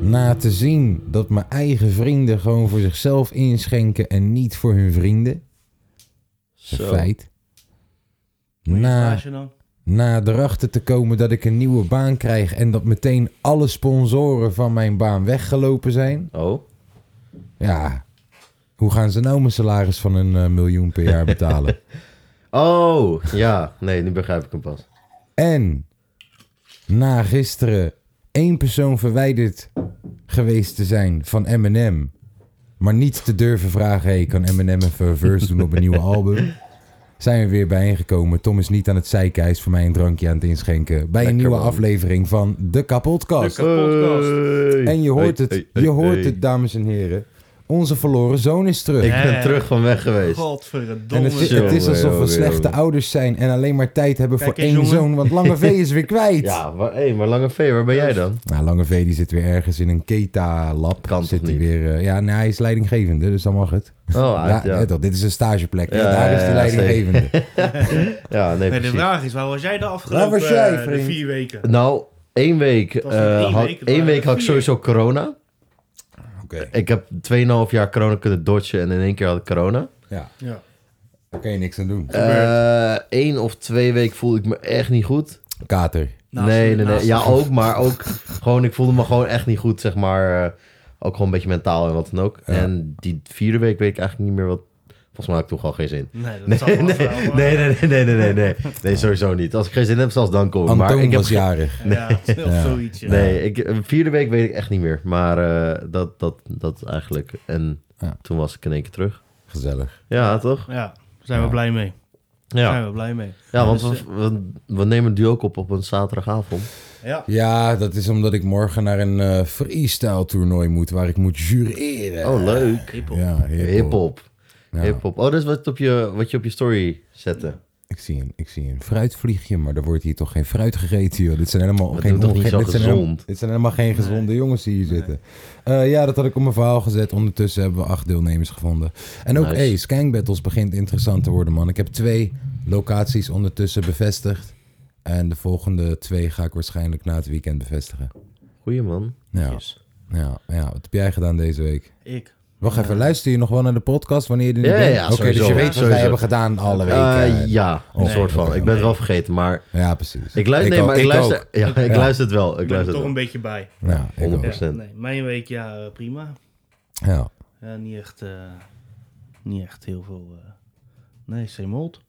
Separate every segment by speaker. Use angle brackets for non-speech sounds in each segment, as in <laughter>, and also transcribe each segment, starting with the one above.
Speaker 1: Na te zien dat mijn eigen vrienden gewoon voor zichzelf inschenken en niet voor hun vrienden. Een feit. Na,
Speaker 2: dan?
Speaker 1: na erachter te komen dat ik een nieuwe baan krijg en dat meteen alle sponsoren van mijn baan weggelopen zijn.
Speaker 2: Oh.
Speaker 1: Ja, hoe gaan ze nou mijn salaris van een eh, miljoen per jaar
Speaker 2: <laughs>
Speaker 1: betalen?
Speaker 2: Oh, ja. Nee, nu begrijp ik hem pas.
Speaker 1: En na gisteren één persoon verwijderd geweest te zijn van Eminem. Maar niet te durven vragen, hey, kan Eminem even een verse doen op een nieuwe
Speaker 2: <laughs>
Speaker 1: album? Zijn we weer bijeengekomen. Tom is niet aan het zeiken, hij is voor mij een drankje aan het inschenken. Bij een nieuwe
Speaker 2: man.
Speaker 1: aflevering van De Kapotkast.
Speaker 2: Hey.
Speaker 1: en je hoort het,
Speaker 2: Hey, hey,
Speaker 1: je
Speaker 2: hey,
Speaker 1: hoort
Speaker 2: hey.
Speaker 1: het, dames en heren. Onze verloren zoon is terug.
Speaker 2: Ik ben terug van weg geweest.
Speaker 1: en
Speaker 3: Godverdomme.
Speaker 1: het, is-
Speaker 2: jongen,
Speaker 1: het is alsof we
Speaker 2: jongen,
Speaker 1: slechte
Speaker 2: jongen.
Speaker 1: ouders zijn en alleen maar tijd hebben
Speaker 3: Kijk
Speaker 1: voor
Speaker 3: eens,
Speaker 1: één
Speaker 3: jongen.
Speaker 1: zoon. Want Lange V is
Speaker 2: <laughs>
Speaker 1: weer kwijt.
Speaker 2: Ja, maar, hey, maar Lange V, waar ben jij dan?
Speaker 1: Nou, Lange V die zit weer ergens in een Keta-lab.
Speaker 2: Kan toch
Speaker 1: zit hij
Speaker 2: niet?
Speaker 1: weer. eh, ja, nee, hij is leidinggevende, dus dan mag het.
Speaker 2: Oh,
Speaker 1: Ja,
Speaker 2: uit, ja.
Speaker 1: net al, dit is een stageplek. hè,
Speaker 2: Ja,
Speaker 1: daar
Speaker 2: ja,
Speaker 1: is de
Speaker 2: ja, <laughs>
Speaker 1: leidinggevende.
Speaker 2: Ja, nee,
Speaker 3: Nee, de
Speaker 2: precies.
Speaker 3: vraag is, waar was jij de afgelopen
Speaker 1: Waar was jij,
Speaker 3: eh, de
Speaker 1: vriend?
Speaker 3: vier weken?
Speaker 2: Nou, één week,
Speaker 3: was niet
Speaker 2: eh,
Speaker 3: één
Speaker 2: had,
Speaker 3: week, het
Speaker 2: één
Speaker 3: waren
Speaker 2: week had ik
Speaker 3: vier.
Speaker 2: sowieso corona.
Speaker 1: Oké.
Speaker 2: Ik heb 2,5 jaar corona kunnen dodgen en in één keer had ik corona.
Speaker 1: Ja,
Speaker 3: Ja.
Speaker 1: daar kun je niks aan doen.
Speaker 2: Eén Eh, of twee weken voelde ik me echt niet goed.
Speaker 1: Kater.
Speaker 3: Naast-
Speaker 2: nee, nee, nee.
Speaker 3: naast-
Speaker 2: Ja,
Speaker 3: <laughs>
Speaker 2: ook, maar ook gewoon, ik voelde me gewoon echt niet goed, zeg maar. eh, ook gewoon een beetje mentaal en wat dan ook. En die vierde week weet ik eigenlijk niet meer wat. Volgens mij had ik toen gewoon geen zin.
Speaker 3: Nee, dat
Speaker 2: Nee,
Speaker 3: zal
Speaker 2: nee,
Speaker 3: wel
Speaker 2: nee,
Speaker 3: wel, maar-
Speaker 2: nee, nee, nee, nee, nee, nee. Nee, sowieso niet. Als ik geen zin heb, zelfs dan kom ik. Maar
Speaker 1: Antoon
Speaker 2: ik heb
Speaker 1: was
Speaker 2: geen-
Speaker 1: jarig.
Speaker 3: Ja, of zoiets. ja.
Speaker 2: Nee, ik, eh, vierde week weet ik echt niet meer. Maar eh, dat, dat, dat eigenlijk. En
Speaker 1: Ja.
Speaker 2: toen was ik in één keer terug.
Speaker 1: Gezellig.
Speaker 2: Ja, toch?
Speaker 3: Ja, zijn we blij mee. Zijn
Speaker 2: Ja,
Speaker 3: we blij mee.
Speaker 2: ja want
Speaker 3: Dus,
Speaker 2: we, we, we nemen die ook op op een zaterdagavond.
Speaker 3: eh, ja.
Speaker 1: Ja, dat is omdat ik morgen naar een eh, freestyle toernooi moet, waar ik moet jureren.
Speaker 2: Oh, leuk.
Speaker 3: Hiphop.
Speaker 1: Ja, hiphop.
Speaker 2: Hip-hop. Hip-hop. Oh, dat is wat, op je, wat je op je story zette.
Speaker 1: Ik zie een, ik zie een fruitvliegje, maar er wordt hier toch geen fruit gegeten, joh. Dit zijn helemaal
Speaker 2: Dat
Speaker 1: geen
Speaker 2: doet toch niet
Speaker 1: onge-
Speaker 2: zo
Speaker 1: dit zijn
Speaker 2: gezond?
Speaker 1: helemaal- dit zijn helemaal geen gezonde jongens die hier zitten. Eh, ja, dat had ik op mijn verhaal gezet. Ondertussen hebben we acht deelnemers gevonden. En ook,
Speaker 2: Nice.
Speaker 1: hey, Skank Battles begint interessant te worden, man. Ik heb twee locaties ondertussen bevestigd. En de volgende twee ga ik waarschijnlijk na het weekend bevestigen.
Speaker 2: Goeie man.
Speaker 1: Ja, ja, ja. wat heb jij gedaan deze week?
Speaker 3: Ik.
Speaker 1: Wacht even, luister je nog wel naar de podcast wanneer je er niet
Speaker 2: Ja, ja,
Speaker 1: bent?
Speaker 2: ja,
Speaker 1: Oké, dus
Speaker 2: sowieso.
Speaker 1: je weet wat wij
Speaker 2: Sowieso.
Speaker 1: hebben gedaan alle weken.
Speaker 2: Eh, ja, een
Speaker 1: Nee,
Speaker 2: soort van.
Speaker 1: oké,
Speaker 2: Ik ben het wel vergeten, maar
Speaker 1: ja, precies.
Speaker 2: ik luister. nee,
Speaker 1: ook,
Speaker 2: maar ik
Speaker 1: ook.
Speaker 2: luister. Ja, ik luister het wel. Ik
Speaker 3: Ik ben er
Speaker 2: luister
Speaker 3: toch
Speaker 2: het
Speaker 3: een
Speaker 2: wel.
Speaker 3: beetje bij.
Speaker 1: Ja, ik ook.
Speaker 2: 100%.
Speaker 3: Oh, Ja, nee, mijn week, ja, eh, prima.
Speaker 1: Ja.
Speaker 3: Ja, niet echt, eh, niet echt heel veel. eh nee, Semold.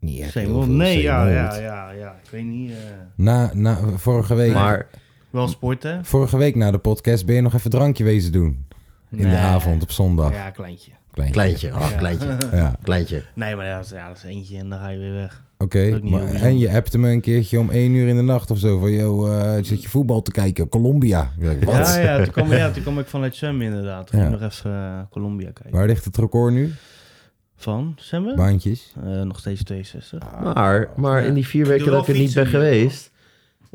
Speaker 1: Niet echt heel
Speaker 3: Semold.
Speaker 1: veel
Speaker 3: oh, Nee, ja,
Speaker 1: zeemold.
Speaker 3: ja, ja, ja. Ik weet niet. eh,
Speaker 1: Na, na, vorige, week,
Speaker 2: Maar
Speaker 3: wel sporten.
Speaker 1: vorige week na de podcast ben je nog even drankje wezen doen. In de
Speaker 3: Nee.
Speaker 1: avond op zondag.
Speaker 3: Ja, kleintje.
Speaker 1: Kleintje.
Speaker 2: kleintje. Ah,
Speaker 3: <laughs>
Speaker 2: kleintje.
Speaker 1: Ja,
Speaker 2: Kleintje.
Speaker 3: Nee, maar ja, dat is, ja, dat is eentje en dan ga je weer weg.
Speaker 1: oké.
Speaker 3: Ook niet
Speaker 1: Maar-
Speaker 3: heel bijzonder.
Speaker 1: En je appte me een keertje om één uur in de nacht of zo. Van, yo, eh, zit je voetbal te kijken? Colombia. Ik dacht, Wat?
Speaker 3: Ja, ja toen, kwam,
Speaker 1: <laughs>
Speaker 3: ja, toen kwam ik vanuit Sem inderdaad. Toen
Speaker 1: Ja.
Speaker 3: ging ik nog even eh, Colombia kijken.
Speaker 1: Waar ligt het record nu?
Speaker 3: Van Semme?
Speaker 1: Baantjes.
Speaker 3: Eh, nog steeds 62.
Speaker 2: Maar, maar in die vier weken
Speaker 3: Doe wel
Speaker 2: dat ik er niet
Speaker 3: fietsen
Speaker 2: ben
Speaker 3: hier,
Speaker 2: geweest.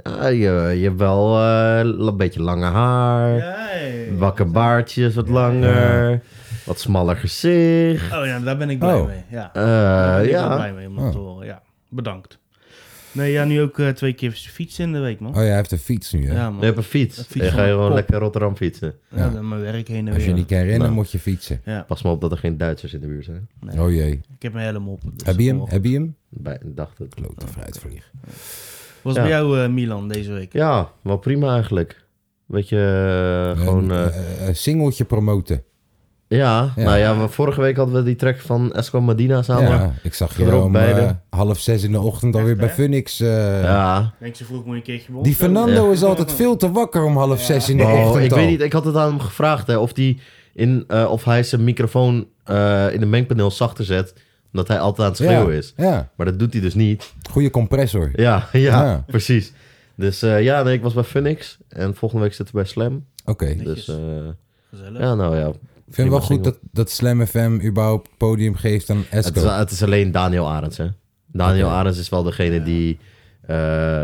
Speaker 2: Ja, je, je hebt wel eh, een beetje lange haar.
Speaker 3: Ja, ja, ja.
Speaker 2: Wakker baardjes wat langer. Wat smaller gezicht.
Speaker 3: Oh ja, daar ben ik blij
Speaker 1: Oh.
Speaker 3: mee. Ja,
Speaker 2: Eh,
Speaker 3: daar ben ik wel
Speaker 2: ja.
Speaker 3: blij mee om dat te horen. Ja, bedankt. Nee, ja, nu ook eh, twee keer fietsen in de week, man.
Speaker 1: Oh ja, hij heeft een fiets nu. Hè?
Speaker 3: Ja,
Speaker 2: Je
Speaker 3: man.
Speaker 2: hebt een fiets.
Speaker 3: Een fiets
Speaker 2: Dan ga
Speaker 3: van
Speaker 2: je
Speaker 3: een
Speaker 2: gewoon
Speaker 3: kop.
Speaker 2: lekker Rotterdam fietsen.
Speaker 3: Ja, dan mijn werk heen en
Speaker 1: Als je
Speaker 3: weer.
Speaker 1: niet kan rennen,
Speaker 2: Nou.
Speaker 1: moet je fietsen.
Speaker 3: Ja,
Speaker 2: Pas maar op dat er geen Duitsers in de buurt zijn.
Speaker 3: Nee.
Speaker 1: Oh jee.
Speaker 3: ik heb mijn helm op. dus
Speaker 1: Heb je hem?
Speaker 3: dat
Speaker 1: Heb je hem?
Speaker 2: Bij, dacht het.
Speaker 1: Klote fruitvlieg.
Speaker 3: Was
Speaker 2: Ja.
Speaker 3: bij jou eh, Milan deze week?
Speaker 2: Ja, wel prima eigenlijk. Beetje eh, gewoon... eh,
Speaker 1: Een, eh, eh, singeltje promoten.
Speaker 2: ja.
Speaker 1: ja.
Speaker 2: nou ja, maar vorige week hadden we die track van Esco Medina samen. Ja.
Speaker 1: Ja, ik zag je
Speaker 2: Gedropt
Speaker 1: om
Speaker 2: beide.
Speaker 1: eh, half zes in de ochtend alweer bij
Speaker 3: hè?
Speaker 1: Phoenix. eh,
Speaker 3: Denk ze vroeg moet je een keertje bij
Speaker 1: Die
Speaker 3: ons komen?
Speaker 1: Fernando is altijd veel te wakker om half zes in de
Speaker 2: Oh,
Speaker 1: ochtend.
Speaker 2: ik
Speaker 1: al.
Speaker 2: weet niet, ik had het aan hem gevraagd hè, of, die in, eh, of hij zijn microfoon eh, in de mengpaneel zachter zet. Omdat hij altijd aan het schreeuwen
Speaker 1: ja,
Speaker 2: is.
Speaker 1: Ja,
Speaker 2: Maar dat doet hij dus niet. <laughs>
Speaker 1: goede compressor.
Speaker 2: Ja, ja,
Speaker 1: Ja.
Speaker 2: precies. Dus eh, ja, nee, ik was bij Phoenix. En volgende week zitten we bij Slam.
Speaker 1: Oké.
Speaker 2: Dus
Speaker 3: Netjes.
Speaker 2: eh,
Speaker 3: Gezellig.
Speaker 2: ja, nou ja.
Speaker 1: Ik vind wel
Speaker 2: Prima
Speaker 1: goed dat, dat Slam FM überhaupt podium geeft aan
Speaker 2: Het is,
Speaker 1: Esco.
Speaker 2: het is alleen Daniel Arends, hè? Daniel
Speaker 1: Oké.
Speaker 2: Arends is wel degene die eh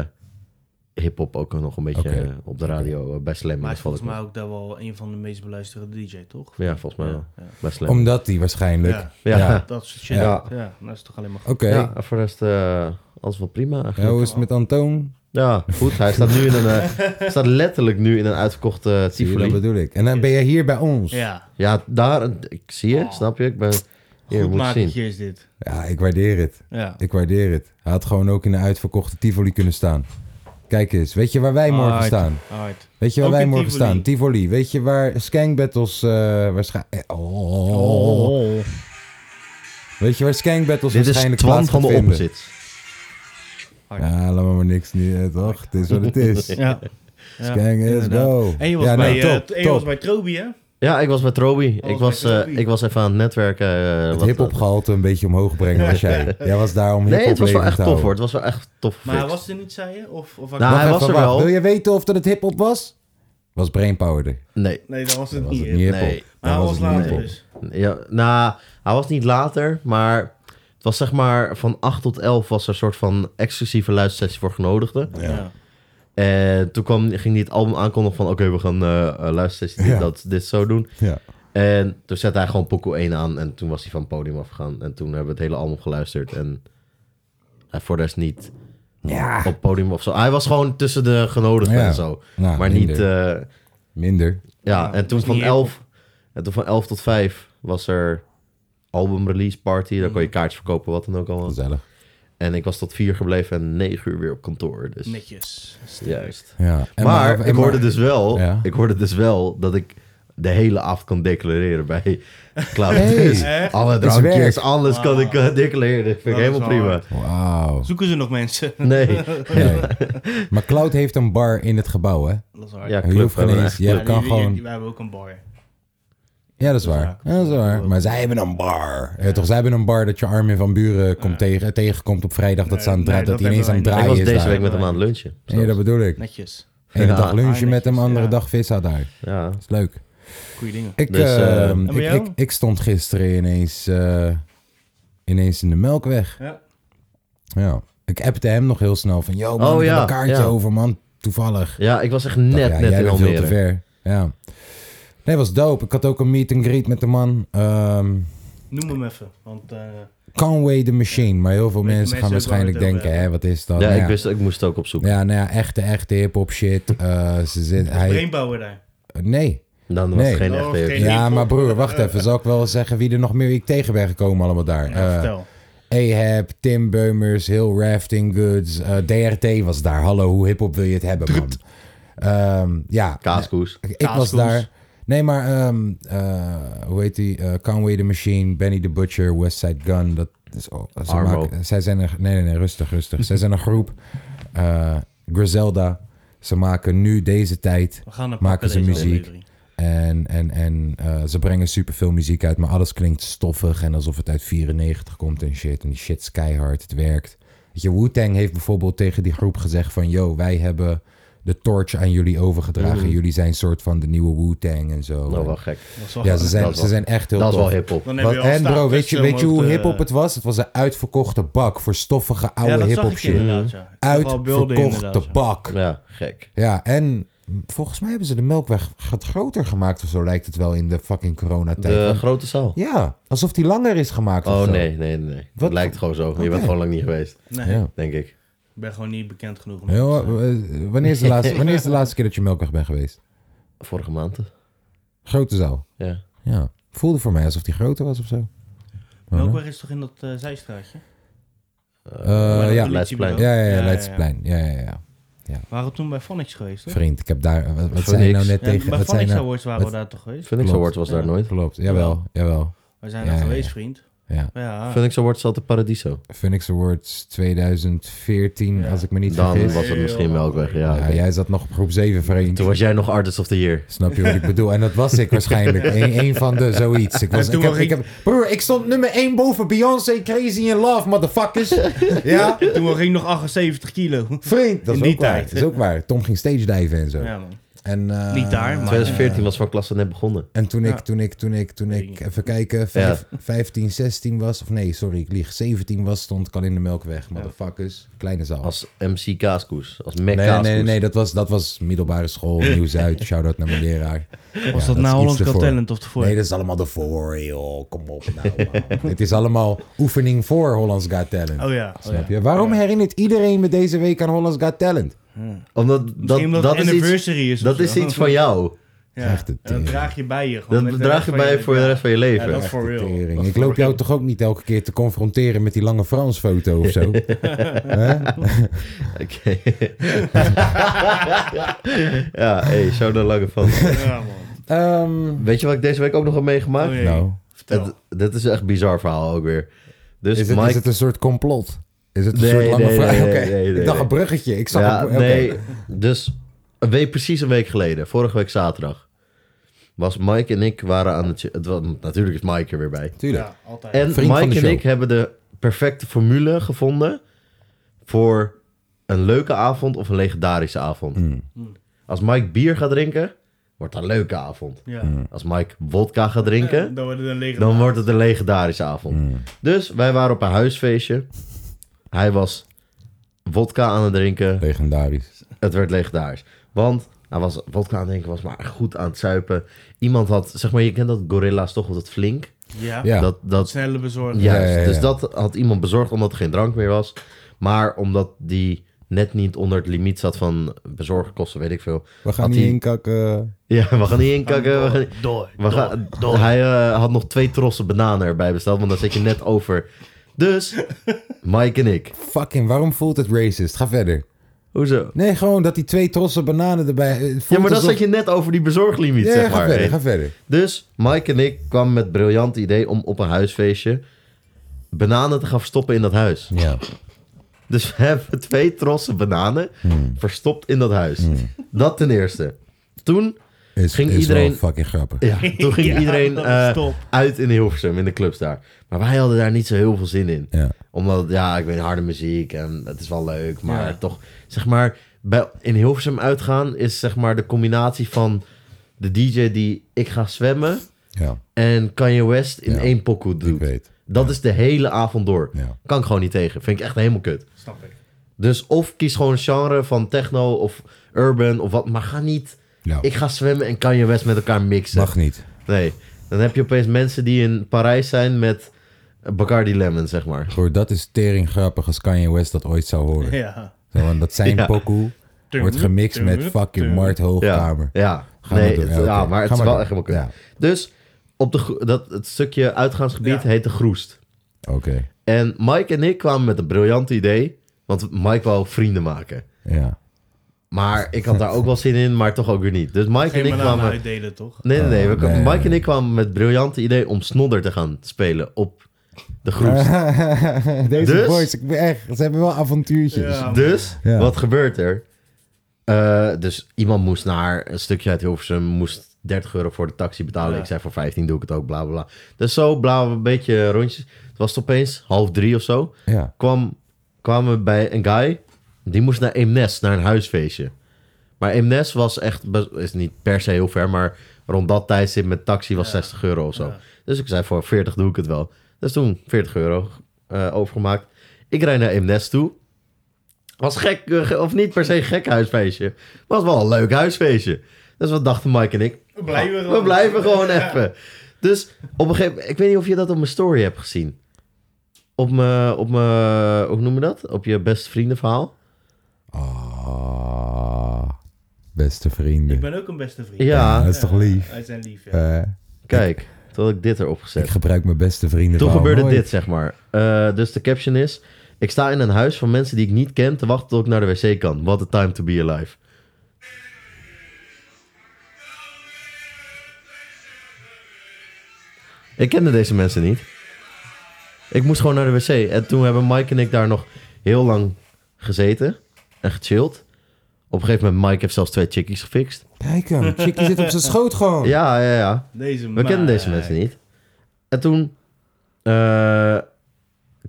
Speaker 2: hip-hop ook nog een beetje
Speaker 1: Oké.
Speaker 2: eh, op de radio eh, bij Slam
Speaker 3: Maar hij
Speaker 2: is.
Speaker 3: is volgens
Speaker 2: volgens
Speaker 3: mij ook daar wel een van de meest beluisterde DJ, toch?
Speaker 2: Ja, volgens mij wel.
Speaker 3: Ja,
Speaker 2: Bij Slam.
Speaker 1: Omdat die waarschijnlijk...
Speaker 3: ja.
Speaker 2: Ja.
Speaker 1: Ja.
Speaker 2: <laughs>
Speaker 3: dat soort shit.
Speaker 2: Ja.
Speaker 3: Ja. dat is toch alleen maar goed.
Speaker 1: Oké.
Speaker 2: Ja, en voor de rest eh, alles wel prima
Speaker 1: Ja,
Speaker 2: eigenlijk.
Speaker 1: hoe is het met Antoon?
Speaker 2: Ja, goed. Hij staat nu in een... eh, staat letterlijk nu in een uitverkochte uh,
Speaker 1: Zie je, dat
Speaker 2: Tivoli.
Speaker 1: bedoel ik. En dan ben je hier bij ons.
Speaker 3: Ja,
Speaker 2: Ja, daar... Ik zie je, snap je? Ik ben... Hier,
Speaker 3: goed
Speaker 2: moet je zien.
Speaker 3: makertje is dit.
Speaker 1: Ja, ik waardeer het.
Speaker 3: Ja.
Speaker 1: Ik waardeer het. Hij had gewoon ook in de uitverkochte Tivoli kunnen staan. Kijk eens, weet je waar wij morgen
Speaker 3: Alright,
Speaker 1: staan?
Speaker 3: alright.
Speaker 1: Weet je waar
Speaker 3: Ook
Speaker 1: wij
Speaker 3: in
Speaker 1: morgen
Speaker 3: Tivoli.
Speaker 1: staan? Tivoli. Weet je waar Skank Battles eh waarschijnlijk... Oh. Weet je waar Skank Battles
Speaker 2: Dit is
Speaker 1: waarschijnlijk
Speaker 2: Twan
Speaker 1: plaats
Speaker 2: van de
Speaker 1: gaat vinden?
Speaker 2: opzit.
Speaker 1: Ja, laat maar, maar niks nu, eh, toch? Het is wat het
Speaker 3: <laughs>
Speaker 1: is.
Speaker 3: Ja. Ja,
Speaker 1: Skank, let's
Speaker 3: inderdaad.
Speaker 1: go.
Speaker 3: En je was,
Speaker 1: ja, nou,
Speaker 3: bij, eh,
Speaker 1: top,
Speaker 3: t- en je was
Speaker 1: top.
Speaker 3: bij Trobi, hè?
Speaker 2: Ja, ik was met Roby.
Speaker 3: Oh,
Speaker 2: Ik was,
Speaker 3: met
Speaker 2: eh,
Speaker 3: Roby.
Speaker 2: ik was even aan het netwerken. eh,
Speaker 1: Het
Speaker 2: wat-
Speaker 1: hip-hop gehalte een beetje omhoog brengen
Speaker 3: <laughs>
Speaker 1: was jij. Jij was daar om
Speaker 2: Nee,
Speaker 1: hip-hop
Speaker 2: het was wel
Speaker 1: levend
Speaker 2: echt
Speaker 1: te
Speaker 2: tof
Speaker 1: houden.
Speaker 2: hoor. Het was wel echt tof.
Speaker 3: Maar hij
Speaker 2: gefixt.
Speaker 3: was er niet, zei je? Of, of
Speaker 2: Nou, hij
Speaker 1: Wacht
Speaker 2: was
Speaker 1: even,
Speaker 2: er
Speaker 1: wacht.
Speaker 2: wel.
Speaker 1: Wil je weten of dat het hip-hop was? Was Brainpowerder.
Speaker 2: Nee.
Speaker 3: Nee, dat was het
Speaker 1: Dat was
Speaker 3: niet.
Speaker 1: het
Speaker 3: hè?
Speaker 1: niet hip-hop.
Speaker 2: Nee.
Speaker 3: Maar hij
Speaker 1: Dan
Speaker 3: Nou, was,
Speaker 1: het niet
Speaker 3: later
Speaker 1: hip-hop.
Speaker 3: dus.
Speaker 2: Ja, nou, hij was niet later, maar het was zeg maar van 8 tot 11 was er een soort van exclusieve luistersessie voor genodigden.
Speaker 3: Ja.
Speaker 2: En toen kwam, ging hij het album aankondigen van oké, we gaan eh eh, luistersessie dit,
Speaker 1: Ja.
Speaker 2: dat, dit zo doen.
Speaker 3: dus.
Speaker 1: Ja.
Speaker 2: En toen zette hij gewoon Poco 1 aan en toen was hij van het podium afgegaan. En toen hebben we het hele album geluisterd en hij voor de rest niet
Speaker 1: Ja.
Speaker 2: op het podium of zo. Hij was gewoon tussen de genodigden
Speaker 1: Ja.
Speaker 2: en zo.
Speaker 1: Nou,
Speaker 2: maar
Speaker 1: minder.
Speaker 2: niet... eh,
Speaker 1: Minder.
Speaker 2: Ja,
Speaker 3: Ja,
Speaker 2: en toen
Speaker 3: was
Speaker 2: van
Speaker 3: niet
Speaker 2: 11 en toen van 11 tot 5 was er album release party.
Speaker 3: Mhm.
Speaker 2: Daar kon je kaartjes verkopen, wat dan ook allemaal.
Speaker 1: Gezellig.
Speaker 2: En ik was tot 4 gebleven en 9 uur weer op kantoor. Dus
Speaker 3: Netjes.
Speaker 2: juist.
Speaker 1: Ja. En
Speaker 2: maar
Speaker 1: en
Speaker 2: ik hoorde dus wel,
Speaker 1: Ja.
Speaker 2: ik hoorde dus wel dat ik de hele avond kan declareren
Speaker 3: <laughs>
Speaker 2: bij Cloud.
Speaker 1: Hey,
Speaker 2: Dus
Speaker 3: echt?
Speaker 2: alle
Speaker 1: Het is
Speaker 2: drankjes,
Speaker 1: werk.
Speaker 2: alles kan ik eh, declareren. Dat vind
Speaker 3: Dat
Speaker 2: ik
Speaker 3: is
Speaker 2: helemaal
Speaker 3: wel
Speaker 2: prima.
Speaker 3: hard.
Speaker 1: Wauw.
Speaker 3: Zoeken ze nog mensen? <laughs>
Speaker 2: <laughs> Nee,
Speaker 1: Nee. <laughs> Maar Cloud heeft een bar in het gebouw, hè?
Speaker 3: Dat is hard.
Speaker 2: ja,
Speaker 1: Je
Speaker 2: club
Speaker 1: hoeft geen
Speaker 2: hebben we
Speaker 1: eens...
Speaker 2: echt.
Speaker 1: Je kan
Speaker 3: die- die-
Speaker 1: gewoon...
Speaker 3: die- We hebben ook een bar.
Speaker 1: Ja, dat is
Speaker 3: Dat is
Speaker 1: waar.
Speaker 3: waar.
Speaker 1: Ja, dat is waar. Maar zij hebben een bar. Ja, toch, zij hebben een bar dat je Armin van Buren komt tegen, tegenkomt op vrijdag. Dat, ze aan het dra-
Speaker 3: Nee,
Speaker 1: dat
Speaker 3: dat
Speaker 1: hij ineens aan het
Speaker 3: hebben wij
Speaker 2: Ik
Speaker 1: draaien
Speaker 2: was
Speaker 1: is
Speaker 2: deze
Speaker 1: daar.
Speaker 2: week met hem aan het lunchen.
Speaker 1: Ja, dat bedoel ik.
Speaker 3: Netjes.
Speaker 1: Ene
Speaker 2: Ja.
Speaker 1: dag lunchen met hem,
Speaker 3: Netjes,
Speaker 1: andere
Speaker 3: ja.
Speaker 1: dag vis daar. Dat
Speaker 2: Ja.
Speaker 1: is leuk.
Speaker 3: Goeie dingen.
Speaker 1: Ik,
Speaker 2: Dus,
Speaker 1: eh,
Speaker 2: eh,
Speaker 1: ik,
Speaker 3: bij jou?
Speaker 1: ik, ik stond gisteren ineens, eh, ineens in de melkweg.
Speaker 3: Ja.
Speaker 1: Ja. Ik appte hem nog heel snel van, yo man,
Speaker 2: Oh,
Speaker 1: ik heb
Speaker 2: ja,
Speaker 1: een kaartje
Speaker 2: ja.
Speaker 1: over man, toevallig.
Speaker 2: ja, ik was echt
Speaker 1: Ik dacht,
Speaker 2: net,
Speaker 1: ja,
Speaker 2: net
Speaker 1: jij
Speaker 2: in
Speaker 1: bent veel te
Speaker 2: Almere.
Speaker 1: ver. Ja. Nee, was dope. Ik had ook een meet and greet met de man. Ehm,
Speaker 3: Noem hem even. Want eh,
Speaker 1: Conway the Machine. Maar heel veel
Speaker 3: Weet
Speaker 1: mensen,
Speaker 3: de
Speaker 1: gaan
Speaker 3: mensen ook waar we
Speaker 1: waarschijnlijk
Speaker 3: het over
Speaker 1: denken, hè, wat is dat?
Speaker 2: Ja,
Speaker 1: Nou
Speaker 2: ik wist, ik moest het ook opzoeken.
Speaker 1: Ja, nou ja, echte, echte hip-hop shit. Eh, ze zit, hij,
Speaker 3: Brainpower daar.
Speaker 1: nee.
Speaker 2: Dan was
Speaker 1: Nee.
Speaker 2: het geen
Speaker 3: Dan
Speaker 2: echte
Speaker 3: was het
Speaker 2: hip.
Speaker 3: geen-
Speaker 1: Ja,
Speaker 3: hip-hop.
Speaker 1: maar broer, wacht even. Zal ik wel zeggen wie er nog meer ik tegen ben gekomen allemaal daar?
Speaker 3: Ja,
Speaker 1: Eh,
Speaker 3: vertel.
Speaker 1: Ahab, Tim Beumers, heel Rafting Goods. eh, DRT was daar. Hallo, hoe hiphop wil je het hebben, man? Ehm, ja,
Speaker 2: Kaaskoes.
Speaker 1: ik was
Speaker 3: Kaaskoes.
Speaker 1: daar. Nee, maar ehm, eh, hoe heet die? Eh, Conway the Machine, Benny the Butcher, Westside Gun. Dat is al. ze
Speaker 2: Armo.
Speaker 1: maken- zij zijn een. Nee, nee, nee, rustig, rustig. zij zijn een groep. Eh, Griselda. Ze maken nu deze tijd.
Speaker 3: We gaan naar
Speaker 1: maken ze
Speaker 3: pakken deze
Speaker 1: muziek.
Speaker 3: aflevering.
Speaker 1: En, en, en eh, ze brengen superveel muziek uit, maar alles klinkt stoffig en alsof het uit 94 komt en shit. En die shit is keihard, het werkt. Weet je, Wu-Tang heeft bijvoorbeeld tegen die groep gezegd van... ...yo, wij hebben de torch aan jullie overgedragen.
Speaker 2: Mhm.
Speaker 1: Jullie zijn soort van de nieuwe Wu-Tang en zo.
Speaker 2: Dat
Speaker 1: En-
Speaker 2: was Oh, wel gek.
Speaker 3: Dat is wel-
Speaker 1: ja, ze
Speaker 2: Nou, dat
Speaker 1: zijn,
Speaker 2: is
Speaker 1: ze
Speaker 2: wel-
Speaker 1: zijn echt heel
Speaker 2: Dat is
Speaker 1: tof.
Speaker 2: wel hip-hop.
Speaker 3: Dan hebben
Speaker 1: Wat-
Speaker 3: we al
Speaker 1: en bro,
Speaker 3: staartjes
Speaker 1: weet je,
Speaker 3: om
Speaker 1: weet je
Speaker 3: op
Speaker 1: hoe
Speaker 3: de-
Speaker 1: hip-hop het was? Het was een uitverkochte bak voor stoffige oude
Speaker 3: eh, Ja, dat zag
Speaker 1: hip-hop
Speaker 3: ik
Speaker 1: shit.
Speaker 3: inderdaad, ja. Ik zag wel beelden inderdaad,
Speaker 1: Uitverkochte
Speaker 3: ja.
Speaker 1: bak.
Speaker 2: Ja, gek.
Speaker 1: Ja, en volgens mij hebben ze de melkweg wat groter gemaakt of zo lijkt het wel in de fucking coronatijd.
Speaker 2: De
Speaker 1: Want-
Speaker 2: grote zaal.
Speaker 1: Ja, alsof die langer is gemaakt of
Speaker 2: Oh
Speaker 1: zo.
Speaker 2: nee, nee, nee.
Speaker 1: Wat?
Speaker 2: Het lijkt gewoon zo. Je
Speaker 1: Oké.
Speaker 2: bent gewoon lang niet geweest,
Speaker 3: Nee,
Speaker 1: Ja.
Speaker 2: denk ik.
Speaker 3: ik ben gewoon niet bekend genoeg. om
Speaker 1: Heel,
Speaker 3: dat te
Speaker 1: eh, wanneer, is de laatste, wanneer is de laatste keer dat je melkweg bent geweest?
Speaker 2: Vorige maand.
Speaker 1: Grote zaal.
Speaker 2: Ja.
Speaker 1: Ja, voelde voor mij alsof die groter was of zo. uh-huh.
Speaker 3: zeggen. Melkweg is toch in dat eh, zijstraatje?
Speaker 1: Eh,
Speaker 3: Waar dat
Speaker 1: ja.
Speaker 3: politiebureau-
Speaker 1: Ja, ja, ja, Leidseplein. Ja, ja, ja.
Speaker 3: We waren toen bij Phonics geweest, toch?
Speaker 1: Vriend, ik heb daar... Wat, wat
Speaker 2: Voor
Speaker 1: zei je nou
Speaker 2: niks.
Speaker 1: net
Speaker 3: Ja,
Speaker 1: tegen...
Speaker 3: bij
Speaker 1: Wat zei je
Speaker 3: Phonics
Speaker 1: nou?
Speaker 3: Awards waren we daar toch geweest?
Speaker 2: Phoenix
Speaker 1: Klopt.
Speaker 2: Award was daar
Speaker 3: Ja.
Speaker 2: nooit.
Speaker 1: Klopt, jawel, jawel.
Speaker 3: We zijn
Speaker 1: Ja,
Speaker 3: daar
Speaker 1: ja,
Speaker 3: geweest,
Speaker 1: ja.
Speaker 3: vriend.
Speaker 1: Ja.
Speaker 3: Ja,
Speaker 2: Phoenix Award zat in Paradiso.
Speaker 1: Phoenix Awards 2014,
Speaker 3: Ja.
Speaker 1: als ik me niet
Speaker 2: Dan
Speaker 1: vergis.
Speaker 2: was het misschien
Speaker 3: Heel
Speaker 2: Melkweg. Ja,
Speaker 1: Ja,
Speaker 2: oké.
Speaker 1: jij zat nog op groep 7, vriend.
Speaker 2: Toen was jij nog Artist of the Year.
Speaker 1: Snap je wat ik bedoel? En dat was ik
Speaker 3: <laughs>
Speaker 1: waarschijnlijk. Eén één van de, zoiets. Ik was,
Speaker 3: En toen
Speaker 1: ik heb,
Speaker 3: was
Speaker 1: ik
Speaker 3: ik-
Speaker 1: heb, broer, ik stond nummer 1 boven Beyoncé, Crazy in
Speaker 3: <laughs>
Speaker 1: Love, motherfuckers. Ja?
Speaker 3: toen ging nog 78 kilo. <laughs>
Speaker 1: Vriend, dat is
Speaker 3: In die
Speaker 1: ook waar.
Speaker 3: tijd.
Speaker 1: Dat is ook waar. Tom ging stage diven en zo.
Speaker 3: Ja, man.
Speaker 1: En, eh,
Speaker 3: Niet daar, maar-
Speaker 2: 2014 was van klas dat net begonnen.
Speaker 1: En toen ik,
Speaker 3: Ja.
Speaker 1: toen ik, toen ik, toen ik, even kijken, vijf, 15, 16 was, of nee, sorry, ik lieg, 17 was, stond ik al in de Melkweg. Motherfuckers, kleine zaal.
Speaker 2: Als MC Kaaskoes. Als Mac
Speaker 1: nee, nee,
Speaker 2: Kaaskoes.
Speaker 1: nee, nee, dat was, dat was middelbare school, Nieuw-Zuid, shout-out naar mijn leraar.
Speaker 3: Was dat
Speaker 1: is
Speaker 3: nou Hollands
Speaker 1: iets
Speaker 3: Got
Speaker 1: ervoor.
Speaker 3: Talent of tevoren?
Speaker 1: Nee, dat is allemaal ervoor, joh, kom op nou. man. <laughs> Dit is allemaal oefening voor Hollands Got Talent.
Speaker 3: Oh ja. Oh,
Speaker 1: Snap
Speaker 3: ja.
Speaker 1: je? Waarom herinnert iedereen me deze week aan Hollands Got Talent?
Speaker 2: Omdat dat,
Speaker 3: Misschien omdat
Speaker 2: dat,
Speaker 3: het
Speaker 2: is iets,
Speaker 3: anniversary is. of
Speaker 2: dat
Speaker 3: zo.
Speaker 2: is iets van
Speaker 3: <laughs>
Speaker 2: jou.
Speaker 3: Ja.
Speaker 1: Echt
Speaker 3: En
Speaker 1: het
Speaker 3: dat
Speaker 1: tering.
Speaker 3: draag je bij je. gewoon
Speaker 2: Dat
Speaker 3: met de
Speaker 2: draag
Speaker 3: rest
Speaker 2: je
Speaker 3: van
Speaker 2: bij je voor de rest van je
Speaker 3: Ja, dat
Speaker 2: leven.
Speaker 3: is
Speaker 1: Echte
Speaker 3: <laughs> for real.
Speaker 1: tering.
Speaker 3: Dat is
Speaker 1: Ik
Speaker 3: for
Speaker 1: loop jou
Speaker 3: real.
Speaker 1: toch ook niet elke keer te confronteren met die lange Frans foto
Speaker 2: <laughs>
Speaker 1: of
Speaker 2: Dus
Speaker 1: zo? Hè?
Speaker 2: Oké. <laughs> Ja, hey, shout out Lange van.
Speaker 3: Ja, man.
Speaker 1: Ehm,
Speaker 2: Weet je wat ik deze week ook nog heb meegemaakt?
Speaker 3: Oh, jee.
Speaker 1: nou,
Speaker 3: Vertel.
Speaker 2: Het- dit is echt een bizar verhaal ook weer. Dus
Speaker 1: is het,
Speaker 2: Mike...
Speaker 1: is het een soort complot? Is het een
Speaker 2: Nee,
Speaker 1: soort lange
Speaker 2: nee,
Speaker 1: vraag? <laughs>
Speaker 2: nee,
Speaker 1: Oké,
Speaker 2: nee, nee,
Speaker 1: ik dacht
Speaker 2: nee.
Speaker 1: een bruggetje. Ik zag
Speaker 2: ja,
Speaker 1: een br- oké.
Speaker 2: nee, dus een week, precies een week geleden, vorige week zaterdag, was Mike en ik waren aan het... het was, natuurlijk is Mike er weer bij.
Speaker 1: Tuurlijk.
Speaker 3: Ja, altijd.
Speaker 2: En
Speaker 1: Vriend van de
Speaker 2: Mike en
Speaker 1: show.
Speaker 2: ik hebben de perfecte formule gevonden voor een leuke avond of een legendarische avond.
Speaker 1: Hmm.
Speaker 2: Als Mike bier gaat drinken, wordt dat een leuke avond.
Speaker 3: Ja.
Speaker 2: Als Mike vodka gaat drinken,
Speaker 3: Dan wordt het een leger.
Speaker 2: dan wordt het een legendarische avond. Dus wij waren op een huisfeestje. Hij was vodka aan het drinken.
Speaker 1: Legendarisch.
Speaker 2: Het werd legendarisch. Want hij was vodka aan het drinken, was maar goed aan het zuipen. Iemand had, zeg maar, je kent dat gorilla's toch, of dat flink?
Speaker 3: Ja.
Speaker 1: Ja.
Speaker 2: Dat, dat
Speaker 3: Snelle bezorging.
Speaker 2: Juist,
Speaker 1: Ja, ja, ja.
Speaker 2: dus dat had iemand bezorgd omdat er geen drank meer was. Maar omdat die net niet onder het limiet zat van bezorgkosten, weet ik veel.
Speaker 1: We gaan
Speaker 2: Had
Speaker 1: niet
Speaker 2: hij-
Speaker 1: inkakken.
Speaker 2: Ja, we gaan niet inkakken. We gaan niet-
Speaker 3: Door.
Speaker 2: we gaan, hij eh, had nog twee trossen bananen erbij besteld, want daar zit je net over.
Speaker 3: <laughs>
Speaker 2: Dus, Mike en ik.
Speaker 1: Fucking, waarom voelt het racist? Ga verder.
Speaker 2: Hoezo?
Speaker 1: Nee, gewoon dat die twee trossen bananen erbij... het voelt
Speaker 2: Ja, maar dan
Speaker 1: alsof-
Speaker 2: zat je net over die bezorglimiet,
Speaker 1: Ja,
Speaker 2: zeg
Speaker 1: ga
Speaker 2: maar.
Speaker 1: verder, ga verder.
Speaker 2: Dus Mike en ik kwamen met het briljante idee om op een huisfeestje bananen te gaan verstoppen in dat huis.
Speaker 1: Ja.
Speaker 2: Dus we hebben twee trossen bananen
Speaker 1: Hmm.
Speaker 2: verstopt in dat huis. Dat ten eerste. Toen, Ging
Speaker 1: Is, Ging is
Speaker 2: iedereen-
Speaker 1: iedereen... wel fucking grappig.
Speaker 3: <laughs>
Speaker 2: ja, toen ging
Speaker 3: Ja,
Speaker 2: iedereen
Speaker 3: dat is
Speaker 2: eh,
Speaker 3: top.
Speaker 2: uit in Hilversum, in de clubs daar. Maar wij hadden daar niet zo heel veel zin in.
Speaker 1: Ja.
Speaker 2: Omdat, ja, ik weet harde muziek en het is wel leuk. Maar
Speaker 3: Ja.
Speaker 2: toch, zeg maar, bij, in Hilversum uitgaan is zeg maar de combinatie van de DJ die ik ga zwemmen...
Speaker 1: Ja,
Speaker 2: en Kanye West in
Speaker 1: Ja,
Speaker 2: één pokoe
Speaker 1: ik
Speaker 2: doet.
Speaker 1: weet.
Speaker 2: Dat is de hele avond door.
Speaker 1: Ja.
Speaker 2: Kan ik gewoon niet tegen. Vind ik echt helemaal kut.
Speaker 3: Snap ik.
Speaker 2: Dus of kies gewoon een genre van techno of urban of wat. Maar ga niet.
Speaker 1: Ja.
Speaker 2: Ik ga zwemmen en Kanye West met elkaar mixen.
Speaker 1: Nou, Mag niet.
Speaker 2: Nee. Dan heb je opeens mensen die in Parijs zijn met Bacardi Lemon, zeg maar.
Speaker 1: Broer, dat is tering grappig als Kanye West dat ooit zou horen.
Speaker 3: Ja.
Speaker 1: Zo, want dat zijn
Speaker 2: Ja.
Speaker 1: pokoe wordt gemixt met fucking Mart
Speaker 2: Ja.
Speaker 1: Hoogkamer.
Speaker 2: Ja.
Speaker 1: Ga maar
Speaker 2: nee,
Speaker 1: door.
Speaker 2: het-
Speaker 1: Ja,
Speaker 2: ja,
Speaker 1: oké.
Speaker 2: maar het
Speaker 1: Ga
Speaker 2: is
Speaker 1: maar
Speaker 2: wel
Speaker 1: door.
Speaker 2: echt helemaal kut.
Speaker 1: Ja.
Speaker 2: Dus op de, gro- dat, het stukje uitgaansgebied
Speaker 3: Ja.
Speaker 2: heet de Groest.
Speaker 1: Oké,
Speaker 2: En Mike en ik kwamen met een briljant idee. Want Mike wou vrienden maken.
Speaker 1: ja.
Speaker 2: Maar ik had daar ook wel zin in, maar toch ook weer niet. Dus Mike
Speaker 3: Geen
Speaker 2: en ik
Speaker 3: bananen
Speaker 2: kwamen...
Speaker 3: uitdelen, toch?
Speaker 2: Nee, nee, nee. We
Speaker 1: Oh, nee.
Speaker 2: Mike en ik kwamen met het briljante idee om Snodder te gaan spelen op de
Speaker 1: <laughs>
Speaker 2: groep.
Speaker 1: <laughs> Deze
Speaker 2: Dus?
Speaker 1: boys, ik ben echt, ze hebben wel avontuurtjes.
Speaker 3: Ja.
Speaker 2: Dus,
Speaker 1: Ja.
Speaker 2: wat gebeurt er? Eh, dus iemand moest naar een stukje uit Hilversum, moest 30 euro voor de taxi betalen.
Speaker 3: Ja.
Speaker 2: Ik zei voor 15 doe ik het ook, bla bla bla. Dus zo blaven we een beetje rondjes. Het was opeens half drie of zo.
Speaker 1: Ja.
Speaker 2: Kwam, kwamen we bij een guy, die moest naar Eemnes, naar een huisfeestje. Maar Eemnes was echt, best- is niet per se heel ver, maar rond dat tijdstip met taxi was 60 euro of zo. Dus ik zei voor 40 doe ik het wel. Dus toen 40 euro eh, overgemaakt. Ik rijd naar Eemnes toe. Was gek, eh, of niet per se een gek huisfeestje. Maar was wel een leuk huisfeestje. Dus wat dachten Mike en ik?
Speaker 3: We blijven
Speaker 2: Ah,
Speaker 3: gewoon.
Speaker 2: We blijven gewoon even. Dus op een gegeven moment, ik weet niet of je dat op mijn story hebt gezien. Op mijn, op mijn, hoe noem je dat? Op je beste vrienden verhaal.
Speaker 1: Ah, beste vrienden.
Speaker 3: Ik ben ook een beste vriend.
Speaker 2: Ja,
Speaker 1: dat is toch lief?
Speaker 3: Wij zijn lief, ja.
Speaker 1: Eh,
Speaker 2: kijk. Terwijl ik dit erop gezet.
Speaker 1: ik gebruik mijn beste
Speaker 2: Toen
Speaker 1: vrienden. verhaal
Speaker 2: gebeurde
Speaker 1: nooit.
Speaker 2: dit, zeg maar. Eh, dus de caption is... Ik sta in een huis van mensen die ik niet ken... te wachten tot ik naar de wc kan. What a time to be alive. Ik kende deze mensen niet. Ik moest gewoon naar de wc. En toen hebben Mike en ik daar nog heel lang gezeten. En gechilled. Op een gegeven moment, Mike heeft zelfs twee chickies gefixt.
Speaker 1: Kijk hem, Chickie zit op zijn schoot gewoon.
Speaker 2: Ja, ja, ja.
Speaker 3: Deze eh,
Speaker 2: We kennen deze mensen niet. En toen eh,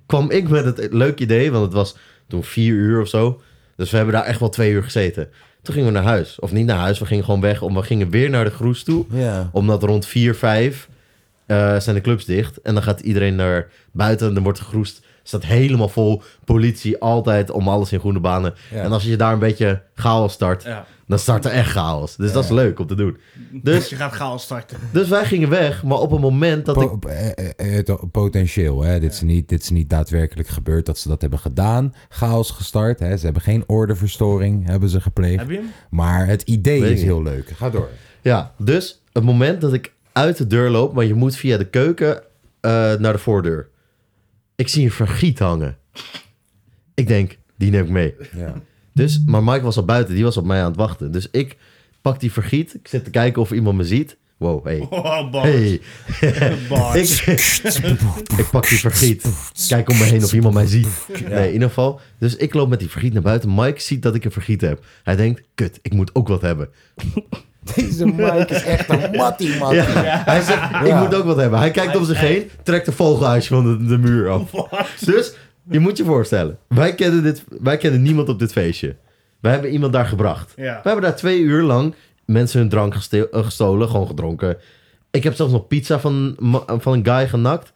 Speaker 2: kwam ik met het leuk idee, want het was toen vier uur of zo. Dus we hebben daar echt wel twee uur gezeten. Toen gingen we naar huis. Of niet naar huis, we gingen gewoon weg. Om, we gingen weer naar de Groes toe.
Speaker 1: Ja.
Speaker 2: Omdat rond 4, 5 eh, zijn de clubs dicht. En dan gaat iedereen naar buiten en dan wordt gegroest. Staat helemaal vol. Politie altijd om alles in groene banen.
Speaker 1: Ja.
Speaker 2: En als je daar een beetje chaos start,
Speaker 3: Ja.
Speaker 2: dan start er echt chaos. Dus dat is leuk om te doen.
Speaker 3: Dus
Speaker 2: Dus,
Speaker 3: <laughs> je gaat chaos
Speaker 2: <laughs>
Speaker 3: starten.
Speaker 2: dus wij gingen weg, maar op een moment dat ik...
Speaker 1: Po- eh, eh, eh, het potentieel, hè. Dit, is niet, dit is niet daadwerkelijk gebeurd dat ze dat hebben gedaan. Chaos gestart, hè. Ze hebben geen ordeverstoring, hebben ze gepleegd.
Speaker 3: Heb je hem?
Speaker 1: Maar het idee
Speaker 2: Weet ik
Speaker 1: is heel leuk. Ga door.
Speaker 2: Ja, dus het moment dat ik uit de deur loop, maar je moet via de keuken eh, naar de voordeur. Ik zie een vergiet hangen. Ik denk, die neem ik mee.
Speaker 1: Ja.
Speaker 2: Dus, maar Mike was al buiten, die was op mij aan het wachten. Dus ik pak die vergiet, ik zit te kijken of iemand me ziet. Wow, hey.
Speaker 3: Oh, Bart.
Speaker 2: Hey, ik,
Speaker 3: Bart.
Speaker 2: ik <laughs> pak die vergiet. Kijk om me heen of iemand mij ziet. Nee, in ieder geval. Dus ik loop met die vergiet naar buiten. Mike ziet dat ik een vergiet heb. Hij denkt, kut, ik moet ook wat hebben.
Speaker 1: <laughs> Deze Mike is echt een mattie, man.
Speaker 2: Ja, Hij zegt, ik moet ook wat hebben. Hij kijkt om zich heen, trekt de vogelhuisje van de, de muur af. Dus, je moet je voorstellen. Wij kennen, dit, wij kennen niemand op dit feestje. Wij hebben iemand daar gebracht.
Speaker 3: Ja.
Speaker 2: We hebben daar twee uur lang mensen hun drank geste- eh, gestolen, gewoon gedronken. Ik heb zelfs nog pizza van, ma- eh, van een guy genakt.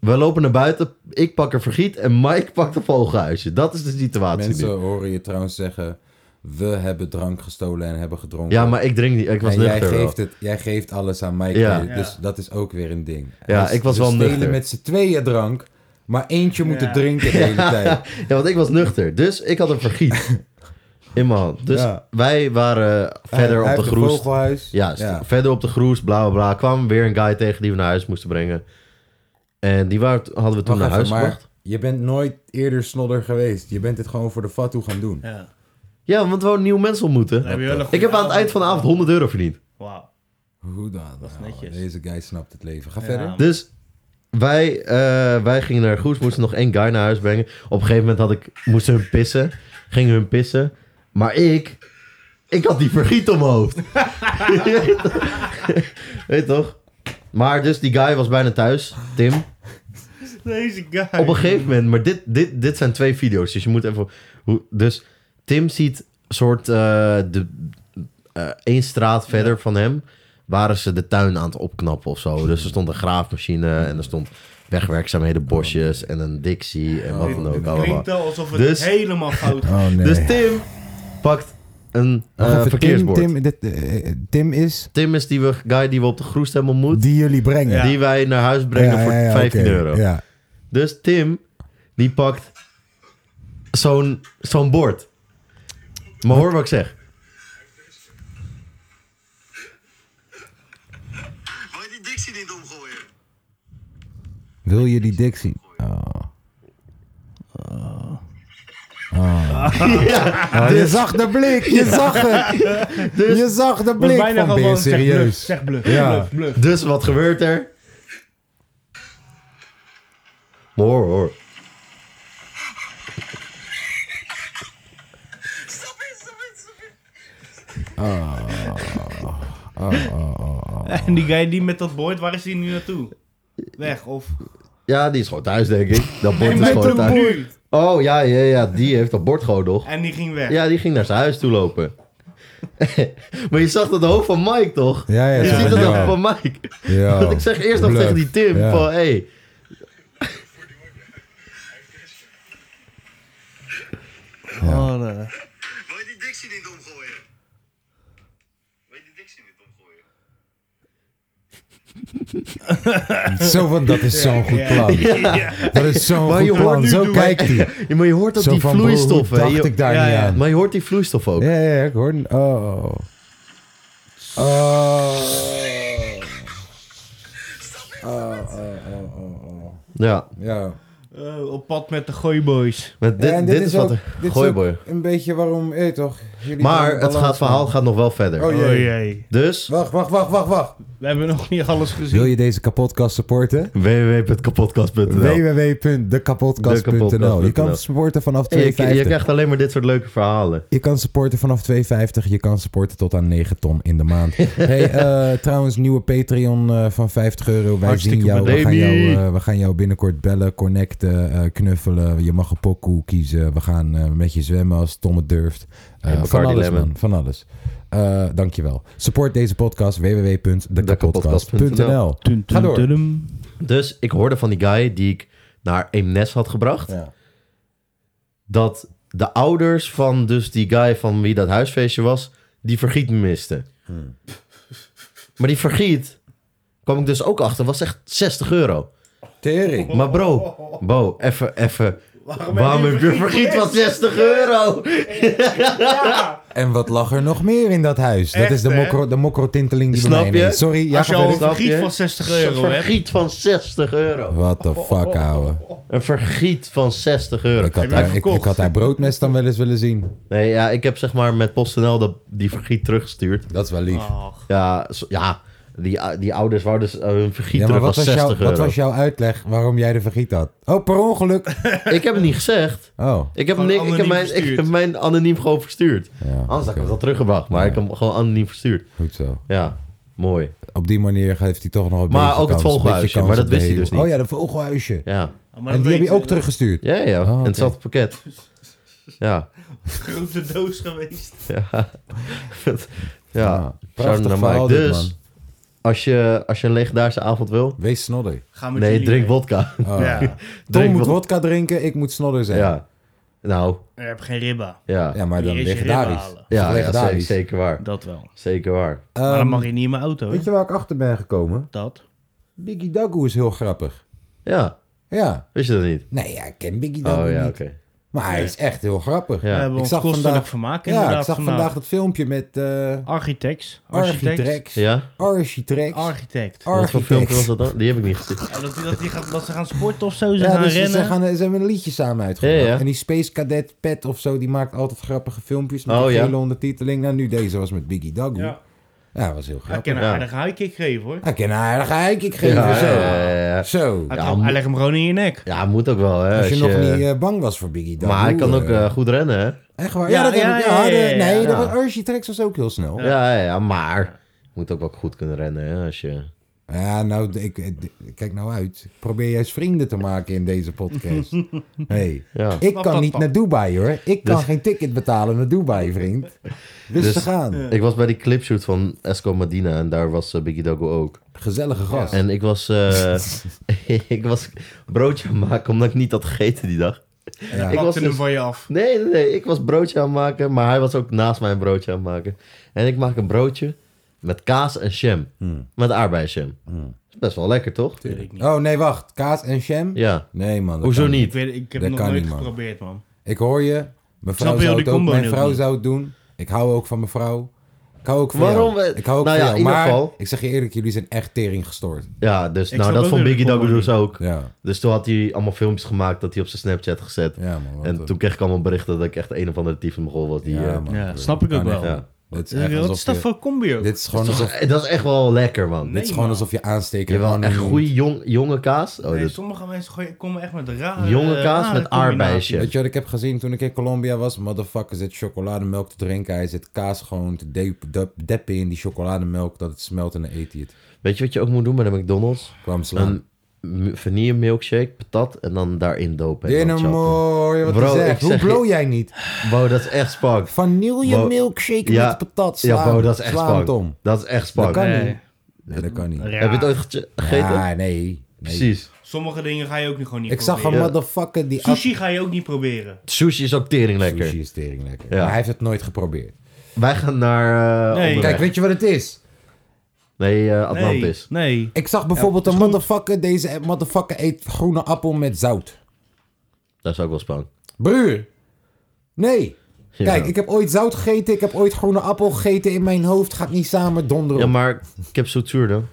Speaker 2: We lopen naar buiten, ik pak een vergiet en Mike pakt een vogelhuisje. Dat is de situatie
Speaker 1: <laughs> Mensen
Speaker 2: nu.
Speaker 1: horen je trouwens zeggen... We hebben drank gestolen en hebben gedronken.
Speaker 2: Ja, maar ik drink niet. Ik was
Speaker 1: en jij
Speaker 2: nuchter wel.
Speaker 1: geeft, het, jij geeft alles aan Mike.
Speaker 2: Ja.
Speaker 1: mee, Dus
Speaker 3: Ja.
Speaker 1: dat is ook weer een ding.
Speaker 2: Ja,
Speaker 1: Dus
Speaker 2: ik was
Speaker 1: we
Speaker 2: wel
Speaker 1: stelen
Speaker 2: nuchter.
Speaker 1: met z'n tweeën drank, maar eentje moet
Speaker 3: Ja.
Speaker 1: het drinken de hele tijd.
Speaker 2: <laughs> Ja, want ik was nuchter. Dus ik had een
Speaker 1: <laughs>
Speaker 2: vergiet in mijn hand. Dus
Speaker 1: Ja.
Speaker 2: wij waren verder
Speaker 1: Hij
Speaker 2: op de
Speaker 1: heeft een
Speaker 2: groes.
Speaker 1: vogelhuis.
Speaker 2: Ja, st- verder op de groes, bla bla bla. Kwam weer een guy tegen die we naar huis moesten brengen. En die waren, hadden we toen
Speaker 1: Wacht
Speaker 2: naar huis
Speaker 1: even, maar
Speaker 2: gebracht.
Speaker 1: je bent nooit eerder snodder geweest. Je bent het gewoon voor de fatu gaan doen.
Speaker 3: Ja.
Speaker 2: Ja, want we hadden nieuwe mensen ontmoeten.
Speaker 3: Dan heb je wel een
Speaker 2: Ik
Speaker 3: goede
Speaker 2: heb aan het
Speaker 3: avond.
Speaker 2: eind van de avond 100 euro verdiend.
Speaker 3: Wauw.
Speaker 1: Hoe dan? Nou,
Speaker 3: netjes.
Speaker 1: deze guy snapt het leven. Ga
Speaker 3: Ja.
Speaker 1: verder.
Speaker 2: Dus wij, eh, wij gingen naar Groes, moesten nog één guy naar huis brengen. Op een gegeven moment had ik, moesten hun pissen, gingen hun pissen. Maar ik, ik had die vergiet om mijn hoofd. <laughs> Weet toch? Maar dus die guy was bijna thuis, Tim.
Speaker 3: Deze guy.
Speaker 2: Op een gegeven moment, maar dit, dit, dit zijn twee video's, dus je moet even... hoe- Dus Tim ziet soort eh, de, eh, één straat verder van hem... waren ze de tuin aan het opknappen of zo. Dus er stond een graafmachine en er stond wegwerkzaamheden, bosjes en een Dixie en wat dan ook allemaal.
Speaker 3: Klinkt wel alsof het
Speaker 2: Dus-
Speaker 3: helemaal fout gaat.
Speaker 1: Oh nee.
Speaker 2: Dus Tim pakt een eh,
Speaker 1: Wacht even,
Speaker 2: verkeersbord. Tim,
Speaker 1: Tim, Tim, dit, eh, eh, Tim is
Speaker 2: is die we, guy die we op de groest hebben ontmoet...
Speaker 1: die jullie brengen.
Speaker 3: Ja.
Speaker 2: die wij naar huis brengen
Speaker 1: Ja,
Speaker 2: voor
Speaker 1: ja, ja,
Speaker 2: 15
Speaker 1: oké.
Speaker 2: euro.
Speaker 1: Ja.
Speaker 2: Dus Tim, die pakt zo'n zo'n bord. Maar hoor wat ik zeg.
Speaker 4: Wil je die Dixie niet omgooien?
Speaker 1: Wil je die dik zien? Oh. Oh, je
Speaker 2: Dus-
Speaker 1: zag de blik, je zag
Speaker 2: <laughs>
Speaker 1: het. je zag de
Speaker 3: Was
Speaker 1: blik
Speaker 3: bijna
Speaker 1: van ben je
Speaker 3: gewoon, zeg bluff,
Speaker 1: serieus.
Speaker 3: Zeg bluff,
Speaker 1: Ja.
Speaker 3: bluff, bluff.
Speaker 2: Dus wat gebeurt er? Maar hoor, hoor.
Speaker 4: Stop in, stop in, stop in.
Speaker 3: En die guy die met dat bord, waar is die nu naartoe? Weg, of...
Speaker 2: Ja, die is gewoon thuis, denk ik. Dat bord
Speaker 3: En
Speaker 2: is
Speaker 3: met
Speaker 2: gewoon
Speaker 3: een
Speaker 2: thuis.
Speaker 3: bord.
Speaker 2: Oh, ja, ja, ja. Die heeft dat bord gewoon nog.
Speaker 3: En die ging weg.
Speaker 2: Ja, die ging naar zijn huis toe lopen. <laughs> maar je zag dat hoofd van Mike, toch?
Speaker 1: Ja, ja,
Speaker 2: Je
Speaker 1: ja.
Speaker 2: ziet dat
Speaker 1: ja.
Speaker 2: hoofd van Mike.
Speaker 1: Ja.
Speaker 2: Want <laughs> ik zeg eerst nog
Speaker 1: Bluff.
Speaker 2: tegen die Tim
Speaker 1: Ja.
Speaker 2: van, hé... Hey,
Speaker 3: Oh, eh,
Speaker 4: Wil je die Dixie niet omgooien? Wil je die Dixie niet omgooien?
Speaker 1: <laughs> Zo van, dat is zo'n goed plan. Dat is zo'n
Speaker 2: Maar je
Speaker 1: goed
Speaker 2: hoort
Speaker 1: plan.
Speaker 2: nu
Speaker 1: Zo
Speaker 2: doen-
Speaker 1: kijkt hij.
Speaker 2: <laughs> Ja, maar je hoort dat
Speaker 1: Zo
Speaker 2: die
Speaker 1: van, broer, hoe
Speaker 2: vloeistof... hè,
Speaker 1: dacht
Speaker 2: je-
Speaker 1: ik daar
Speaker 3: Ja,
Speaker 1: niet
Speaker 3: ja.
Speaker 1: aan?
Speaker 2: Maar je hoort die vloeistof ook.
Speaker 1: Ja, ja, ja, ik hoor... Oh. Oh.
Speaker 2: Ja,
Speaker 1: Ja.
Speaker 3: eh, op pad met de gooiboys.
Speaker 2: met dit,
Speaker 1: Ja, en
Speaker 2: dit, is wat...
Speaker 1: ook-
Speaker 2: er-
Speaker 1: dit is
Speaker 2: Gooi
Speaker 1: ook
Speaker 2: boy.
Speaker 1: een beetje waarom... eh, toch, jullie
Speaker 2: Maar het
Speaker 1: zijn balans-
Speaker 2: gaat, verhaal gaat nog wel verder.
Speaker 3: Oh
Speaker 1: Oh, jee.
Speaker 3: jee.
Speaker 2: Dus,
Speaker 1: Wacht, wacht, wacht, wacht, wacht.
Speaker 3: We hebben nog niet alles gezien.
Speaker 1: Wil je deze kapotkast supporten?
Speaker 2: www.kapotkast.nl
Speaker 1: www.dekapotkast.nl Je kan
Speaker 2: Dekapotkast.nl.
Speaker 1: supporten vanaf
Speaker 2: Hey, je, je
Speaker 1: 2,50.
Speaker 2: krijgt alleen maar dit soort leuke verhalen.
Speaker 1: Je kan supporten vanaf 2,50. Je kan supporten tot aan 9 ton in de maand.
Speaker 2: <laughs>
Speaker 1: hey, eh, trouwens, nieuwe Patreon eh, van 50 euro. Wij
Speaker 2: Hartstikke
Speaker 1: zien jou. We gaan jou,
Speaker 2: bedankt.
Speaker 1: eh, we gaan jou binnenkort bellen, connecten, eh, knuffelen. Je mag een pokoe kiezen. We gaan eh, met je zwemmen als Tom het durft. Eh,
Speaker 2: En
Speaker 1: van
Speaker 2: Bacardi
Speaker 1: alles,
Speaker 2: Lemon.
Speaker 1: man. Van alles. Eh dankjewel. Support deze podcast. www.dekapotkast.nl
Speaker 3: Dun, dun,
Speaker 1: Ga door.
Speaker 3: dun.
Speaker 2: Dus ik hoorde van die guy die ik naar Eemnes had gebracht.
Speaker 1: Ja.
Speaker 2: Dat de ouders van dus die guy van wie dat huisfeestje was, die vergiet misten. Maar die vergiet, kwam ik dus ook achter, was echt 60 euro.
Speaker 1: Tering.
Speaker 2: Maar bro, Bo, even, even. Waarom, heb je vergiet van 60 euro?
Speaker 1: En wat lag er nog meer in dat huis? dat
Speaker 3: Echt,
Speaker 1: is de,
Speaker 3: hè?
Speaker 1: mokro, de mokrotinteling die bij
Speaker 2: Snap
Speaker 1: mij
Speaker 2: je?
Speaker 1: ineens- Sorry, ja,
Speaker 3: Als je
Speaker 1: ga
Speaker 3: al een
Speaker 1: verder.
Speaker 2: Snap je?
Speaker 3: vergiet van 60 euro
Speaker 2: Een
Speaker 3: hebt.
Speaker 2: vergiet van 60 euro.
Speaker 1: What the fuck, ouwe.
Speaker 2: Een vergiet van 60 euro.
Speaker 1: Ik had,
Speaker 3: je hem
Speaker 1: daar, ik,
Speaker 3: gekocht?
Speaker 1: ik had daar broodmes dan wel eens willen zien.
Speaker 2: Nee, ja, ik heb zeg maar met PostNL dat, die vergiet teruggestuurd.
Speaker 1: Dat is wel
Speaker 3: Ah.
Speaker 1: lief.
Speaker 2: Ja, zo- ja die, die ouders wouden dus, eh, hun vergiet
Speaker 1: ja, maar
Speaker 2: terug
Speaker 1: wat
Speaker 2: van
Speaker 1: was,
Speaker 2: 60
Speaker 1: jouw,
Speaker 2: euro.
Speaker 1: wat was jouw uitleg waarom jij de vergiet had? Oh, per ongeluk.
Speaker 2: Ik heb het niet gezegd.
Speaker 1: Oh,
Speaker 2: Ik heb,
Speaker 3: Gewoon
Speaker 2: ni- ik, heb
Speaker 3: anoniem
Speaker 2: mijn, ik
Speaker 3: verstuurd.
Speaker 2: heb mijn anoniem gewoon verstuurd.
Speaker 1: ja,
Speaker 2: Anders had ik
Speaker 1: oké.
Speaker 2: het wel teruggebracht, maar ik heb hem gewoon anoniem verstuurd.
Speaker 1: goed zo.
Speaker 2: Ja, mooi.
Speaker 1: Op die manier geeft hij toch nog een
Speaker 2: Maar
Speaker 1: beetje
Speaker 2: ook het
Speaker 1: kans, een beetje
Speaker 2: vogelhuisje,
Speaker 1: kans
Speaker 2: maar dat
Speaker 1: op de
Speaker 2: wist hij
Speaker 1: hemel.
Speaker 2: dus niet.
Speaker 1: Oh ja, dat vogelhuisje.
Speaker 2: Ja,
Speaker 3: Maar
Speaker 1: en
Speaker 3: dat
Speaker 1: die heb
Speaker 3: weet
Speaker 1: je ook
Speaker 3: eh,
Speaker 1: teruggestuurd?
Speaker 2: ja, ja.
Speaker 1: Oh, oké.
Speaker 2: En het zat op het pakket.
Speaker 1: <laughs>
Speaker 2: Ja,
Speaker 3: Grote doos geweest.
Speaker 2: ja.
Speaker 1: Ja,
Speaker 2: ja.
Speaker 1: Ah, prachtig
Speaker 2: Shout-out naar
Speaker 1: verhaal
Speaker 2: Mike.
Speaker 1: dit,
Speaker 2: Dus-
Speaker 1: man.
Speaker 2: Als, je, als je een legendarische avond wil...
Speaker 1: Wees snodder.
Speaker 3: Ga met
Speaker 2: Nee,
Speaker 3: jullie
Speaker 2: drink
Speaker 3: mee.
Speaker 2: vodka.
Speaker 1: Oh.
Speaker 3: Ja.
Speaker 1: Tom
Speaker 2: Drink
Speaker 1: moet
Speaker 2: wod-
Speaker 1: wodka drinken, ik moet snodder zijn. Ja,
Speaker 2: Ja. Nou,
Speaker 3: Je hebt geen ribba.
Speaker 2: ja. Ja,
Speaker 1: maar dan
Speaker 3: Eerst je ribben
Speaker 1: legendarisch.
Speaker 3: halen.
Speaker 2: ja,
Speaker 1: legendarisch.
Speaker 2: zeker, zeker waar.
Speaker 3: Dat wel.
Speaker 2: Zeker waar.
Speaker 3: maar
Speaker 1: Ehm,
Speaker 3: dan mag je niet in mijn auto. hè?
Speaker 1: Weet je waar ik achter ben gekomen?
Speaker 3: Dat.
Speaker 1: Biggie Dagoe is heel grappig.
Speaker 2: Ja,
Speaker 1: Ja.
Speaker 2: wist je dat niet?
Speaker 1: Nee, ja, ik ken Biggie Dagoe
Speaker 2: Oh ja,
Speaker 1: niet.
Speaker 2: oké.
Speaker 1: Maar hij is echt heel
Speaker 2: Ja.
Speaker 1: grappig.
Speaker 3: We hebben
Speaker 1: Ik
Speaker 3: ons
Speaker 1: zag
Speaker 3: kostelijk
Speaker 1: vandaag-
Speaker 3: vermaak
Speaker 1: Ja, ik
Speaker 3: inderdaad
Speaker 1: zag
Speaker 3: vandaag.
Speaker 1: vandaag dat filmpje met eh
Speaker 3: Architects. Architect.
Speaker 1: Architrex.
Speaker 2: Ja?
Speaker 1: Architrex.
Speaker 3: Architect.
Speaker 2: Wat voor filmpje was dat
Speaker 1: Architrex.
Speaker 2: dan? Die heb ik niet gezien.
Speaker 3: Ja, dat, die- dat, die gaat, dat ze gaan sporten of zo, ze
Speaker 1: Ja,
Speaker 3: gaan
Speaker 1: dus ze,
Speaker 3: rennen.
Speaker 1: ze gaan, ze hebben een liedje samen uitgebracht.
Speaker 2: Ja, ja.
Speaker 1: En die Space Cadet Pet of zo, die maakt altijd grappige filmpjes met
Speaker 2: Oh,
Speaker 1: een
Speaker 2: ja.
Speaker 1: gele ondertiteling. Nou, nu deze was met Biggie Dagoe. Ja,
Speaker 3: Ja.
Speaker 1: dat was heel
Speaker 3: Hij
Speaker 1: grappig.
Speaker 3: kan een
Speaker 2: Ja.
Speaker 3: aardige high kick geven hoor.
Speaker 1: Hij kan haar geheim ik geven.
Speaker 2: Ja,
Speaker 1: zo.
Speaker 2: ja, ja, ja.
Speaker 1: zo.
Speaker 3: Hij,
Speaker 2: Ja,
Speaker 3: trap-
Speaker 2: moet-
Speaker 3: hij legt hem gewoon in je nek.
Speaker 2: Ja, moet ook wel, hè.
Speaker 1: Als je, nog
Speaker 2: je-
Speaker 1: niet eh, bang was voor Biggie Dagoe.
Speaker 2: Maar hij kan ook
Speaker 1: eh,
Speaker 2: eh, goed rennen, hè.
Speaker 1: echt waar? Ja,
Speaker 3: Ja,
Speaker 1: dat heb
Speaker 3: ja,
Speaker 1: ik-
Speaker 3: ja,
Speaker 1: ja,
Speaker 3: ja,
Speaker 1: de-
Speaker 3: ja,
Speaker 1: Nee,
Speaker 3: ja.
Speaker 1: dat was- Architrex was ook heel snel. Ja,
Speaker 2: Ja, ja, ja, maar... je Moet ook wel goed kunnen rennen, hè. Als je...
Speaker 1: nou, ik, ik- kijk nou uit. Ik probeer juist vrienden te maken in deze
Speaker 3: <laughs>
Speaker 1: podcast. Hey.
Speaker 2: Ja.
Speaker 1: Ik
Speaker 3: Pap,
Speaker 1: kan
Speaker 3: pap,
Speaker 1: niet
Speaker 3: pap.
Speaker 1: naar Dubai hoor. Ik kan
Speaker 2: Dus-
Speaker 1: geen ticket betalen naar Dubai, vriend. Rustig
Speaker 2: Dus-
Speaker 1: aan.
Speaker 2: Ik was bij die clipshoot van Esco Medina en daar was eh, Biggie Dogo ook.
Speaker 1: Gezellige gast.
Speaker 2: En ik was, eh, <laughs> ik was broodje aan het maken omdat ik niet had gegeten die dag.
Speaker 3: Ik
Speaker 2: Ik was
Speaker 3: pakte hem
Speaker 2: dus-
Speaker 3: van je af.
Speaker 2: Nee, nee, nee. Ik was broodje aan het maken, maar hij was ook naast mij een broodje aan het maken. En ik maak een broodje met kaas en jam.
Speaker 1: Hmm.
Speaker 2: Met aardbeidsjam. Is Best wel lekker, toch?
Speaker 1: Oh nee, wacht. Kaas en jam?
Speaker 2: Ja.
Speaker 1: Nee man. dat
Speaker 2: Hoezo
Speaker 1: kan
Speaker 3: Ik,
Speaker 2: niet?
Speaker 3: weet, ik heb
Speaker 1: Dat
Speaker 3: het nog
Speaker 1: kan
Speaker 3: nooit
Speaker 1: niet, man.
Speaker 3: geprobeerd man.
Speaker 1: Ik hoor je. Mijn vrouw,
Speaker 3: heel
Speaker 1: zou
Speaker 3: die
Speaker 1: het, ook,
Speaker 3: combo
Speaker 1: mijn
Speaker 3: niet.
Speaker 1: vrouw zou het doen. Ik hou ook van mijn vrouw. Ik hou ook van
Speaker 2: Waarom
Speaker 1: jou.
Speaker 2: we-
Speaker 1: Ik hou ook
Speaker 2: Nou
Speaker 1: van
Speaker 2: ja,
Speaker 1: jou.
Speaker 2: in ieder
Speaker 1: Maar
Speaker 2: geval-
Speaker 1: ik zeg je eerlijk, jullie zijn echt tering gestoord.
Speaker 2: Ja, dus
Speaker 3: Ik
Speaker 2: nou,
Speaker 3: snap
Speaker 2: dat
Speaker 3: ook weer
Speaker 2: vond Biggie
Speaker 3: de
Speaker 2: Dogo
Speaker 3: combo
Speaker 2: dus ook.
Speaker 1: Ja,
Speaker 2: Dus toen had hij allemaal filmpjes gemaakt dat hij op zijn Snapchat gezet.
Speaker 1: ja man. wat
Speaker 2: en
Speaker 1: een-
Speaker 2: toen kreeg ik allemaal berichten dat ik echt een of andere tiefen mogol was. Die,
Speaker 1: Ja,
Speaker 2: eh,
Speaker 1: man.
Speaker 3: Ja, snap ik ook
Speaker 1: Kan
Speaker 3: wel.
Speaker 1: echt
Speaker 2: ja.
Speaker 1: Dit is, echt
Speaker 3: Wat
Speaker 1: alsof
Speaker 3: is dat
Speaker 1: je-
Speaker 3: voor combi ook?
Speaker 1: Dit is gewoon alsof,
Speaker 2: Eh, Dat is echt wel lekker, man.
Speaker 1: dit is
Speaker 3: Nee,
Speaker 1: gewoon
Speaker 3: man.
Speaker 1: alsof je aansteken.
Speaker 2: Jawel, echt goede jong, jonge kaas. Oh,
Speaker 3: Nee,
Speaker 2: dus
Speaker 3: sommige mensen gooien- komen echt met rare...
Speaker 2: jonge kaas
Speaker 3: rare
Speaker 2: met
Speaker 3: combinaties.
Speaker 2: aardbeisje.
Speaker 1: Weet je wat ik heb gezien toen ik in Colombia was? Motherfucker zit chocolademelk te drinken. Hij zit kaas gewoon te de- de- deppen in die chocolademelk dat het smelt en dan eet hij het.
Speaker 2: Weet je wat je ook moet doen bij de McDonald's?
Speaker 1: Kwam slaan.
Speaker 2: Een m- vanille milkshake, patat en dan daarin dopen. en dan
Speaker 1: Dinner
Speaker 2: choppen.
Speaker 1: mooi, wat
Speaker 2: Bro,
Speaker 1: je zegt.
Speaker 2: ik
Speaker 1: Hoe
Speaker 2: zeg je-
Speaker 1: blow jij niet?
Speaker 2: Wow, dat is echt spank.
Speaker 1: Vanille
Speaker 2: Wow.
Speaker 1: milkshake
Speaker 2: Ja.
Speaker 1: met patat. Slaan,
Speaker 2: Ja, wow, dat is echt
Speaker 1: slaan
Speaker 2: spank.
Speaker 1: het om.
Speaker 2: Dat is echt spank.
Speaker 1: Dat kan
Speaker 3: Nee.
Speaker 1: niet. Nee, dat kan niet.
Speaker 3: Raar.
Speaker 2: Heb je het ooit gege- gegeten?
Speaker 1: Ah, nee. nee.
Speaker 2: Precies.
Speaker 3: Sommige dingen ga je ook niet gewoon niet
Speaker 1: Ik zag een
Speaker 3: proberen.
Speaker 1: motherfucker die at-
Speaker 3: Sushi ga je ook niet proberen.
Speaker 2: Sushi is ook tering lekker.
Speaker 1: Sushi is tering lekker.
Speaker 2: Ja.
Speaker 1: Maar hij heeft het nooit geprobeerd.
Speaker 2: Wij gaan naar... eh
Speaker 3: Nee.
Speaker 2: onderweg.
Speaker 1: Kijk, weet je wat het is?
Speaker 2: Nee, eh,
Speaker 3: Nee,
Speaker 2: Atlantis.
Speaker 3: nee.
Speaker 1: Ik zag bijvoorbeeld een motherfucker, deze motherfucker eet groene appel met zout.
Speaker 2: Dat is ook wel spank.
Speaker 1: Broer, nee.
Speaker 2: Ja.
Speaker 1: Kijk, ik heb ooit zout gegeten, ik heb ooit groene appel gegeten in mijn hoofd. Gaat niet samen donderen.
Speaker 2: Ja, maar ik heb zoetzuur dan.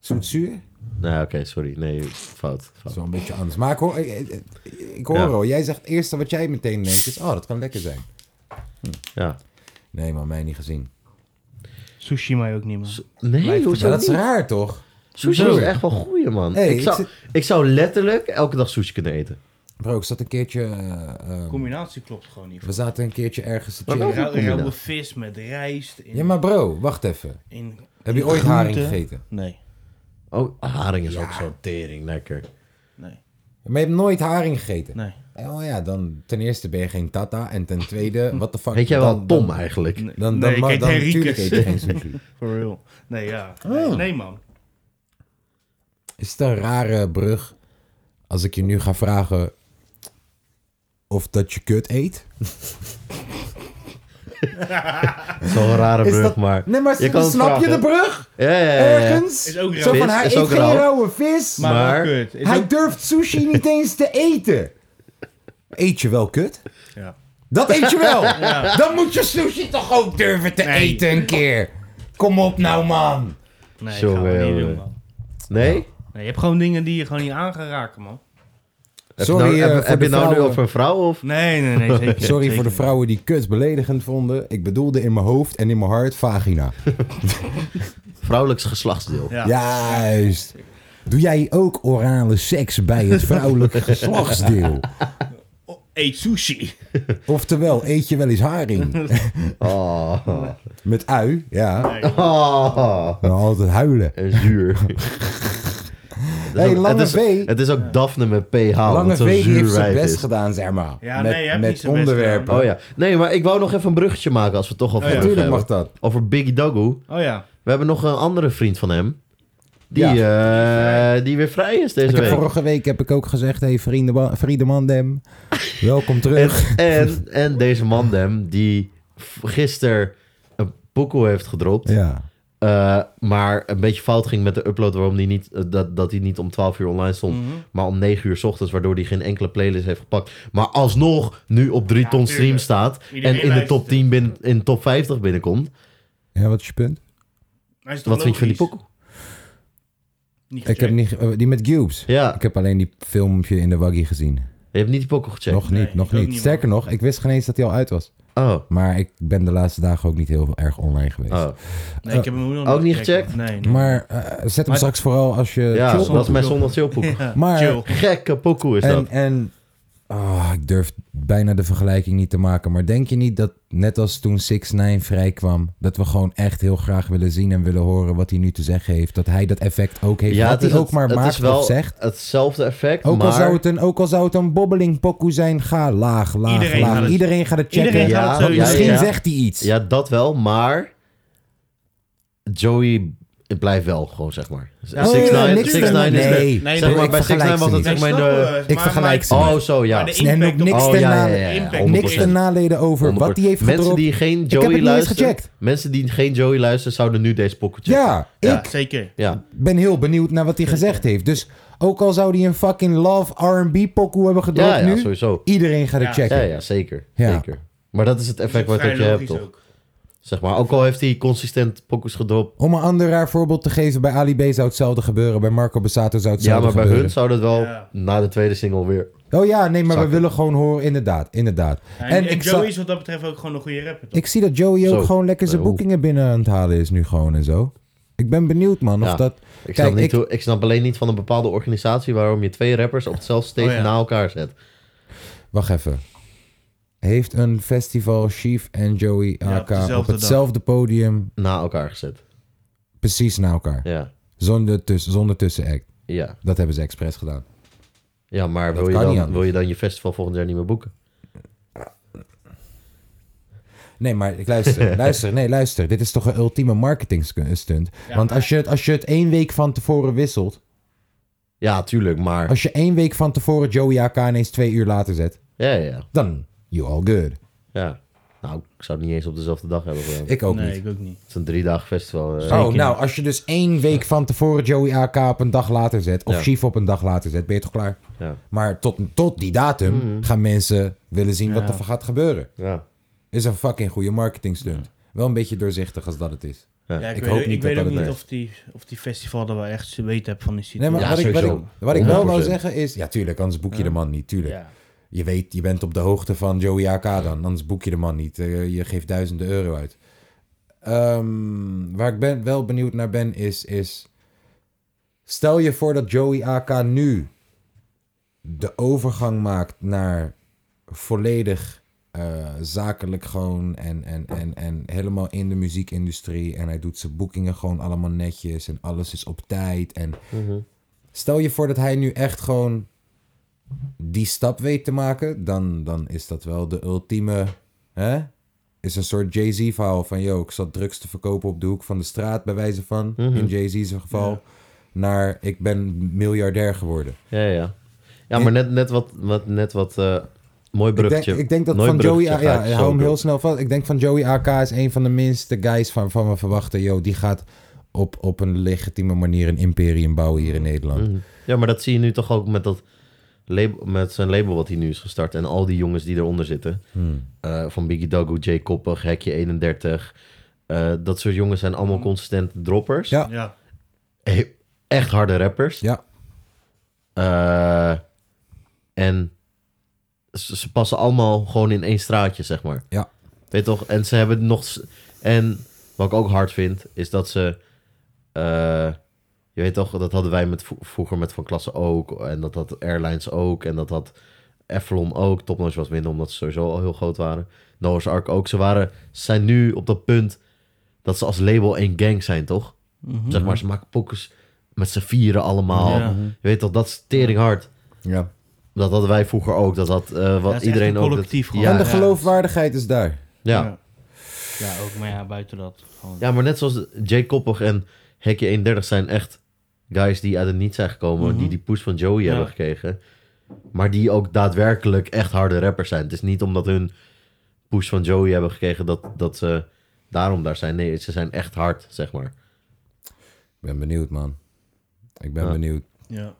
Speaker 1: Zoetzuur? Dat
Speaker 2: Nee, oké, sorry. Nee, fout. fout.
Speaker 1: is wel een beetje anders. Maar ik hoor, ik, ik- ik hoor
Speaker 2: Ja.
Speaker 1: al, jij zegt het eerste wat jij meteen denkt is, oh, dat kan lekker zijn.
Speaker 2: Ja.
Speaker 1: Nee, maar mij niet gezien.
Speaker 3: Sushi mij ook niet meer.
Speaker 2: Nee,
Speaker 3: Blijft
Speaker 2: hoezo
Speaker 1: Ja, dat is
Speaker 2: niet?
Speaker 1: raar, toch?
Speaker 2: Sushi
Speaker 1: Bro.
Speaker 2: is echt wel goeie, man.
Speaker 1: Hey,
Speaker 2: ik, zou,
Speaker 1: ik
Speaker 2: ik zou letterlijk elke dag sushi kunnen eten.
Speaker 1: Bro, ik zat een keertje... eh,
Speaker 3: De
Speaker 1: ehm,
Speaker 3: combinatie klopt gewoon niet.
Speaker 1: we zaten een keertje ergens te
Speaker 2: Maar
Speaker 1: chillen.
Speaker 2: wel-
Speaker 3: Rauw-
Speaker 2: combinatie.
Speaker 3: Rauwe vis met rijst. In,
Speaker 1: Ja, maar bro, wacht even.
Speaker 3: in,
Speaker 1: Heb je
Speaker 3: in
Speaker 1: ooit
Speaker 3: groente.
Speaker 1: haring gegeten?
Speaker 3: Nee,
Speaker 2: Oh, haring is ook zo'n tering, lekker.
Speaker 3: nee,
Speaker 1: Maar je hebt nooit haring gegeten?
Speaker 3: nee.
Speaker 1: Oh ja, dan ten eerste ben je geen tata. En ten
Speaker 2: <laughs>
Speaker 1: tweede, wat de fuck...
Speaker 2: Weet jij wel,
Speaker 1: dan-
Speaker 2: Tom
Speaker 1: Dan,
Speaker 2: eigenlijk?
Speaker 3: Nee,
Speaker 1: dan, dan,
Speaker 3: nee,
Speaker 1: ma-
Speaker 3: ik
Speaker 1: dan
Speaker 3: heet
Speaker 1: natuurlijk eet je
Speaker 3: Henriques. <laughs>
Speaker 1: geen sushi.
Speaker 3: For real. Nee, ja. Nee,
Speaker 1: Oh.
Speaker 3: nee, man.
Speaker 1: Is het een rare brug als ik je nu ga vragen of dat je kut eet?
Speaker 2: Zo'n rare brug, maar...
Speaker 1: Nee, maar
Speaker 2: je kan het
Speaker 1: snap je
Speaker 2: vragen.
Speaker 1: de brug?
Speaker 2: Ja, ja, ja, ja.
Speaker 1: Ergens?
Speaker 3: Is ook
Speaker 1: Zo
Speaker 3: rauw.
Speaker 1: van,
Speaker 2: Vis
Speaker 1: hij
Speaker 2: is
Speaker 1: eet
Speaker 2: ook
Speaker 1: geen
Speaker 2: rauw.
Speaker 1: rauwe vis.
Speaker 3: Maar, wel
Speaker 2: Maar-
Speaker 3: kut. Is
Speaker 1: hij
Speaker 3: ook-
Speaker 1: durft sushi niet eens te eten. Eet je wel kut?
Speaker 3: Ja.
Speaker 1: Dat eet je
Speaker 3: <laughs>
Speaker 1: wel. Dan moet je sushi toch ook durven te
Speaker 3: Nee.
Speaker 1: eten een keer. Kom op nou, man.
Speaker 3: Nee,
Speaker 2: Zo,
Speaker 3: gaan we
Speaker 2: eh,
Speaker 3: niet
Speaker 2: eh,
Speaker 3: doen, man.
Speaker 1: Oh,
Speaker 2: Nee?
Speaker 3: Nee, je hebt gewoon dingen die je gewoon niet aan gaat raken, man.
Speaker 2: Heb je
Speaker 1: Sorry,
Speaker 2: nou,
Speaker 1: eh,
Speaker 2: heb,
Speaker 1: voor
Speaker 2: heb
Speaker 1: de
Speaker 2: je nou nu
Speaker 1: vrouwen.
Speaker 2: over een vrouw of...
Speaker 3: Nee, nee,
Speaker 2: <laughs>
Speaker 3: nee, zeker niet,
Speaker 1: Sorry voor
Speaker 3: zeker
Speaker 1: de vrouwen die kut beledigend vonden. Ik bedoelde in mijn hoofd en in mijn hart vagina.
Speaker 2: Vrouwelijks geslachtsdeel.
Speaker 3: niet. Ja.
Speaker 1: Juist. Doe jij ook orale seks bij het
Speaker 2: <laughs>
Speaker 1: vrouwelijke geslachtsdeel?
Speaker 3: Oh, eet sushi.
Speaker 1: Oftewel, eet je wel eens haring?
Speaker 2: Oh.
Speaker 1: Met ui, ja.
Speaker 3: Nee, man.
Speaker 2: Oh.
Speaker 1: Dan altijd huilen.
Speaker 2: En
Speaker 1: <laughs>
Speaker 2: zuur. Het is
Speaker 1: Hey,
Speaker 2: ook-
Speaker 1: Lange
Speaker 2: het is,
Speaker 1: V.
Speaker 2: Het is ook Daphne met PH.
Speaker 1: Lange
Speaker 2: want zo'n
Speaker 1: V
Speaker 2: zuur
Speaker 1: heeft zijn
Speaker 2: wijf
Speaker 1: best
Speaker 2: is.
Speaker 1: gedaan, zeg maar.
Speaker 3: Ja,
Speaker 1: met
Speaker 3: nee, hij heeft
Speaker 1: met
Speaker 3: niet zijn best
Speaker 1: onderwerpen.
Speaker 2: Oh ja. Nee, maar ik wou nog even een bruggetje maken als we het toch al
Speaker 3: ja.
Speaker 2: hebben.
Speaker 1: Natuurlijk mag dat.
Speaker 2: Over Biggie Dogu.
Speaker 3: Oh ja.
Speaker 2: We hebben nog een andere vriend van hem. Die, eh, die weer vrij is deze
Speaker 1: Ik heb
Speaker 2: week.
Speaker 1: vorige week heb ik ook gezegd, hey vrienden,
Speaker 2: <laughs>
Speaker 1: vrienden Dem, welkom terug.
Speaker 2: En, en deze mandem die gisteren een boekel heeft gedropt.
Speaker 1: Ja,
Speaker 2: eh, maar een beetje fout ging met de upload waarom die niet, eh, dat, dat die niet om 12 uur online stond. Maar om 9 uur 's ochtends, waardoor die geen enkele playlist heeft gepakt. Maar alsnog nu op 3 ton
Speaker 3: tuurlijk.
Speaker 2: stream staat.
Speaker 3: Iedereen
Speaker 2: en in de top
Speaker 3: luistert.
Speaker 2: 10 binnen, in de top 50 binnenkomt.
Speaker 1: ja wat is je punt?
Speaker 3: Hij is toch
Speaker 2: Wat vind je van die
Speaker 3: logisch?
Speaker 2: boekel?
Speaker 3: Niet
Speaker 1: Ik heb
Speaker 3: gecheckt.
Speaker 1: niet, eh, die met Cubes.
Speaker 2: Ja,
Speaker 1: Ik heb alleen die filmpje in de Waggy gezien.
Speaker 2: je hebt niet die boekel gecheckt.
Speaker 1: nog niet,
Speaker 3: Nee,
Speaker 1: nog
Speaker 3: ik ook
Speaker 1: niet.
Speaker 3: niet,
Speaker 1: Sterker nog, ik wist geen eens dat hij al uit was.
Speaker 2: Oh.
Speaker 1: Maar ik ben de laatste dagen ook niet heel erg online geweest.
Speaker 2: oh.
Speaker 3: Nee, ik heb hem nog
Speaker 2: Ook niet gecheckt?
Speaker 3: Nee, nee.
Speaker 1: Maar eh, zet hem
Speaker 3: Maar-
Speaker 1: straks vooral als je
Speaker 2: Ja,
Speaker 1: chill
Speaker 2: dat is
Speaker 1: bent.
Speaker 2: mijn zondag chillpoek. <laughs>
Speaker 1: Maar eh,
Speaker 3: Chill.
Speaker 2: Gekke pokoe is
Speaker 1: en,
Speaker 2: dat.
Speaker 1: en ah, ik durf bijna de vergelijking niet te maken. Maar denk je niet dat net als toen 6 9 vrij kwam, dat we gewoon echt heel graag willen zien en willen horen wat hij nu te zeggen heeft, dat hij dat effect ook heeft. wat hij ook maar
Speaker 2: het
Speaker 1: maakt
Speaker 2: is wel
Speaker 1: of zegt.
Speaker 2: hetzelfde effect,
Speaker 1: Ook,
Speaker 2: maar...
Speaker 1: al zou het een, ook al zou het een bobbeling pokoe zijn, ga laag, laag,
Speaker 3: Iedereen
Speaker 1: laag.
Speaker 3: gaat het-
Speaker 1: iedereen gaat het checken.
Speaker 3: Iedereen
Speaker 2: Ja,
Speaker 3: gaat het
Speaker 2: want
Speaker 3: sowieso
Speaker 1: Misschien
Speaker 2: ja.
Speaker 1: zegt hij iets.
Speaker 2: Ja, dat wel, maar... Joey blijft wel gewoon, zeg maar.
Speaker 3: Ja,
Speaker 1: Oh,
Speaker 2: 6
Speaker 1: ja,
Speaker 3: nine-
Speaker 1: niks
Speaker 3: six
Speaker 1: te-
Speaker 3: nine
Speaker 1: nee,
Speaker 3: is
Speaker 1: nee,
Speaker 3: net- nee,
Speaker 2: zeg
Speaker 3: nee,
Speaker 2: maar,
Speaker 1: ik
Speaker 2: bij 6 9
Speaker 1: vergelijk
Speaker 2: was dat
Speaker 1: ze niet.
Speaker 2: zeg maar in
Speaker 3: snap wel,
Speaker 2: de...
Speaker 3: maar-
Speaker 1: ik
Speaker 3: maar-
Speaker 1: vergelijk ze
Speaker 2: Oh, zo, ja.
Speaker 3: maar de
Speaker 1: En ook
Speaker 3: impact op-
Speaker 1: niks
Speaker 2: Oh,
Speaker 1: ten
Speaker 2: ja, ja,
Speaker 1: nale-
Speaker 2: ja, ja,
Speaker 3: impact.
Speaker 1: Niks
Speaker 2: 100%.
Speaker 1: ten naleden over wat
Speaker 2: 100%.
Speaker 1: hij heeft
Speaker 2: Mensen
Speaker 1: gedropt.
Speaker 2: die geen
Speaker 1: heb het
Speaker 2: Joey
Speaker 1: niet eens
Speaker 2: luisteren...
Speaker 1: gecheckt.
Speaker 2: Mensen die geen Joey luisteren, zouden nu deze pokoe checken.
Speaker 1: Ja, ik
Speaker 2: Ja.
Speaker 3: Zeker.
Speaker 2: Ja.
Speaker 1: ben heel benieuwd naar wat hij gezegd heeft. Dus ook al zou hij een fucking love R&B pokoe hebben gedropt
Speaker 2: Ja, ja,
Speaker 1: nu,
Speaker 2: sowieso.
Speaker 1: iedereen gaat het
Speaker 3: Ja.
Speaker 1: checken.
Speaker 2: Ja, ja, zeker.
Speaker 1: Ja.
Speaker 2: Zeker. Maar dat is het effect wat
Speaker 3: Vrij
Speaker 2: je hebt,
Speaker 3: logisch
Speaker 2: toch?
Speaker 3: ook.
Speaker 2: Zeg maar. Ook al heeft hij consistent pokoes gedropt.
Speaker 1: Om een ander raar voorbeeld te geven, bij Ali B zou hetzelfde gebeuren, bij Marco Bassato zou
Speaker 2: Ja,
Speaker 1: hetzelfde
Speaker 2: maar bij
Speaker 1: gebeuren.
Speaker 2: hun zou dat wel
Speaker 3: Ja.
Speaker 2: na de tweede single weer...
Speaker 1: Oh ja, nee, maar we
Speaker 2: Zakken.
Speaker 1: willen gewoon horen, inderdaad, inderdaad.
Speaker 3: En,
Speaker 1: en
Speaker 3: en
Speaker 1: ik,
Speaker 3: Joey
Speaker 1: za-
Speaker 3: is wat dat betreft ook gewoon een goede rapper, toch?
Speaker 1: ik zie dat Joey ook
Speaker 2: Zo.
Speaker 1: gewoon lekker zijn
Speaker 2: Eh, hoe?
Speaker 1: boekingen binnen aan het halen is nu gewoon en zo. Ik ben benieuwd, man, of
Speaker 2: Ja.
Speaker 1: dat...
Speaker 2: Ik,
Speaker 1: Kijk,
Speaker 2: snap niet
Speaker 1: ik-
Speaker 2: hoe, ik snap alleen niet van een bepaalde organisatie waarom je twee rappers op hetzelfde stage
Speaker 3: Oh ja.
Speaker 2: na elkaar zet.
Speaker 1: Wacht even. Heeft een festival Chief en Joey
Speaker 3: op
Speaker 1: AK op
Speaker 3: dezelfde dag.
Speaker 1: hetzelfde podium
Speaker 2: Na elkaar gezet.
Speaker 1: precies na elkaar?
Speaker 2: Ja,
Speaker 1: Zonder, tuss zonder tussenact.
Speaker 2: ja.
Speaker 1: Dat hebben ze expres gedaan.
Speaker 2: ja maar wil je,
Speaker 1: kan niet
Speaker 2: dan,
Speaker 1: anders.
Speaker 2: wil je dan je festival volgend jaar niet meer boeken?
Speaker 1: Nee, maar ik
Speaker 2: <laughs>
Speaker 1: luister, luister, nee, luister. Dit is toch een ultieme marketing scu- stunt. Want als je, het, als je het één week van tevoren wisselt,
Speaker 2: Ja, tuurlijk, maar...
Speaker 1: als je één week van tevoren Joey AK ineens twee uur later zet,
Speaker 2: Ja, ja, ja,
Speaker 1: dan you all good.
Speaker 2: ja. Nou, ik zou het niet eens op dezelfde dag hebben gedaan.
Speaker 1: Ik ook
Speaker 3: nee,
Speaker 1: niet.
Speaker 3: ik ook niet.
Speaker 2: Het is een drie dagen festival. eh.
Speaker 1: Oh, nou, als je dus één week van tevoren Joey AK op een dag later zet, of
Speaker 2: Ja.
Speaker 1: Chief op een dag later zet, ben je toch klaar?
Speaker 2: Ja,
Speaker 1: Maar tot, tot die datum gaan mensen willen zien wat
Speaker 3: Mhm. Ja.
Speaker 1: er gaat gebeuren.
Speaker 2: ja.
Speaker 1: Is een fucking goede marketing stunt. Wel een beetje doorzichtig als dat het is.
Speaker 3: Ja, ik,
Speaker 1: Ik
Speaker 3: weet,
Speaker 1: hoop
Speaker 3: ook-
Speaker 1: niet
Speaker 3: ik
Speaker 1: dat
Speaker 3: weet
Speaker 1: dat
Speaker 3: ook
Speaker 1: het
Speaker 3: niet
Speaker 1: werkt.
Speaker 3: of die, of die festival er wel echt ze weten hebben van die
Speaker 1: Nee,
Speaker 3: situatie.
Speaker 1: maar
Speaker 2: Ja,
Speaker 1: wat, ik, wat, ik,
Speaker 2: sowieso.
Speaker 1: wat ik wel wil
Speaker 2: 100%.
Speaker 1: zeggen is... Ja, tuurlijk, anders boek je de man niet. Tuurlijk.
Speaker 3: Ja.
Speaker 1: Je weet, je bent op de hoogte van Joey AK dan. Anders boek je de man niet. Eh, je geeft duizenden euro uit. Ehm, waar ik ben, wel benieuwd naar ben, is, is... Stel je voor dat Joey AK nu de overgang maakt naar volledig eh, zakelijk gewoon en, en, en, en helemaal in de muziekindustrie. En hij doet zijn boekingen gewoon allemaal netjes en alles is op tijd. En stel je voor dat hij nu echt gewoon die stap weet te maken, dan, dan is dat wel de ultieme. Hè? Is een soort Jay-Z verhaal van, yo, ik zat drugs te verkopen op de hoek van de straat, bij wijze van,
Speaker 2: Mhm.
Speaker 1: in Jay-Z's geval, naar ik ben miljardair geworden.
Speaker 2: Ja, ja. Ja, maar net, net wat, wat, net wat eh, mooi
Speaker 1: Ik denk,
Speaker 2: bruggetje.
Speaker 1: ik denk dat
Speaker 2: Mooi
Speaker 1: van Joey...
Speaker 2: bruggetje
Speaker 1: Ja,
Speaker 2: ga ik Ah, zo
Speaker 1: hou hem
Speaker 2: doen.
Speaker 1: heel snel vast. Ik denk van Joey AK is een van de minste guys van, van we verwachten. Yo, die gaat op, op een legitieme manier een imperium bouwen hier in Nederland.
Speaker 2: Ja, maar dat zie je nu toch ook met, dat label, met zijn label wat hij nu is gestart. En al die jongens die eronder zitten.
Speaker 1: Hmm.
Speaker 2: Eh, van Biggie Dogo, Jay Koppig, Hekje 31. Eh, dat soort jongens zijn allemaal consistent droppers.
Speaker 1: Ja.
Speaker 3: Ja.
Speaker 2: Eh, Echt harde rappers.
Speaker 1: Ja,
Speaker 2: Eh, en ze, ze passen allemaal gewoon in één straatje, zeg maar.
Speaker 1: Ja.
Speaker 2: Weet je toch? En ze hebben nog... s- En wat ik ook hard vind, is dat ze... eh, je weet toch, dat hadden wij met, vro- vroeger met Van Klasse ook. En dat had Airlines ook. En dat had Eflon ook. Topnotch was minder, omdat ze sowieso al heel groot waren. Noah's Ark ook. Ze waren, ze zijn nu op dat punt dat ze als label één gang zijn, toch? Zeg maar, ze maken pokus met z'n vieren allemaal.
Speaker 3: Ja.
Speaker 2: Je weet toch, dat is tering hard.
Speaker 1: ja.
Speaker 2: Dat hadden wij vroeger ook. Dat had eh, wat
Speaker 3: is echt
Speaker 2: iedereen
Speaker 3: een
Speaker 2: ook.
Speaker 3: collectief
Speaker 2: dat,
Speaker 3: gewoon.
Speaker 1: En
Speaker 2: ja, ja,
Speaker 1: de geloofwaardigheid is daar.
Speaker 2: ja.
Speaker 3: Ja, ook, maar ja, buiten dat. Gewoon.
Speaker 2: Ja, maar net zoals Jay Koppig en Hekje 31 zijn echt guys die uit het niet zijn gekomen. Die die push van Joey
Speaker 3: Mhm. Ja.
Speaker 2: hebben gekregen. Maar die ook daadwerkelijk echt harde rappers zijn. Het is niet omdat hun push van Joey hebben gekregen dat, dat ze daarom daar zijn. Nee, ze zijn echt hard, zeg maar.
Speaker 1: Ik ben benieuwd, man. Ik ben
Speaker 2: Ja.
Speaker 1: benieuwd.
Speaker 3: Ja.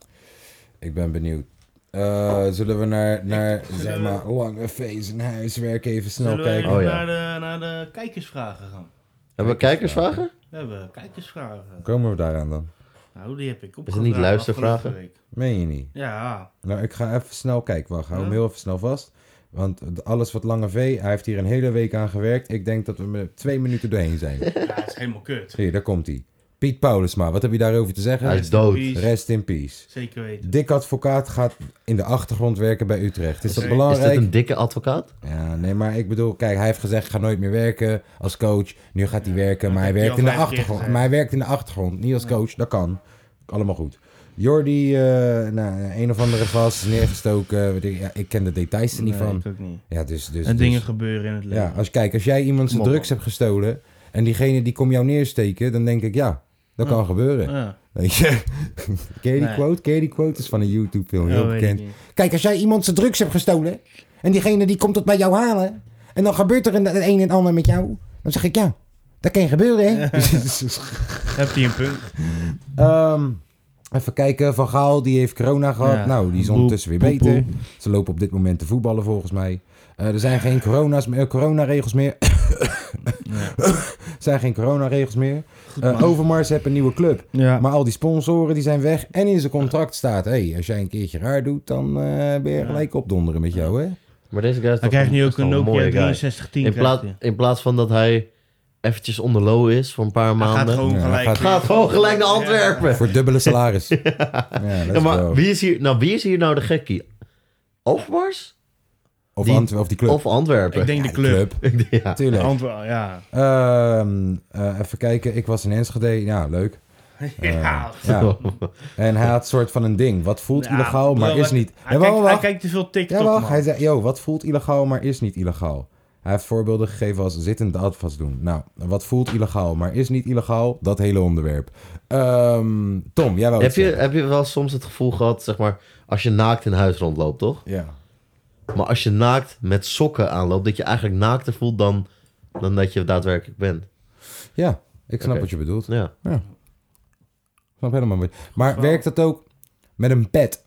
Speaker 1: Ik ben benieuwd. Eh, zullen we naar,
Speaker 3: <laughs>
Speaker 1: naar zeg maar, lange feest en huiswerk even snel
Speaker 3: Zullen we
Speaker 1: kijken?
Speaker 3: even
Speaker 2: Oh, ja.
Speaker 3: naar, de, naar de kijkersvragen gaan?
Speaker 2: Hebben we kijkersvragen?
Speaker 3: We hebben kijkersvragen.
Speaker 1: Komen we daaraan dan?
Speaker 3: Nou, die heb ik opgevraagd.
Speaker 2: Is het niet luistervragen?
Speaker 3: afgelopen week.
Speaker 1: Meen je niet?
Speaker 3: Ja.
Speaker 1: Nou, ik ga even snel kijken. Wacht, hou hem
Speaker 3: Ja.
Speaker 1: heel even snel vast. Want alles wat Lange V, hij heeft hier een hele week aan gewerkt. Ik denk dat we met twee minuten doorheen
Speaker 3: <laughs>
Speaker 1: zijn.
Speaker 3: ja, het is helemaal kut.
Speaker 1: Hier, daar komt hij. Piet Paulusma, wat heb je daarover te zeggen?
Speaker 2: Hij is dood.
Speaker 3: Peace.
Speaker 1: Rest in peace.
Speaker 3: Zeker weten.
Speaker 1: Dick Advocaat gaat in de achtergrond werken bij Utrecht. Is dat
Speaker 3: Zeker.
Speaker 2: Is
Speaker 1: belangrijk?
Speaker 2: dit een dikke advocaat?
Speaker 1: Ja, nee, maar ik bedoel, kijk, hij heeft gezegd, ik ga nooit meer werken als coach. Nu gaat hij werken,
Speaker 3: dat
Speaker 1: maar hij,
Speaker 3: heeft hij
Speaker 1: werkt
Speaker 3: al
Speaker 1: in de
Speaker 3: vijf keer
Speaker 1: achtergrond.
Speaker 3: gezegd.
Speaker 1: maar hij werkt in de achtergrond, niet als coach. Dat kan. Allemaal goed. Jordi, eh, nou, een of andere vast, neergestoken. weet ik- Ja, ik ken de details er niet
Speaker 3: Nee,
Speaker 1: van.
Speaker 3: ik ook niet.
Speaker 1: Ja, dus... dus,
Speaker 3: en
Speaker 1: dus-
Speaker 3: dingen gebeuren in het leven.
Speaker 1: ja, als, kijk, als jij iemand zijn
Speaker 3: Kom op,
Speaker 1: drugs hebt gestolen... en diegene die komt jou neersteken, dan denk ik, ja, dat kan gebeuren.
Speaker 3: Ja.
Speaker 1: Weet je? Ken je die
Speaker 3: Nee.
Speaker 1: quote? Ken je die quote? is van een YouTube-film,
Speaker 3: Ja,
Speaker 1: heel
Speaker 3: weet
Speaker 1: bekend.
Speaker 3: ik niet.
Speaker 1: Kijk, als jij iemand zijn drugs hebt gestolen... en diegene die komt het bij jou halen... en dan gebeurt er een, het een en ander met jou... dan zeg ik, ja, dat kan gebeuren, hè? <laughs>
Speaker 3: <laughs> Heb je een punt?
Speaker 1: Ehm, even kijken, Van Gaal, die heeft corona gehad.
Speaker 3: Ja.
Speaker 1: Nou, die is
Speaker 3: Boep,
Speaker 1: ondertussen weer
Speaker 3: boep,
Speaker 1: beter.
Speaker 3: boep.
Speaker 1: Ze lopen op dit moment te voetballen, volgens mij. Eh, er zijn geen corona's, meer- coronaregels meer. <laughs> Er zijn geen coronaregels meer. Eh, Overmars heeft een nieuwe club.
Speaker 3: Ja.
Speaker 1: Maar al die sponsoren die zijn weg. En in zijn contract staat: hey, als jij een keertje raar doet, dan eh, ben je gelijk opdonderen met jou, hè?
Speaker 2: Maar deze guy is
Speaker 3: Hij
Speaker 2: toch
Speaker 3: krijgt nu ook
Speaker 2: best wel
Speaker 3: een Nokia
Speaker 2: mooie guy.
Speaker 3: 6310.
Speaker 2: In, plaats
Speaker 3: krijgt hij.
Speaker 2: in plaats van dat hij eventjes onder low is voor een paar
Speaker 3: Hij gaat
Speaker 2: maanden.
Speaker 3: gewoon
Speaker 1: Ja, hij
Speaker 3: gelijk.
Speaker 1: gaat-
Speaker 3: weer-
Speaker 2: Gaat gewoon gelijk naar Antwerpen. Ja.
Speaker 1: Voor dubbele salaris. ja, dat
Speaker 2: Ja,
Speaker 1: is
Speaker 2: maar
Speaker 1: wel-
Speaker 2: wie is, hier, nou, wie is hier nou de gekkie? Overmars?
Speaker 1: Of,
Speaker 2: die-
Speaker 1: Antwe- of die club.
Speaker 2: Of Antwerpen?
Speaker 3: Ik denk de club.
Speaker 2: ja.
Speaker 1: Tuurlijk.
Speaker 3: Antwoord, ja.
Speaker 1: Ehm, eh, even kijken, ik was in Enschede. Ja, leuk.
Speaker 3: Ja.
Speaker 2: <laughs>
Speaker 1: Ja. En hij had soort van een ding. Wat voelt
Speaker 3: Ja,
Speaker 1: illegaal, maar
Speaker 3: bro,
Speaker 1: is
Speaker 3: hij-
Speaker 1: niet.
Speaker 3: Hij,
Speaker 1: Ja,
Speaker 3: kijkt,
Speaker 1: wacht,
Speaker 3: hij
Speaker 1: wacht.
Speaker 3: kijkt te veel TikTok,
Speaker 1: Ja, wacht.
Speaker 3: man.
Speaker 1: Hij zei, yo, wat voelt illegaal, maar is niet illegaal. Hij heeft voorbeelden gegeven als zittend alvast doen. Nou, wat voelt illegaal, maar is niet illegaal? Dat hele onderwerp. Ehm, Tom, jij wou
Speaker 2: Heb,
Speaker 1: iets
Speaker 2: je,
Speaker 1: zeggen.
Speaker 2: heb je wel soms het gevoel gehad, zeg maar, als je naakt in huis rondloopt, toch?
Speaker 1: Ja.
Speaker 2: Maar als je naakt met sokken aanloopt, dat je eigenlijk naakter voelt dan, dan dat je daadwerkelijk bent.
Speaker 1: ja, ik snap
Speaker 2: Oké.
Speaker 1: wat je bedoelt. Ik
Speaker 2: Ja.
Speaker 1: snap helemaal wat. Maar werkt dat ook met een pet?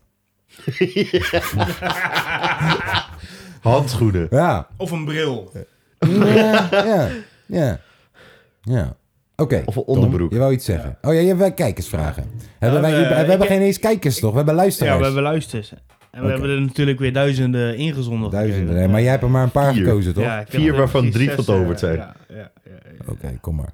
Speaker 2: Handschoenen.
Speaker 1: Ja.
Speaker 3: Of een bril.
Speaker 1: Ja, ja, ja. ja. Oké.
Speaker 2: Of een
Speaker 1: Tom,
Speaker 2: onderbroek.
Speaker 1: je wou iets zeggen. Oh ja, je hebt wel kijkersvragen. Hebben wij,
Speaker 3: hebben-
Speaker 1: we
Speaker 3: ik
Speaker 1: hebben
Speaker 3: heb-
Speaker 1: geen eens kijkers, toch? We hebben
Speaker 3: Ja,
Speaker 1: luisteraars.
Speaker 3: we hebben luisters. En we hebben er natuurlijk weer duizenden ingezondigd.
Speaker 1: Duizenden.
Speaker 3: gekregen.
Speaker 1: hè? Maar jij hebt er maar een paar
Speaker 2: Vier.
Speaker 1: gekozen, toch?
Speaker 3: Ja, ik heb
Speaker 2: Vier
Speaker 3: er
Speaker 2: waarvan
Speaker 3: precies
Speaker 2: drie
Speaker 3: zes,
Speaker 2: vertoverd
Speaker 3: eh,
Speaker 2: zijn.
Speaker 3: Ja, ja, ja, ja.
Speaker 1: Oké, kom maar.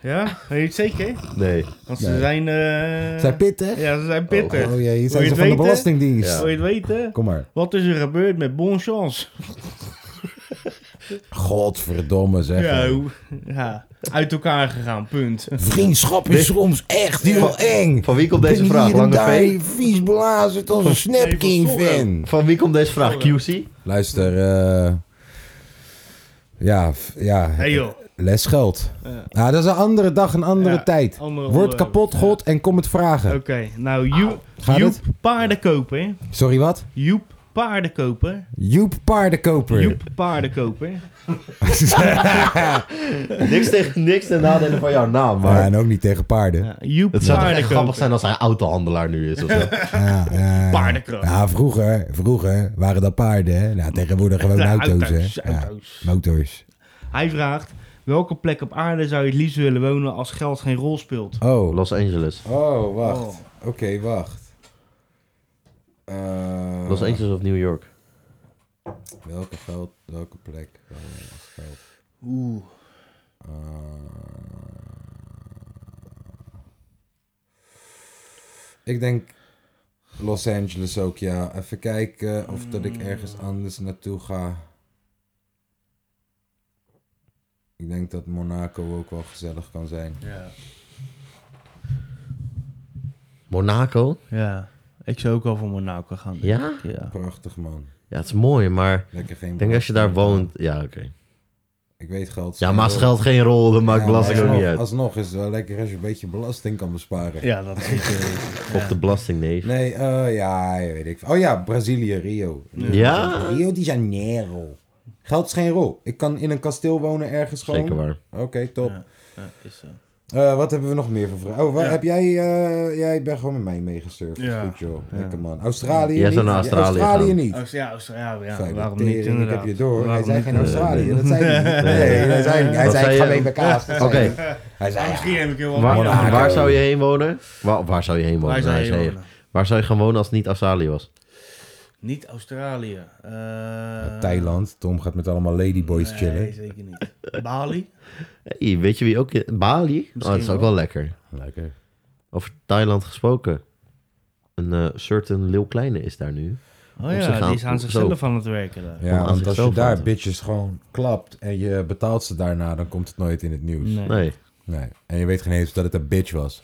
Speaker 3: Ja? Weet je het zeker?
Speaker 2: Nee.
Speaker 3: Want ze
Speaker 1: Ja.
Speaker 3: zijn... eh,
Speaker 1: Zijn pittig?
Speaker 3: Ja, ze zijn pittig.
Speaker 1: Oh jee, hier
Speaker 3: Wil
Speaker 1: zijn
Speaker 3: je het
Speaker 1: ze van de
Speaker 3: weten?
Speaker 1: Belastingdienst.
Speaker 3: Wil je het weten?
Speaker 1: Kom maar.
Speaker 3: Wat is er gebeurd met Bonchance?
Speaker 1: Godverdomme zeg.
Speaker 3: Ja, hoe- ja, uit elkaar gegaan, punt.
Speaker 1: Vriendschap is soms echt heel eng.
Speaker 2: Van wie komt deze vraag? Lange V?
Speaker 1: vies blazen als een Snapking-fan.
Speaker 2: Van wie komt deze vraag? QC?
Speaker 1: Luister, eh ja, f- ja.
Speaker 3: Hey joh.
Speaker 1: Lesgeld.
Speaker 3: Ja.
Speaker 1: Ah, dat is een andere dag, een andere
Speaker 3: Ja,
Speaker 1: tijd.
Speaker 3: andere
Speaker 1: Word
Speaker 3: onderwerp.
Speaker 1: kapot, God, en kom het
Speaker 3: <laughs>
Speaker 1: vragen.
Speaker 3: Oké, nou Joep,
Speaker 1: Gaat
Speaker 3: Joep
Speaker 1: het?
Speaker 3: paardenkoper.
Speaker 1: Sorry, wat?
Speaker 3: Joep paardenkoper.
Speaker 1: Joep Paardenkoper.
Speaker 3: Joep paardenkoper.
Speaker 2: Niks tegen niks ten nadele van jouw naam,
Speaker 1: Ja,
Speaker 2: maar...
Speaker 1: en ook niet tegen paarden.
Speaker 3: Ja, Joep
Speaker 2: Het zou toch echt grappig
Speaker 3: paardenkoper.
Speaker 2: zijn als hij autohandelaar nu is of zo.
Speaker 1: Ja, ja.
Speaker 3: Paardenkracht.
Speaker 1: Ja, vroeger, vroeger waren dat paarden. Hè? Nou, tegenwoordig gewoon
Speaker 3: <laughs> Ja,
Speaker 1: auto's.
Speaker 3: auto's,
Speaker 1: hè? Ja,
Speaker 3: auto's.
Speaker 1: motors.
Speaker 3: Hij vraagt, welke plek op aarde zou je het liefst willen wonen als geld geen rol speelt?
Speaker 1: Oh,
Speaker 2: <laughs> Los Angeles.
Speaker 1: oh wacht.
Speaker 3: Oh.
Speaker 1: Oké, wacht. Eh,
Speaker 2: Los Angeles of New York.
Speaker 1: Welke geld, welke plek? welke geld? Eh,
Speaker 3: Oeh.
Speaker 1: Ik denk Los Angeles ook, ja. Even kijken of dat ik ergens anders naartoe ga. Ik denk dat Monaco ook wel gezellig kan zijn.
Speaker 3: Ja.
Speaker 2: Monaco?
Speaker 3: ja, ik zou ook al voor Monaco gaan. denk
Speaker 2: Ja?
Speaker 3: ik. Ja.
Speaker 1: Prachtig man.
Speaker 2: Ja, het is mooi, maar...
Speaker 1: Lekker geen.
Speaker 2: Ik denk als je daar woont... Ja, oké.
Speaker 1: Ik weet geld.
Speaker 2: Ja, maar als geld geen rol, dan maakt
Speaker 1: Ja,
Speaker 2: belasting
Speaker 1: maar
Speaker 2: ook niet
Speaker 1: alsnog-
Speaker 2: uit.
Speaker 1: Alsnog is het wel lekker als je een beetje belasting kan besparen.
Speaker 3: ja, dat eh, zeker weten.
Speaker 2: Of de belasting, nee.
Speaker 1: Nee, eh, ja, weet ik. veel. Oh ja, Brazilië, Rio.
Speaker 2: Ja?
Speaker 1: Rio de Janeiro. Geld is geen rol. Ik kan in een kasteel wonen ergens gewoon.
Speaker 2: Zeker waar.
Speaker 1: Oké, top.
Speaker 3: Ja. Ja, is zo.
Speaker 1: Eh, wat hebben we nog meer voor vragen? Oh, waar,
Speaker 3: Ja.
Speaker 1: heb jij... eh, jij bent gewoon met mij meegesurfd.
Speaker 3: Ja.
Speaker 1: Goed joh. Lekker man. Australië
Speaker 2: Jij
Speaker 1: niet.
Speaker 2: zou naar Australië
Speaker 1: Ja, Australië
Speaker 2: gaan.
Speaker 1: niet.
Speaker 3: Oost- oh, Ja, Australië, ja.
Speaker 1: Fijne
Speaker 3: Waarom
Speaker 1: tering,
Speaker 3: niet,
Speaker 1: Ik
Speaker 3: inderdaad.
Speaker 1: heb je door. hij
Speaker 3: Waarom
Speaker 1: zei
Speaker 3: niet,
Speaker 1: geen
Speaker 3: eh,
Speaker 1: Australië.
Speaker 3: nee.
Speaker 1: Dat zei hij niet.
Speaker 2: Nee.
Speaker 1: Nee, hij zei, hij
Speaker 2: Wat
Speaker 1: zei
Speaker 2: zei
Speaker 1: ik ga
Speaker 2: je?
Speaker 1: mee bij kaas. Dat zei
Speaker 2: Oké.
Speaker 1: hij. Hij zei, ja,
Speaker 3: Misschien heb ik heel wat.
Speaker 2: Waar,
Speaker 1: Monaco.
Speaker 2: waar zou je heen wonen? Waar, waar zou je heen wonen?
Speaker 3: Waar zou
Speaker 2: Nee,
Speaker 3: je
Speaker 2: zei
Speaker 3: wonen?
Speaker 2: Waar zou je gaan wonen als het niet Australië was?
Speaker 3: Niet Australië. Eh,
Speaker 1: Thailand. Tom gaat met allemaal ladyboys
Speaker 3: nee,
Speaker 1: chillen.
Speaker 3: zeker niet. Bali?
Speaker 2: Hey, weet je wie ook... in- Bali? oh, dat is
Speaker 3: wel.
Speaker 2: ook wel lekker.
Speaker 1: Lekker.
Speaker 2: Over Thailand gesproken. Een eh certain Leeuw Kleine is daar nu.
Speaker 3: Oh
Speaker 2: Of ze
Speaker 3: ja,
Speaker 2: gaan-
Speaker 3: die is aan
Speaker 2: zo.
Speaker 3: zichzelf aan het werken daar.
Speaker 1: Ja,
Speaker 2: Om
Speaker 1: want als je
Speaker 2: zichzelf
Speaker 1: daar
Speaker 2: te-
Speaker 1: bitches gewoon klapt en je betaalt ze daarna, dan komt het nooit in het nieuws. Nee.
Speaker 3: Nee.
Speaker 2: Nee.
Speaker 1: En je weet geen eens dat het een bitch was.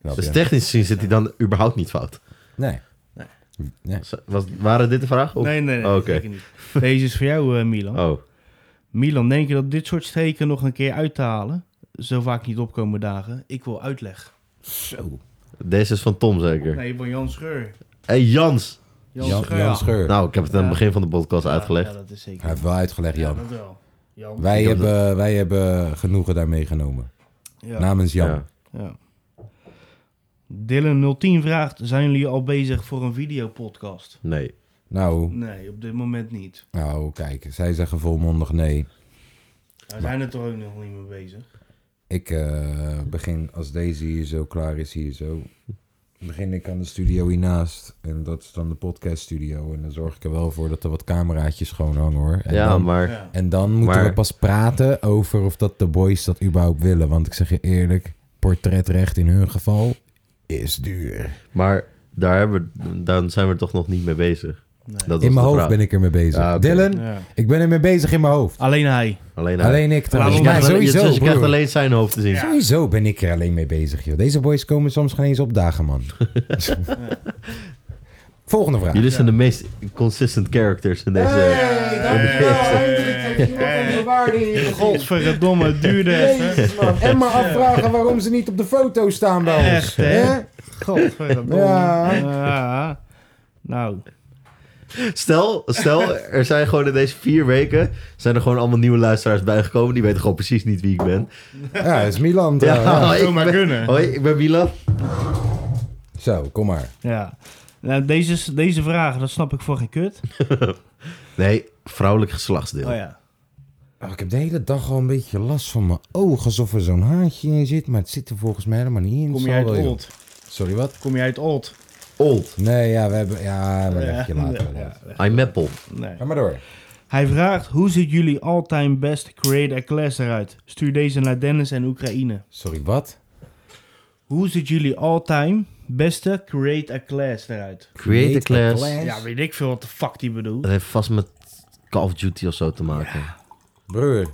Speaker 1: Snap
Speaker 2: Dus
Speaker 1: je?
Speaker 2: technisch gezien zit hij dan überhaupt niet fout.
Speaker 1: Nee. Nee.
Speaker 2: Z- Was, waren dit de vraag? Of-
Speaker 3: Nee, nee, nee,
Speaker 2: Oh, Oké.
Speaker 3: zeker niet. Deze is voor jou, eh, Milan.
Speaker 2: Oh,
Speaker 3: Milan, denk je dat dit soort streken nog een keer uit te halen? Zo vaak niet opkomen dagen. Ik wil uitleg.
Speaker 1: Zo.
Speaker 2: deze is van Tom zeker.
Speaker 3: Nee, van Jan Scheur.
Speaker 2: hey, Jans!
Speaker 3: Jan,
Speaker 1: Jan,
Speaker 3: Scheur.
Speaker 1: Jan Scheur.
Speaker 2: Nou, ik heb het aan het begin van de podcast
Speaker 3: Ja,
Speaker 2: uitgelegd.
Speaker 3: Ja, dat is zeker.
Speaker 1: Hij heeft wel uitgelegd,
Speaker 3: Ja,
Speaker 1: Jan.
Speaker 3: dat wel. Jan.
Speaker 1: Wij
Speaker 2: Ik heb
Speaker 1: hebben, wij hebben genoegen daar meegenomen.
Speaker 3: Ja.
Speaker 1: Namens Jan.
Speaker 2: Ja.
Speaker 3: Ja. Dylan 010 vraagt, zijn jullie al bezig voor een videopodcast?
Speaker 2: Nee.
Speaker 1: Nou,
Speaker 3: Nee, op dit moment niet.
Speaker 1: nou, kijk, zij zeggen volmondig nee.
Speaker 3: We zijn er toch ook nog niet mee bezig.
Speaker 1: Ik eh, begin, als deze hier zo klaar is, hier zo, begin ik aan de studio hiernaast. En dat is dan de podcaststudio. En dan zorg ik er wel voor dat er wat cameraatjes gewoon hangen hoor. En
Speaker 2: Ja,
Speaker 1: dan,
Speaker 2: maar...
Speaker 3: Ja.
Speaker 1: En dan moeten
Speaker 2: Maar-
Speaker 1: we pas praten over of dat de boys dat überhaupt willen. Want ik zeg je eerlijk, portretrecht in hun geval is duur.
Speaker 2: Maar daar, hebben, we- daar zijn we toch nog niet mee bezig.
Speaker 3: Nee.
Speaker 2: Dat
Speaker 1: In
Speaker 2: was
Speaker 1: mijn
Speaker 2: de
Speaker 1: hoofd
Speaker 2: vraag.
Speaker 1: ben ik ermee bezig.
Speaker 2: Ja, oké.
Speaker 1: Dylan,
Speaker 3: Ja.
Speaker 1: ik ben ermee bezig in mijn hoofd. Ah,
Speaker 3: Alleen hij.
Speaker 2: Alleen,
Speaker 1: Alleen ik
Speaker 2: Dus
Speaker 1: trouwens.
Speaker 2: je,
Speaker 3: Ja,
Speaker 1: Ja,
Speaker 2: krijgt, alleen-
Speaker 1: sowieso,
Speaker 2: dus je krijgt
Speaker 1: broer.
Speaker 2: alleen zijn hoofd te zien.
Speaker 1: Sowieso ben ik er alleen mee bezig, joh. Deze boys komen soms geen eens opdagen,
Speaker 2: <laughs>
Speaker 1: man. Volgende vraag.
Speaker 2: Jullie zijn de meest consistent characters in deze...
Speaker 3: Godverdomme, het duurde even.
Speaker 1: Jezus, man. En maar afvragen waarom ze niet op de foto staan bij ons.
Speaker 3: Echt, hè?
Speaker 1: Hè?
Speaker 3: Godverdomme.
Speaker 1: Ja.
Speaker 3: Ja. Nou,
Speaker 2: Stel, stel, er zijn gewoon in deze vier weken... zijn er gewoon allemaal nieuwe luisteraars bijgekomen. Die weten gewoon precies niet wie ik ben.
Speaker 1: Ja, dat is Milan. eh,
Speaker 2: Ja,
Speaker 1: trouwens.
Speaker 2: hoi,
Speaker 3: zou maar
Speaker 2: ik ben-
Speaker 3: kunnen.
Speaker 2: Eh. Hoi, ik ben Milan.
Speaker 1: Zo, kom maar.
Speaker 3: ja. Nou, deze, is- deze vragen, dat snap ik voor geen kut.
Speaker 2: Nee, vrouwelijk geslachtsdeel.
Speaker 3: Oh ja.
Speaker 1: Oh, ik heb de hele dag al een beetje last van mijn ogen. Alsof er zo'n haartje in zit. Maar het zit er volgens mij helemaal niet
Speaker 3: Kom
Speaker 1: in. Het
Speaker 3: je
Speaker 1: zal
Speaker 3: uit
Speaker 1: wel, joh.
Speaker 3: Old?
Speaker 1: Sorry, wat?
Speaker 3: Kom je uit Old?
Speaker 2: Old.
Speaker 1: Nee, ja, we hebben... Ja, maar leg je
Speaker 3: Ja.
Speaker 1: later. wel
Speaker 3: Ja.
Speaker 1: uit.
Speaker 2: iMapple.
Speaker 3: Nee.
Speaker 1: Ga maar door.
Speaker 3: Hij vraagt, hoe ziet jullie all-time best create a class eruit? Stuur deze naar Dennis en Oekraïne.
Speaker 1: Sorry, wat?
Speaker 3: Hoe ziet jullie all-time beste create a class eruit?
Speaker 2: Create a class.
Speaker 3: Ja, weet ik veel wat de fuck die bedoelt.
Speaker 2: Dat heeft vast met Call of Duty of zo te maken.
Speaker 1: Broer,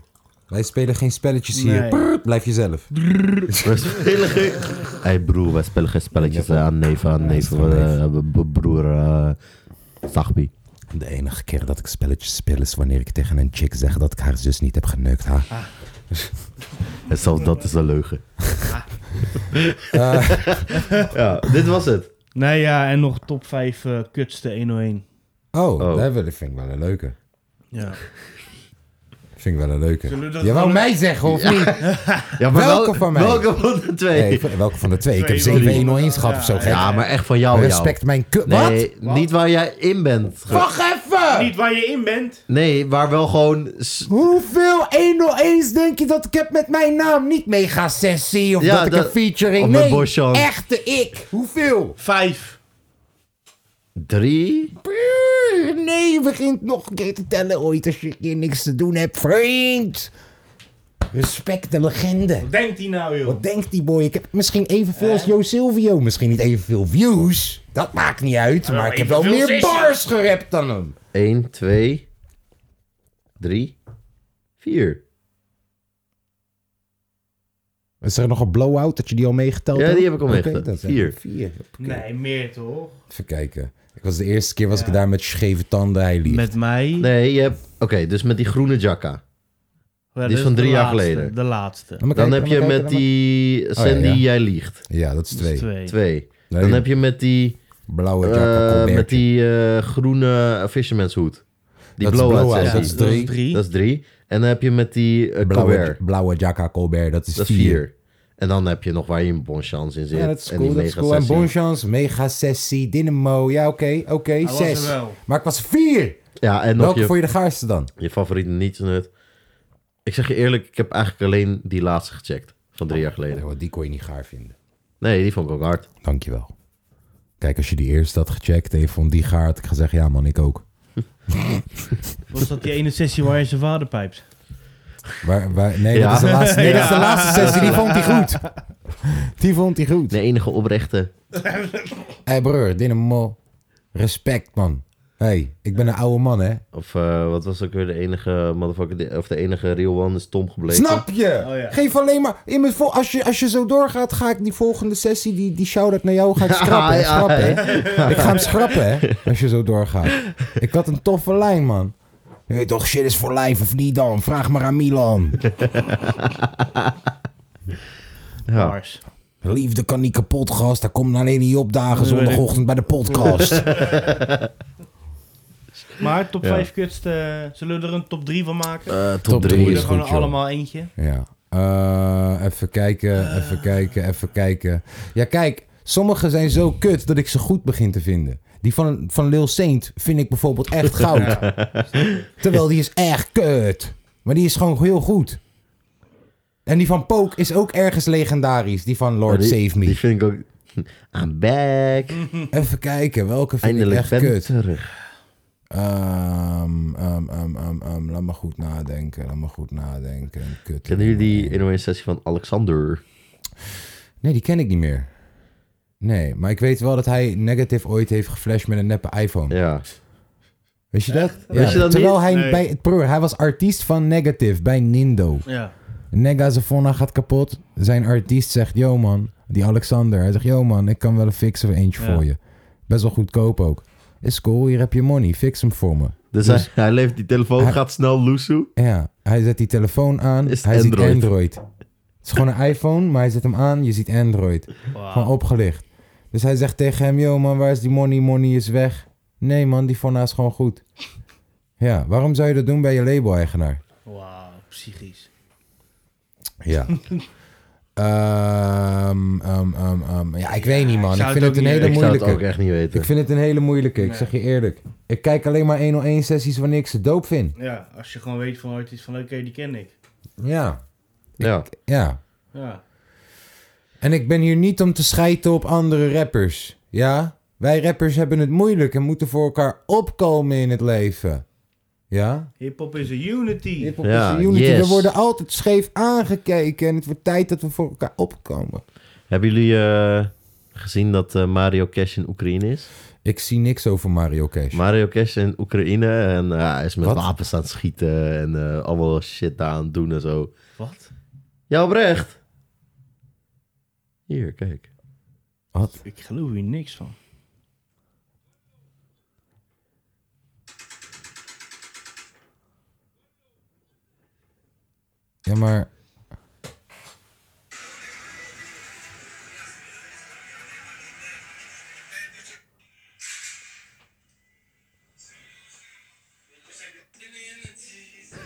Speaker 1: wij spelen geen spelletjes hier.
Speaker 3: Nee.
Speaker 1: Brrr, blijf jezelf.
Speaker 2: <laughs> We spelen geen... Hey broer, wij spelen geen spelletjes eh, aan neven, aan neven.
Speaker 1: gewoon
Speaker 2: eh, b- b- broer, eh Zagbi.
Speaker 1: De enige keer dat ik spelletjes speel is wanneer ik tegen een chick zeg dat ik haar zus niet heb geneukt, ha?
Speaker 2: En zelfs dat is een leugen.
Speaker 1: Ah.
Speaker 2: <laughs> ja, dit was het.
Speaker 3: Nou ja, en nog top 5 eh, kutste 101.
Speaker 1: Oh,
Speaker 2: Oh.
Speaker 1: Dat wil- dat vind ik wel een leuke.
Speaker 3: Ja.
Speaker 1: Vind ik wel een leuke.
Speaker 3: Zullen we dat
Speaker 1: Je wou
Speaker 3: gewoon-
Speaker 1: mij zeggen, of niet?
Speaker 2: Ja,
Speaker 1: Welke
Speaker 2: wel-
Speaker 1: van mij?
Speaker 2: Welke van de twee?
Speaker 1: Nee, ik- welke van de twee? Ik heb
Speaker 3: Twee,
Speaker 1: zeven
Speaker 3: drie.
Speaker 1: 101 gehad of zo.
Speaker 3: Ja,
Speaker 1: gek.
Speaker 2: ja, maar echt van jou, jou.
Speaker 1: Respect mijn kut. Wat?
Speaker 2: Nee, niet waar jij in bent. Ge-
Speaker 1: Wacht even!
Speaker 3: Niet waar je in bent.
Speaker 2: Nee, waar wel gewoon... s-
Speaker 1: Hoeveel 101's denk je dat ik heb met mijn naam? Niet mega sessie of
Speaker 2: Ja,
Speaker 1: dat ik
Speaker 2: dat-
Speaker 1: een featuring...
Speaker 2: of met
Speaker 1: nee,
Speaker 2: Boschan.
Speaker 1: echte ik. Hoeveel?
Speaker 3: 5.
Speaker 2: Drie?
Speaker 1: Puur, Nee, begint nog een keer te tellen ooit als je hier niks te doen hebt. Vriend! Respect de legende.
Speaker 3: Wat denkt hij nou, joh?
Speaker 1: Wat denkt die boy? Ik heb misschien evenveel als Jo Silvio. Misschien niet evenveel views. Dat maakt niet uit. Maar ik heb wel
Speaker 3: evenveel
Speaker 1: meer
Speaker 3: zissen.
Speaker 1: bars gerapt dan hem.
Speaker 2: Eén, twee, drie, vier.
Speaker 1: Is er nog een blowout dat je die al meegeteld
Speaker 2: Ja,
Speaker 1: hebt?
Speaker 2: die heb ik al
Speaker 1: Oké,
Speaker 2: meegeteld.
Speaker 1: dat zijn
Speaker 2: Vier.
Speaker 1: er vier. Oké.
Speaker 3: Nee, meer toch?
Speaker 1: Even kijken. Ik was de eerste keer was ik daar met scheve tanden. Hij liep.
Speaker 3: Met mij.
Speaker 2: Nee, je hebt... Oké, dus met die groene jacka.
Speaker 3: Ja,
Speaker 2: is
Speaker 3: dat
Speaker 2: van
Speaker 3: de
Speaker 2: drie jaar
Speaker 3: laatste,
Speaker 2: geleden.
Speaker 3: De laatste.
Speaker 1: Laat me
Speaker 2: Dan
Speaker 1: kijken,
Speaker 2: heb
Speaker 1: laat me
Speaker 2: je
Speaker 1: kijken,
Speaker 2: met
Speaker 1: laat me-
Speaker 2: die Sandy,
Speaker 1: Oh, ja.
Speaker 2: jij liegt.
Speaker 1: Ja, dat is
Speaker 3: Dat is
Speaker 1: twee.
Speaker 3: Twee.
Speaker 2: Twee.
Speaker 1: Nee.
Speaker 2: Dan heb je met die,
Speaker 1: Blauwe
Speaker 2: eh,
Speaker 1: jacka Colbert.
Speaker 2: met die eh, groene fisherman's hoed. Die
Speaker 1: Dat is
Speaker 2: blowout
Speaker 1: blowout,
Speaker 2: sessie.
Speaker 1: dat is
Speaker 3: Dat is
Speaker 1: drie.
Speaker 3: drie.
Speaker 2: Dat is drie. En dan heb je met die eh,
Speaker 1: Blauwe,
Speaker 2: Colbert.
Speaker 1: blauwe jacka Colbert. Dat is
Speaker 2: Dat is
Speaker 1: vier.
Speaker 2: vier. En dan heb je nog waar je een bonchance in zit.
Speaker 1: Ja, dat is
Speaker 2: en
Speaker 1: cool.
Speaker 2: die
Speaker 1: Dat is cool. En
Speaker 2: megasessie.
Speaker 1: Bonchance, mega sessie, Dynamo. Ja, oké, oké.
Speaker 3: was
Speaker 1: zes.
Speaker 3: er wel.
Speaker 1: Maar ik was vier.
Speaker 2: Ja, en nog
Speaker 1: Welke
Speaker 2: je,
Speaker 1: vond je de gaarste dan?
Speaker 2: je favoriete nietsnut. Ik zeg je eerlijk, ik heb eigenlijk alleen die laatste gecheckt. Van drie jaar geleden.
Speaker 1: die kon je niet gaar vinden.
Speaker 2: Nee, die vond ik ook hard.
Speaker 1: Dankjewel. Kijk, als je die eerst had gecheckt en je vond die gaar, had ik gezegd, ja man, ik ook.
Speaker 3: Was dat die ene sessie waar je zijn vader pijpt?
Speaker 1: Waar, waar, nee,
Speaker 2: Ja.
Speaker 1: dat, is de laatste, nee dat is de
Speaker 2: Ja.
Speaker 1: laatste sessie, die vond hij
Speaker 2: <laughs>
Speaker 1: goed. Die vond hij goed.
Speaker 2: De enige oprechte.
Speaker 1: Hé hey, broer, Dynamo. Respect man. Hé, hey, ik ben een oude man hè.
Speaker 2: Of eh, wat was ook weer de enige motherfucker. die- Of de enige real one is Tom gebleven.
Speaker 1: Snap je?
Speaker 3: Oh, ja.
Speaker 1: Geef alleen maar... In mijn vol- als, je, als je zo doorgaat, ga ik die volgende sessie, die, die shout-out naar jou, ga ik schrappen. hè,
Speaker 2: Ja, ja,
Speaker 1: schrappen hè. Ik ga hem schrappen, hè, als je zo doorgaat. Ik had een toffe lijn, man. Je weet toch, shit is voor life of niet dan? Vraag maar aan Milan.
Speaker 2: Ja.
Speaker 3: Mars.
Speaker 1: Liefde kan niet kapot, gast. Daar komt alleen niet opdagen zondagochtend bij de <laughs> podcast.
Speaker 3: Maar top
Speaker 2: Ja.
Speaker 3: 5 kutste. Zullen we er een top 3 van maken?
Speaker 2: Eh, top,
Speaker 1: Top
Speaker 2: drie.
Speaker 1: drie.
Speaker 3: Doe je
Speaker 1: is
Speaker 3: er gewoon
Speaker 1: goed, joh.
Speaker 3: allemaal eentje.
Speaker 1: Ja. Eh, even kijken, even kijken, even kijken. Ja, kijk. Sommige zijn zo kut dat ik ze goed begin te vinden. Die van, van Lil Saint vind ik bijvoorbeeld
Speaker 2: <laughs>
Speaker 1: echt goud. Terwijl die is echt kut. Maar die is gewoon heel goed. En die van Poke is ook ergens legendarisch. Die van Lord
Speaker 2: Ja, die-
Speaker 1: Save Me.
Speaker 2: Die vind ik ook... <laughs> I'm back.
Speaker 1: Even kijken, welke vind
Speaker 2: Eindelijk
Speaker 1: ik echt
Speaker 2: ben ik
Speaker 1: kut?
Speaker 2: terug.
Speaker 1: Ehm, ehm, ehm, ehm, ehm, laat me goed nadenken, laat me goed nadenken. Kut.
Speaker 2: Kennen jullie die 101 sessie van Alexander?
Speaker 1: Nee, die ken ik niet meer. Nee, maar ik weet wel dat hij Negative ooit heeft geflasht met een neppe iPhone.
Speaker 2: Ja.
Speaker 1: Weet je dat? Ja,
Speaker 2: Weet je dat
Speaker 1: terwijl
Speaker 2: niet?
Speaker 1: hij
Speaker 3: Nee.
Speaker 1: bij... Broer, hij was artiest van Negative bij Nindo.
Speaker 3: Ja.
Speaker 1: Negazafonna gaat kapot. Zijn artiest zegt, yo man, die Alexander. Hij zegt, yo man, ik kan wel een fixer eentje
Speaker 3: Ja.
Speaker 1: voor je. Best wel goedkoop ook. Is cool, hier heb je money, fix hem voor me.
Speaker 2: Dus, hij, hij leeft die telefoon, gaat snel loesoe.
Speaker 1: Ja, hij zet die telefoon aan.
Speaker 2: Is het
Speaker 1: hij
Speaker 2: Android?
Speaker 1: ziet Android. Het is gewoon een iPhone, maar hij zet hem aan. Je ziet Android. Gewoon opgelicht. Dus hij zegt tegen hem: Yo, man, waar is die money? Money is weg. Nee, man, die Fonna is gewoon goed. Ja, waarom zou je dat doen bij je label-eigenaar?
Speaker 3: Wauw, psychisch.
Speaker 1: Ja. <laughs> Ehm, ehm, ehm, ehm. Ja, ik weet niet,
Speaker 3: ik
Speaker 1: man. Ik,
Speaker 3: zou het
Speaker 1: vind
Speaker 3: ook
Speaker 1: het een
Speaker 3: niet-
Speaker 1: hele
Speaker 2: Ik zou het
Speaker 1: moeilijke.
Speaker 2: ook echt niet weten.
Speaker 1: Ik vind het een hele moeilijke, ik zeg je eerlijk. Ik kijk alleen maar 101-sessies wanneer ik ze doop vind.
Speaker 3: Ja, als je gewoon weet van ooit iets van oké, die ken ik.
Speaker 1: Ja,
Speaker 2: ja.
Speaker 1: ja.
Speaker 3: Ja.
Speaker 1: En ik ben hier niet om te schijten op andere rappers. Ja? Wij rappers hebben het moeilijk en moeten voor elkaar opkomen in het leven. Ja?
Speaker 3: Hip-hop is een unity.
Speaker 1: Hip-hop
Speaker 2: Ja,
Speaker 1: is een unity.
Speaker 2: yes.
Speaker 1: We worden altijd scheef aangekeken en het wordt tijd dat we voor elkaar opkomen.
Speaker 2: Hebben jullie eh, gezien dat eh, Mario Cash in Oekraïne is?
Speaker 1: Ik zie niks over Mario Cash.
Speaker 2: Mario Cash in Oekraïne en eh, hij is met
Speaker 1: Wat?
Speaker 2: wapens aan het schieten en eh, allemaal shit daar aan het doen en zo.
Speaker 3: Wat?
Speaker 2: Ja, oprecht. Hier, kijk. <laughs>
Speaker 1: Wat?
Speaker 3: Ik geloof hier niks van.
Speaker 1: Ja, maar...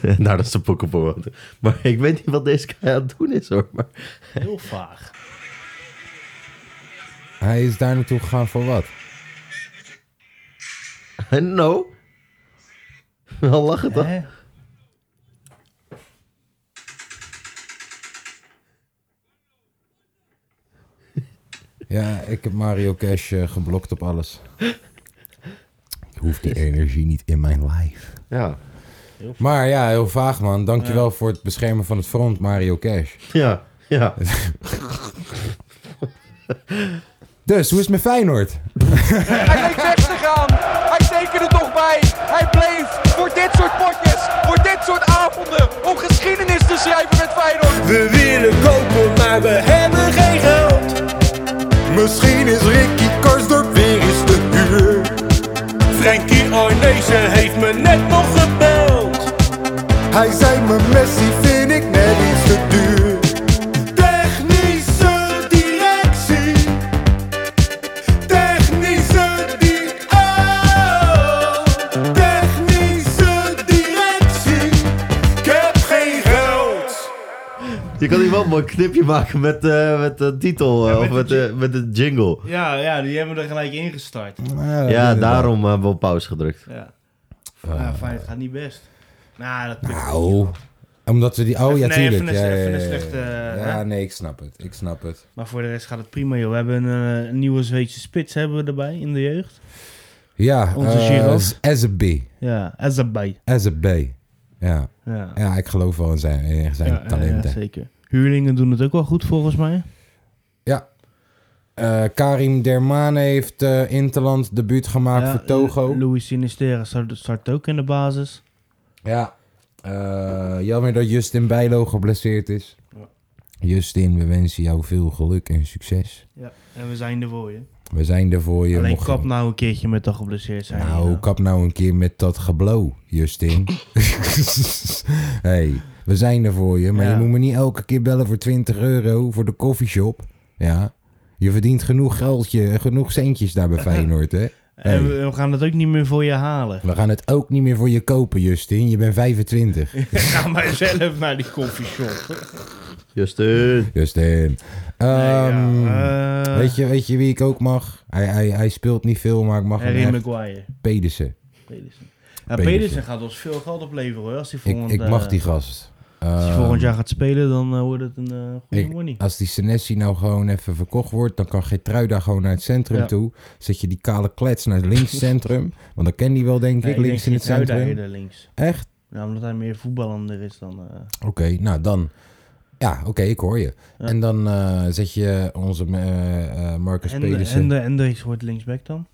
Speaker 2: nou, dat is de Pokémon. Maar ik weet niet wat deze guy aan het doen is hoor. Maar
Speaker 3: Heel vaag.
Speaker 1: Hij is daar naartoe gegaan voor wat?
Speaker 2: no. Wel lachen toch?
Speaker 3: <laughs> Hè?
Speaker 1: Ja, ik heb Mario Cash eh, geblokt op alles. Ik hoef die energie niet in mijn lijf.
Speaker 2: Ja.
Speaker 1: Maar ja, heel vaag man. Dankjewel voor het beschermen van het front, Mario Cash.
Speaker 2: Ja. Ja.
Speaker 1: Dus, hoe is het met Feyenoord?
Speaker 5: Hij leek weg te gaan. Hij tekende toch bij. Hij bleef voor dit soort potjes, voor dit soort avonden, om geschiedenis te schrijven met Feyenoord.
Speaker 6: We willen kopen, maar we hebben geen geld. Misschien is Ricky Karsdorp weer eens te huur. Frankie Arnezen heeft me net nog gebeld. Hij zei me Messi vind ik net iets te duur. Technische directie. Technische di- oh. Technische directie. Ik heb geen geld.
Speaker 2: Je kan hier wel een mooi knipje maken met, eh, met de titel eh, of met, de, met de jingle.
Speaker 3: Ja, ja, die hebben we er gelijk ingestart.
Speaker 2: Ja, daarom hebben we op pauze gedrukt.
Speaker 3: Ja. ja, fijn, het gaat niet best. Nou, dat pikt
Speaker 1: Nou, omdat we die... Oh ja,
Speaker 3: Even- nee,
Speaker 1: tuurlijk.
Speaker 3: even
Speaker 1: ja,
Speaker 3: een-
Speaker 1: ja,
Speaker 3: even een
Speaker 1: ja, ja.
Speaker 3: slechte, eh,
Speaker 1: Ja,
Speaker 3: hè?
Speaker 1: nee, ik snap het. Ik snap het.
Speaker 3: Maar voor de rest gaat het prima, joh. We hebben een, eh, nieuwe Zweedse spits hebben we erbij in de jeugd.
Speaker 1: Ja,
Speaker 3: Onze
Speaker 1: eh,
Speaker 3: Giroud.
Speaker 1: s- As a B.
Speaker 3: Ja, en erbij.
Speaker 1: As a B. Ja.
Speaker 3: Ja,
Speaker 1: ja, ik geloof wel in zijn, in zijn
Speaker 3: Ja,
Speaker 1: talenten.
Speaker 3: ja, zeker. Huurlingen doen het ook wel goed volgens mij.
Speaker 1: Ja. Eh, Karim Dermane heeft eh, Interland debuut gemaakt
Speaker 3: Ja,
Speaker 1: voor Togo.
Speaker 3: Lu- Luis Sinistera start, start ook in de basis.
Speaker 1: ja. Eh, jammer dat Justin Bijlo geblesseerd is. Justin, we wensen jou veel geluk en succes.
Speaker 3: Ja, en we zijn er voor je.
Speaker 1: We zijn er voor je.
Speaker 3: Alleen
Speaker 1: mocht je-
Speaker 3: kap nou een keertje met dat geblesseerd zijn.
Speaker 1: Nou,
Speaker 3: Ja.
Speaker 1: kap nou een keer met dat geblow,
Speaker 3: <laughs>
Speaker 1: Justin. hey, we zijn er voor je, maar
Speaker 3: Ja.
Speaker 1: je moet me niet elke keer bellen voor 20 euro voor de koffieshop. Ja, je verdient genoeg geldje, genoeg centjes daar
Speaker 3: <laughs>
Speaker 1: bij Feyenoord, hè? Hey.
Speaker 3: En we, we gaan het ook niet meer voor je halen. <laughs>
Speaker 1: We gaan het ook niet meer voor je kopen, Justin. Je
Speaker 3: <laughs>
Speaker 1: bent 25.
Speaker 3: Ga maar zelf naar die koffieshop.
Speaker 2: Justin.
Speaker 1: Justin. Ehm,
Speaker 3: ja, eh,
Speaker 1: weet, je, weet je wie ik ook mag? Hij, hij, hij speelt niet veel, maar ik mag
Speaker 3: Harry
Speaker 1: hem echt
Speaker 3: Maguire.
Speaker 1: Pedersen.
Speaker 3: Pedersen. Ja,
Speaker 1: Pedersen.
Speaker 3: Pedersen gaat ons veel geld opleveren hoor. Als hij
Speaker 1: Ik,
Speaker 3: volgend,
Speaker 1: ik mag
Speaker 3: eh,
Speaker 1: die gast.
Speaker 3: als hij
Speaker 1: Ehm,
Speaker 3: volgend jaar gaat spelen, dan eh, wordt het een eh, goede
Speaker 1: ik-
Speaker 3: money.
Speaker 1: als die Senesi nou gewoon even verkocht wordt, dan kan Gertruida gewoon naar het centrum
Speaker 3: Ja.
Speaker 1: toe. Zet je die kale klets naar
Speaker 3: <laughs>
Speaker 1: links centrum. want dan ken die wel, denk ik,
Speaker 3: Nee,
Speaker 1: links in
Speaker 3: denk
Speaker 1: het
Speaker 3: Geertruida
Speaker 1: centrum.
Speaker 3: eerder links.
Speaker 1: Echt?
Speaker 3: Nou, omdat hij meer voetballander is dan... eh,
Speaker 1: Oké, nou dan. Ja, oké, ik hoor je. En dan eh, zet je onze eh, eh, Marcus
Speaker 3: en,
Speaker 1: Pedersen.
Speaker 3: en, en Hendricks wordt linksback dan,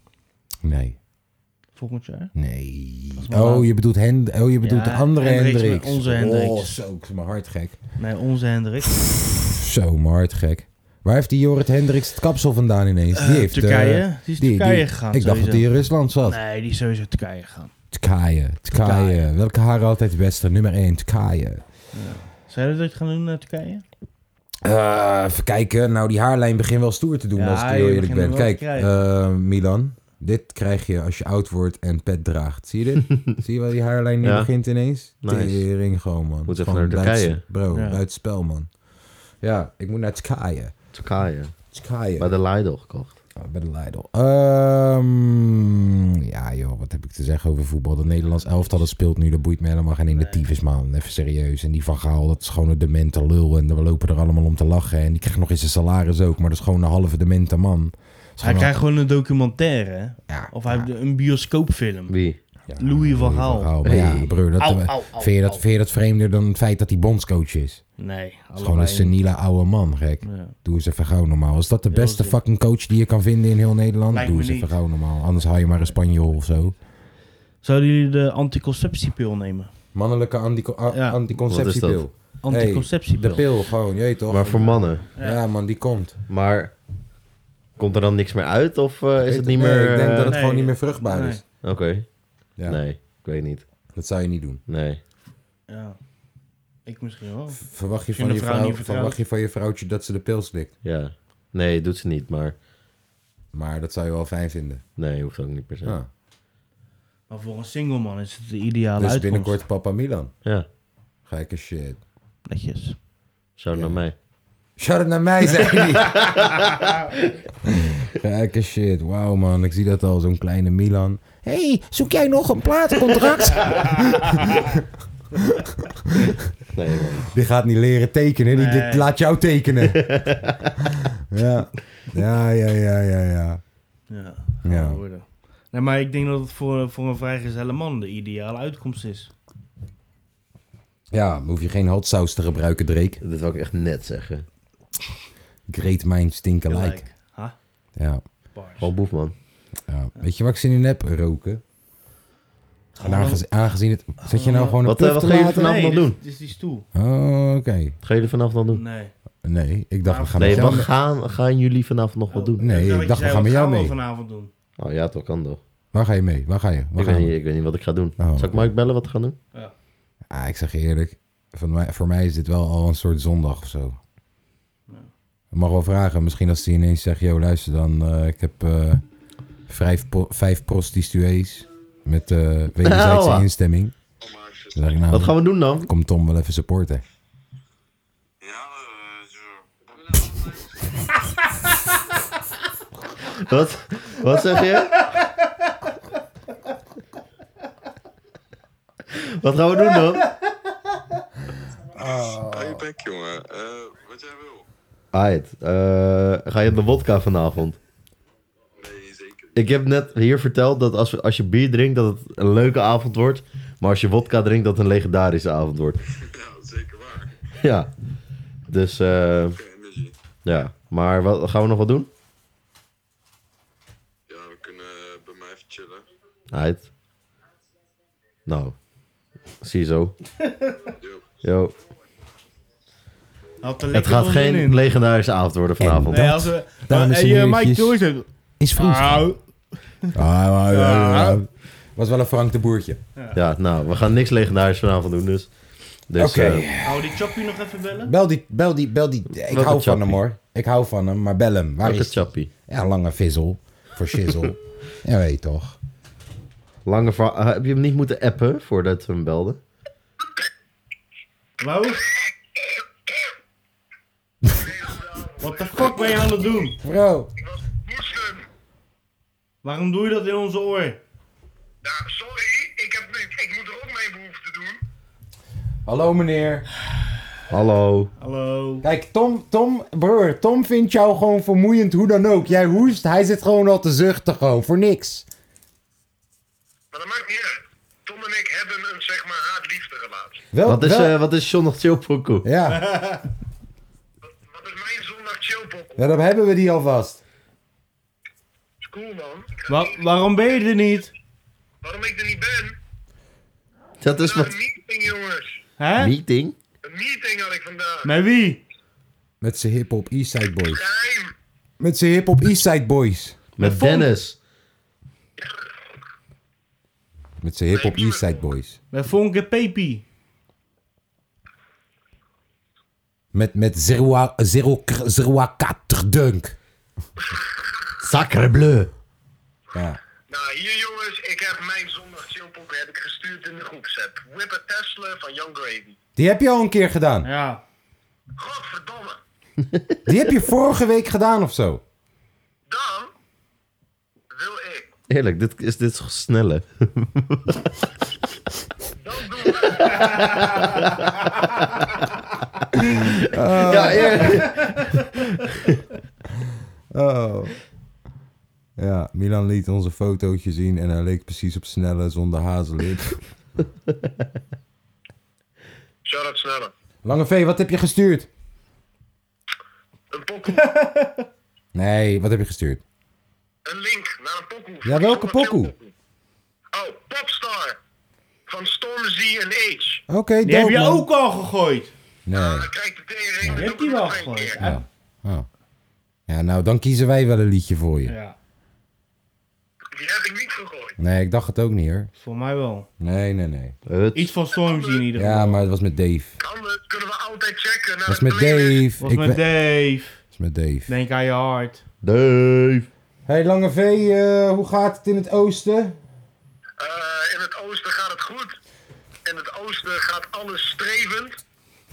Speaker 1: Nee.
Speaker 3: volgend jaar.
Speaker 1: Nee.
Speaker 3: maar
Speaker 1: Oh,
Speaker 3: waar.
Speaker 1: je bedoelt, Hen oh, je bedoelt
Speaker 3: Ja,
Speaker 1: de andere
Speaker 3: Hendricks,
Speaker 1: Hendrix.
Speaker 3: maar onze Hendricks.
Speaker 1: Oh, zo, ik ben mijn hart gek.
Speaker 3: Nee, onze Hendricks.
Speaker 1: Zo, mijn hart gek. Waar heeft die Jorrit Hendricks het kapsel vandaan ineens? Die heeft... eh,
Speaker 3: Turkije. die is Turkije gegaan,
Speaker 1: Ik dacht dat hij
Speaker 3: sowieso.
Speaker 1: in Rusland zat.
Speaker 3: Nee, die is sowieso Turkije gaan.
Speaker 1: Turkije, Turkije. Welke haren altijd het beste? Nummer 1, Turkije.
Speaker 3: Zou je dat gaan doen naar Turkije?
Speaker 1: Eh, even kijken. Nou, die haarlijn begint wel stoer te doen
Speaker 3: Ja,
Speaker 1: als ik
Speaker 3: je
Speaker 1: heel eerlijk
Speaker 3: begint hem
Speaker 1: ben.
Speaker 3: wel te
Speaker 1: Kijk, eh, Milan. Dit krijg je als je oud wordt en pet draagt. Zie je
Speaker 3: <laughs>
Speaker 1: dit? Zie je waar die haarlijn nu
Speaker 2: Ja.
Speaker 1: begint ineens?
Speaker 2: Nice.
Speaker 1: Tering gewoon, man.
Speaker 2: Moet even
Speaker 1: Gewoon
Speaker 2: naar
Speaker 1: buiten-
Speaker 2: Turkije.
Speaker 1: Bro,
Speaker 3: Ja.
Speaker 1: buitenspel, man. Ja, ik moet naar Turkije.
Speaker 2: Turkije.
Speaker 1: Turkije.
Speaker 2: Bij de Lidl gekocht.
Speaker 1: Ah, Bij de Lidl. Ehm, ja, joh, wat heb ik te zeggen over voetbal? De Nederlands elftal dat speelt nu, dat boeit me helemaal geen ene tyfus, man. Even serieus. En die Van Gaal, dat is gewoon een demente lul. En we lopen er allemaal om te lachen. En die krijgt nog eens een salaris ook, maar dat is gewoon een halve demente man. is
Speaker 3: Hij
Speaker 1: gewoon
Speaker 3: krijgt gewoon een documentaire, hè?
Speaker 1: Ja,
Speaker 3: Of hij een bioscoopfilm.
Speaker 2: Wie?
Speaker 1: ja,
Speaker 3: Louis van Gaal.
Speaker 1: Maar ja, broer, dat,
Speaker 3: Au, au, au,
Speaker 1: vind, je dat,
Speaker 3: au.
Speaker 1: vind je dat vreemder dan het feit dat hij bondscoach is?
Speaker 3: Nee,
Speaker 1: Dat is gewoon een seniele oude man, gek.
Speaker 3: Ja.
Speaker 1: Doe eens even gauw normaal. Is dat de
Speaker 3: Heel
Speaker 1: beste
Speaker 3: zin.
Speaker 1: fucking coach die je kan vinden in heel Nederland?
Speaker 3: Lijkt
Speaker 1: Doe
Speaker 3: me
Speaker 1: eens even
Speaker 3: niet.
Speaker 1: gauw normaal. Anders haal je maar een Spanjool of zo.
Speaker 3: Zouden jullie de anticonceptiepil nemen?
Speaker 1: Mannelijke antico- a-
Speaker 3: Ja.
Speaker 1: anticonceptiepil.
Speaker 2: Wat is
Speaker 3: Anticonceptiepil.
Speaker 1: De pil gewoon, je weet toch?
Speaker 2: Maar voor mannen.
Speaker 1: ja. man, die komt.
Speaker 2: Maar komt er dan niks meer uit? Of eh, is
Speaker 1: Weet-
Speaker 2: het niet
Speaker 1: nee,
Speaker 2: meer...
Speaker 1: ik denk
Speaker 2: eh,
Speaker 1: dat het
Speaker 3: Nee.
Speaker 1: gewoon niet meer vruchtbaar
Speaker 3: Nee.
Speaker 1: is.
Speaker 2: Oké.
Speaker 1: Ja,
Speaker 2: Nee, ik weet niet.
Speaker 1: Dat zou je niet doen.
Speaker 2: Nee.
Speaker 3: Ja. Ik misschien wel. Als
Speaker 1: Verwacht je,
Speaker 3: je
Speaker 1: van je,
Speaker 3: een vrouw
Speaker 1: vrouw,
Speaker 3: niet vertrouwt.
Speaker 1: verwacht je van je vrouwtje dat ze de pil slikt?
Speaker 2: Ja. Nee, doet ze niet, maar...
Speaker 1: Maar dat zou je wel fijn vinden. Ah.
Speaker 2: Nee, hoeft ook niet per se.
Speaker 1: Ja.
Speaker 2: Ja.
Speaker 3: Maar voor een single man is het de ideale
Speaker 1: Dus
Speaker 3: uitkomst.
Speaker 1: binnenkort Papa Milan. Gekke shit.
Speaker 3: Netjes.
Speaker 2: Shout naar mij.
Speaker 1: Shout out naar
Speaker 2: <laughs>
Speaker 1: mij, zei hij. Gekke shit. Wauw, man. Ik zie dat al, zo'n kleine Milan. Hé, hey, zoek jij nog een plaatcontract?
Speaker 2: <laughs> Nee, man.
Speaker 1: Die gaat niet leren tekenen. Die dit laat
Speaker 2: <laughs>
Speaker 1: jou tekenen. ja. Ja, ja, ja, ja, ja.
Speaker 3: Ja.
Speaker 1: Ja.
Speaker 3: gaan we worden. Nee, maar ik denk dat het voor, voor een vrijgezelle man de ideale uitkomst is.
Speaker 1: Ja, hoef je geen hotsaus te gebruiken, Drake.
Speaker 2: Dat wil ik echt net zeggen.
Speaker 1: Great mind stinken like.
Speaker 3: Ha?
Speaker 1: Ja,
Speaker 3: Bars.
Speaker 2: Gewoon boef, man.
Speaker 1: ja. Weet je wat ik zin in heb? Roken. En aangezien, aangezien het... Zet je nou gewoon een
Speaker 2: Wat, eh,
Speaker 1: puff
Speaker 2: wat
Speaker 1: te
Speaker 2: ga je
Speaker 1: laten?
Speaker 2: vanavond
Speaker 3: nee,
Speaker 2: nog doen?
Speaker 3: Dit is die stoel.
Speaker 1: Oh, oké.
Speaker 2: Wat ga je er vanavond nog doen?
Speaker 3: Nee.
Speaker 1: Nee, ik dacht we gaan
Speaker 2: Nee,
Speaker 1: met
Speaker 2: wat
Speaker 1: jou...
Speaker 2: gaan, gaan jullie vanavond nog wat doen?
Speaker 1: Nou,
Speaker 3: Dat
Speaker 1: Nee, ik
Speaker 3: wat je
Speaker 1: dacht, we
Speaker 3: zei,
Speaker 1: gaan
Speaker 3: wat
Speaker 1: met jou
Speaker 3: we
Speaker 1: mee.
Speaker 3: vanavond doen?
Speaker 2: Oh ja, toch kan toch?
Speaker 1: Waar ga je mee? Waar ga je? Waar
Speaker 2: Ik
Speaker 1: ga
Speaker 2: weet,
Speaker 1: je?
Speaker 2: niet, ik weet niet wat ik ga doen.
Speaker 1: Oh.
Speaker 2: Zal ik Mike bellen wat we gaan doen?
Speaker 1: Ah, ik zeg je eerlijk, van mij, voor mij is dit wel al een soort zondag of zo. Ik mag wel vragen, misschien als hij ineens zegt, yo luister dan, eh, ik heb eh, vijf, po- vijf prostituees met eh, wederzijdse
Speaker 2: Auwa.
Speaker 1: instemming. Dan zeg ik, nou,
Speaker 2: Wat gaan we doen dan?
Speaker 1: komt Tom wel even supporten.
Speaker 4: Ja, eh, zo.
Speaker 2: Wat, wat zeg
Speaker 1: <laughs>
Speaker 2: je? Wat gaan we doen dan?
Speaker 4: Hou je bek, jongen. Eh, wat jij wil.
Speaker 2: Aight, eh, ga je op de wodka vanavond?
Speaker 4: Nee, zeker.
Speaker 2: Ik heb net hier verteld dat als, we- als je bier drinkt dat het een leuke avond wordt. Maar als je wodka drinkt dat het een legendarische avond wordt. <laughs>
Speaker 4: Ja, zeker <laughs> waar.
Speaker 2: Ja. Dus eh,
Speaker 4: Oké, energy.
Speaker 2: ja. Maar wat, gaan we nog wat doen?
Speaker 4: Ja, we kunnen eh, bij mij even chillen.
Speaker 2: Uit. Nou. Zie je zo. Yo.
Speaker 3: Had er
Speaker 2: Het
Speaker 3: lekker
Speaker 2: gaat
Speaker 3: wel zin
Speaker 2: geen
Speaker 3: in.
Speaker 2: legendarische avond worden vanavond.
Speaker 3: Nee, als we...
Speaker 1: Dames en
Speaker 3: Hey, eh, Mike
Speaker 1: heertjes.
Speaker 3: Joyce heeft-
Speaker 1: Is vroeg.
Speaker 3: Au.
Speaker 1: Ah, Was wel een Frank de Boertje.
Speaker 2: Ja, nou, we gaan niks legendarisch vanavond doen, dus... dus
Speaker 1: Oké.
Speaker 2: eh,
Speaker 3: Hou die choppy nog even bellen?
Speaker 1: Bel die, bel die, bel die. Ik hou van
Speaker 2: chappie?
Speaker 1: hem hoor. Ik hou van hem, maar bel hem. Waar
Speaker 2: welke
Speaker 1: is hij?
Speaker 2: chappie?
Speaker 1: Ja, lange vizzel. Voor <laughs> shizzle. ja, weet je toch.
Speaker 2: Lange verhaal... eh, Heb je hem niet moeten appen voordat we hem belden?
Speaker 3: Hallo? Wat de fuck ben je aan het doen?
Speaker 1: Bro.
Speaker 4: Moeslim!
Speaker 3: Waarom doe je dat in onze oor?
Speaker 4: Ja, sorry. Ik, heb, ik, ik moet er ook mijn behoefte doen.
Speaker 1: Hallo meneer.
Speaker 2: Hallo.
Speaker 3: Hallo?
Speaker 1: Kijk, Tom, Tom, broer, Tom vindt jou gewoon vermoeiend hoe dan ook. Jij hoest, hij zit gewoon al te zuchten gewoon, voor niks.
Speaker 4: Maar dat maakt niet uit. Tom en ik hebben een, zeg maar, haat-liefde relatie.
Speaker 1: Wel,
Speaker 2: Wat is,
Speaker 1: Oh, wel-
Speaker 2: eh, wat is John nog chill pokoe?
Speaker 4: <laughs>
Speaker 1: ja. <laughs>
Speaker 4: Wat is mijn zondag chillpop?
Speaker 1: ja, dan hebben we die alvast.
Speaker 4: Cool, man.
Speaker 3: Wa- waarom ben je er niet?
Speaker 4: Waarom ik er niet ben?
Speaker 2: Dat is
Speaker 4: Vandaag een
Speaker 2: wat...
Speaker 4: meeting, jongens.
Speaker 3: Hè?
Speaker 2: Meeting?
Speaker 4: Een meeting had ik vandaag.
Speaker 3: Met wie?
Speaker 1: Met zijn hip-hop Eastside Boys.
Speaker 4: Geheim.
Speaker 1: Met zijn hip-hop Eastside Boys.
Speaker 2: Met Dennis.
Speaker 1: Met zijn hip-hop Eastside Boys.
Speaker 3: Met Fonke Pepi.
Speaker 1: Met, met zero, zero, kr- zero, kater dunk.
Speaker 2: Sacre bleu.
Speaker 1: Ja.
Speaker 4: Nou, hier jongens, ik heb mijn zondag chillpop heb ik gestuurd in de groepsapp. Whip a Tesla van Young Gravy.
Speaker 1: Die heb je al een keer gedaan.
Speaker 3: Ja.
Speaker 4: Godverdomme.
Speaker 1: Die heb je vorige week gedaan of zo.
Speaker 4: Dan wil ik.
Speaker 2: Eerlijk, dit is dit is snelle.
Speaker 4: Dan doen we.
Speaker 2: Ja, eerlijk.
Speaker 1: Oh. Ja, Milan liet ons een fotootje zien en hij leek precies op Snelle zonder hazelip.
Speaker 4: Shout-out sneller.
Speaker 1: <laughs> Lange V, wat heb je gestuurd?
Speaker 4: Een pokoe.
Speaker 1: <laughs> Nee, wat heb je gestuurd?
Speaker 4: een link naar een pokoe.
Speaker 1: Ja, welke
Speaker 4: Zonder veel
Speaker 1: pokoe?
Speaker 4: Oh, Popstar. Van Stormzy en Age.
Speaker 1: Oké,
Speaker 3: Die heb
Speaker 1: dope,
Speaker 3: je
Speaker 1: man.
Speaker 3: ook al gegooid.
Speaker 1: Nee.
Speaker 4: Dan krijg ik de tering.
Speaker 3: Die heb je wel gegooid.
Speaker 1: Oh. Oh. Ja, nou, dan kiezen wij wel een liedje voor je.
Speaker 3: Ja,
Speaker 4: Die heb ik niet gegooid.
Speaker 1: Nee, ik dacht het ook niet hoor.
Speaker 3: voor mij wel.
Speaker 1: Nee, nee, nee.
Speaker 2: Het
Speaker 3: Iets van Stormzy in ieder geval.
Speaker 1: Ja, maar het was met Dave.
Speaker 4: Kan we, kunnen we altijd checken naar
Speaker 1: Het was
Speaker 4: de
Speaker 1: met
Speaker 4: playlist.
Speaker 1: Dave.
Speaker 3: Was
Speaker 1: Ik
Speaker 3: met
Speaker 1: ben-
Speaker 3: Dave.
Speaker 1: was met Dave.
Speaker 3: Denk aan je hart.
Speaker 2: Dave.
Speaker 1: Hey, Lange V, eh, hoe gaat het in het oosten?
Speaker 4: Eh, in het oosten gaat het goed. In het oosten gaat alles strevend.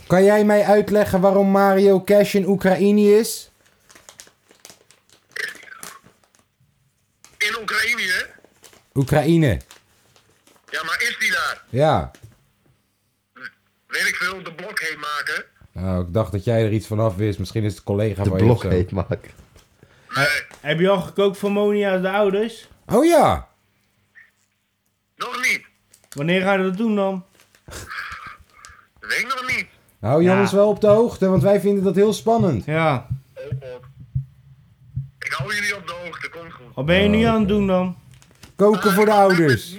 Speaker 1: Kan jij mij uitleggen waarom Mario Cash in Oekraïne is?
Speaker 4: In Oekraïne, hè?
Speaker 1: Oekraïne,
Speaker 4: Ja, maar is die daar?
Speaker 1: ja.
Speaker 4: Weet ik veel, de blok heen maken.
Speaker 1: Nou, ik dacht dat jij er iets vanaf wist. Misschien is het een collega
Speaker 2: De
Speaker 1: van je. of
Speaker 2: blog
Speaker 1: zo.
Speaker 2: heet maken.
Speaker 3: Heb je al gekookt voor Monia de ouders?
Speaker 1: Oh ja,
Speaker 4: Nog niet.
Speaker 3: Wanneer ga je dat doen dan?
Speaker 4: Weet ik nog niet.
Speaker 1: hou
Speaker 3: Ja.
Speaker 1: jongens Nou, wel op de hoogte, want wij vinden dat heel spannend.
Speaker 3: Ja.
Speaker 4: Oh god. Ik hou jullie op de hoogte, komt goed. Eh,
Speaker 3: Wat
Speaker 1: Oh,
Speaker 3: ben je nu aan het doen dan?
Speaker 1: Koken voor de ouders.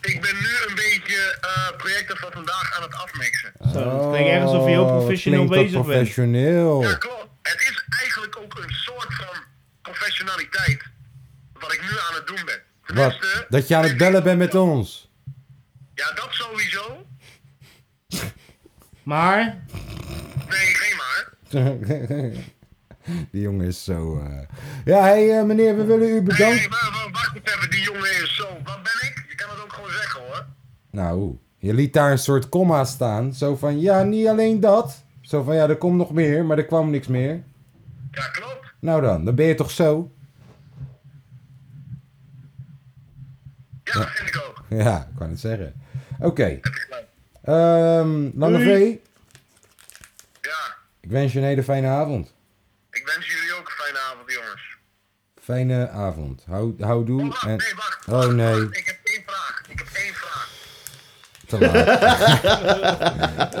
Speaker 4: Ik ben nu een beetje eh, projecten van vandaag aan het afmixen.
Speaker 3: Zo, dat klinkt ergens of je heel
Speaker 1: Oh,
Speaker 3: professioneel
Speaker 1: klinkt
Speaker 3: bezig
Speaker 1: wat
Speaker 3: bent.
Speaker 1: professioneel.
Speaker 4: Ja, klopt. Het is eigenlijk ook een soort van professionaliteit wat ik nu aan het doen ben.
Speaker 1: Wat?
Speaker 4: Tenminste,
Speaker 1: Dat je aan het bellen bent met ons. <laughs>
Speaker 4: Ja, dat sowieso.
Speaker 3: Maar,
Speaker 4: Nee, geen maar.
Speaker 1: Die jongen is zo... eh. Ja, hey, eh, meneer, we willen u
Speaker 4: Nee,
Speaker 1: bedanken.
Speaker 4: nee, maar, maar wacht eens even, die jongen is zo. Wat ben ik? Je kan het ook gewoon zeggen hoor.
Speaker 1: Nou, je liet daar een soort komma staan. Zo van, ja, niet alleen dat. Zo van, ja, er komt nog meer, maar er kwam niks meer.
Speaker 4: Ja, klopt.
Speaker 1: Nou dan, dan ben je toch zo? <laughs>
Speaker 4: Ja, dat vind ik ook.
Speaker 1: Ja, ik kan het zeggen. Oké. Ehm Lange V,
Speaker 4: Ja,
Speaker 1: ik wens je een hele fijne avond.
Speaker 4: ik wens jullie ook een fijne avond, jongens.
Speaker 1: Fijne avond. Hou, hou
Speaker 4: Oh,
Speaker 1: doe
Speaker 4: wacht,
Speaker 1: en...
Speaker 4: nee, wacht.
Speaker 1: Oh
Speaker 4: wacht,
Speaker 1: nee,
Speaker 4: wacht. Ik heb één vraag. Ik heb één vraag.
Speaker 1: <laughs> te laat.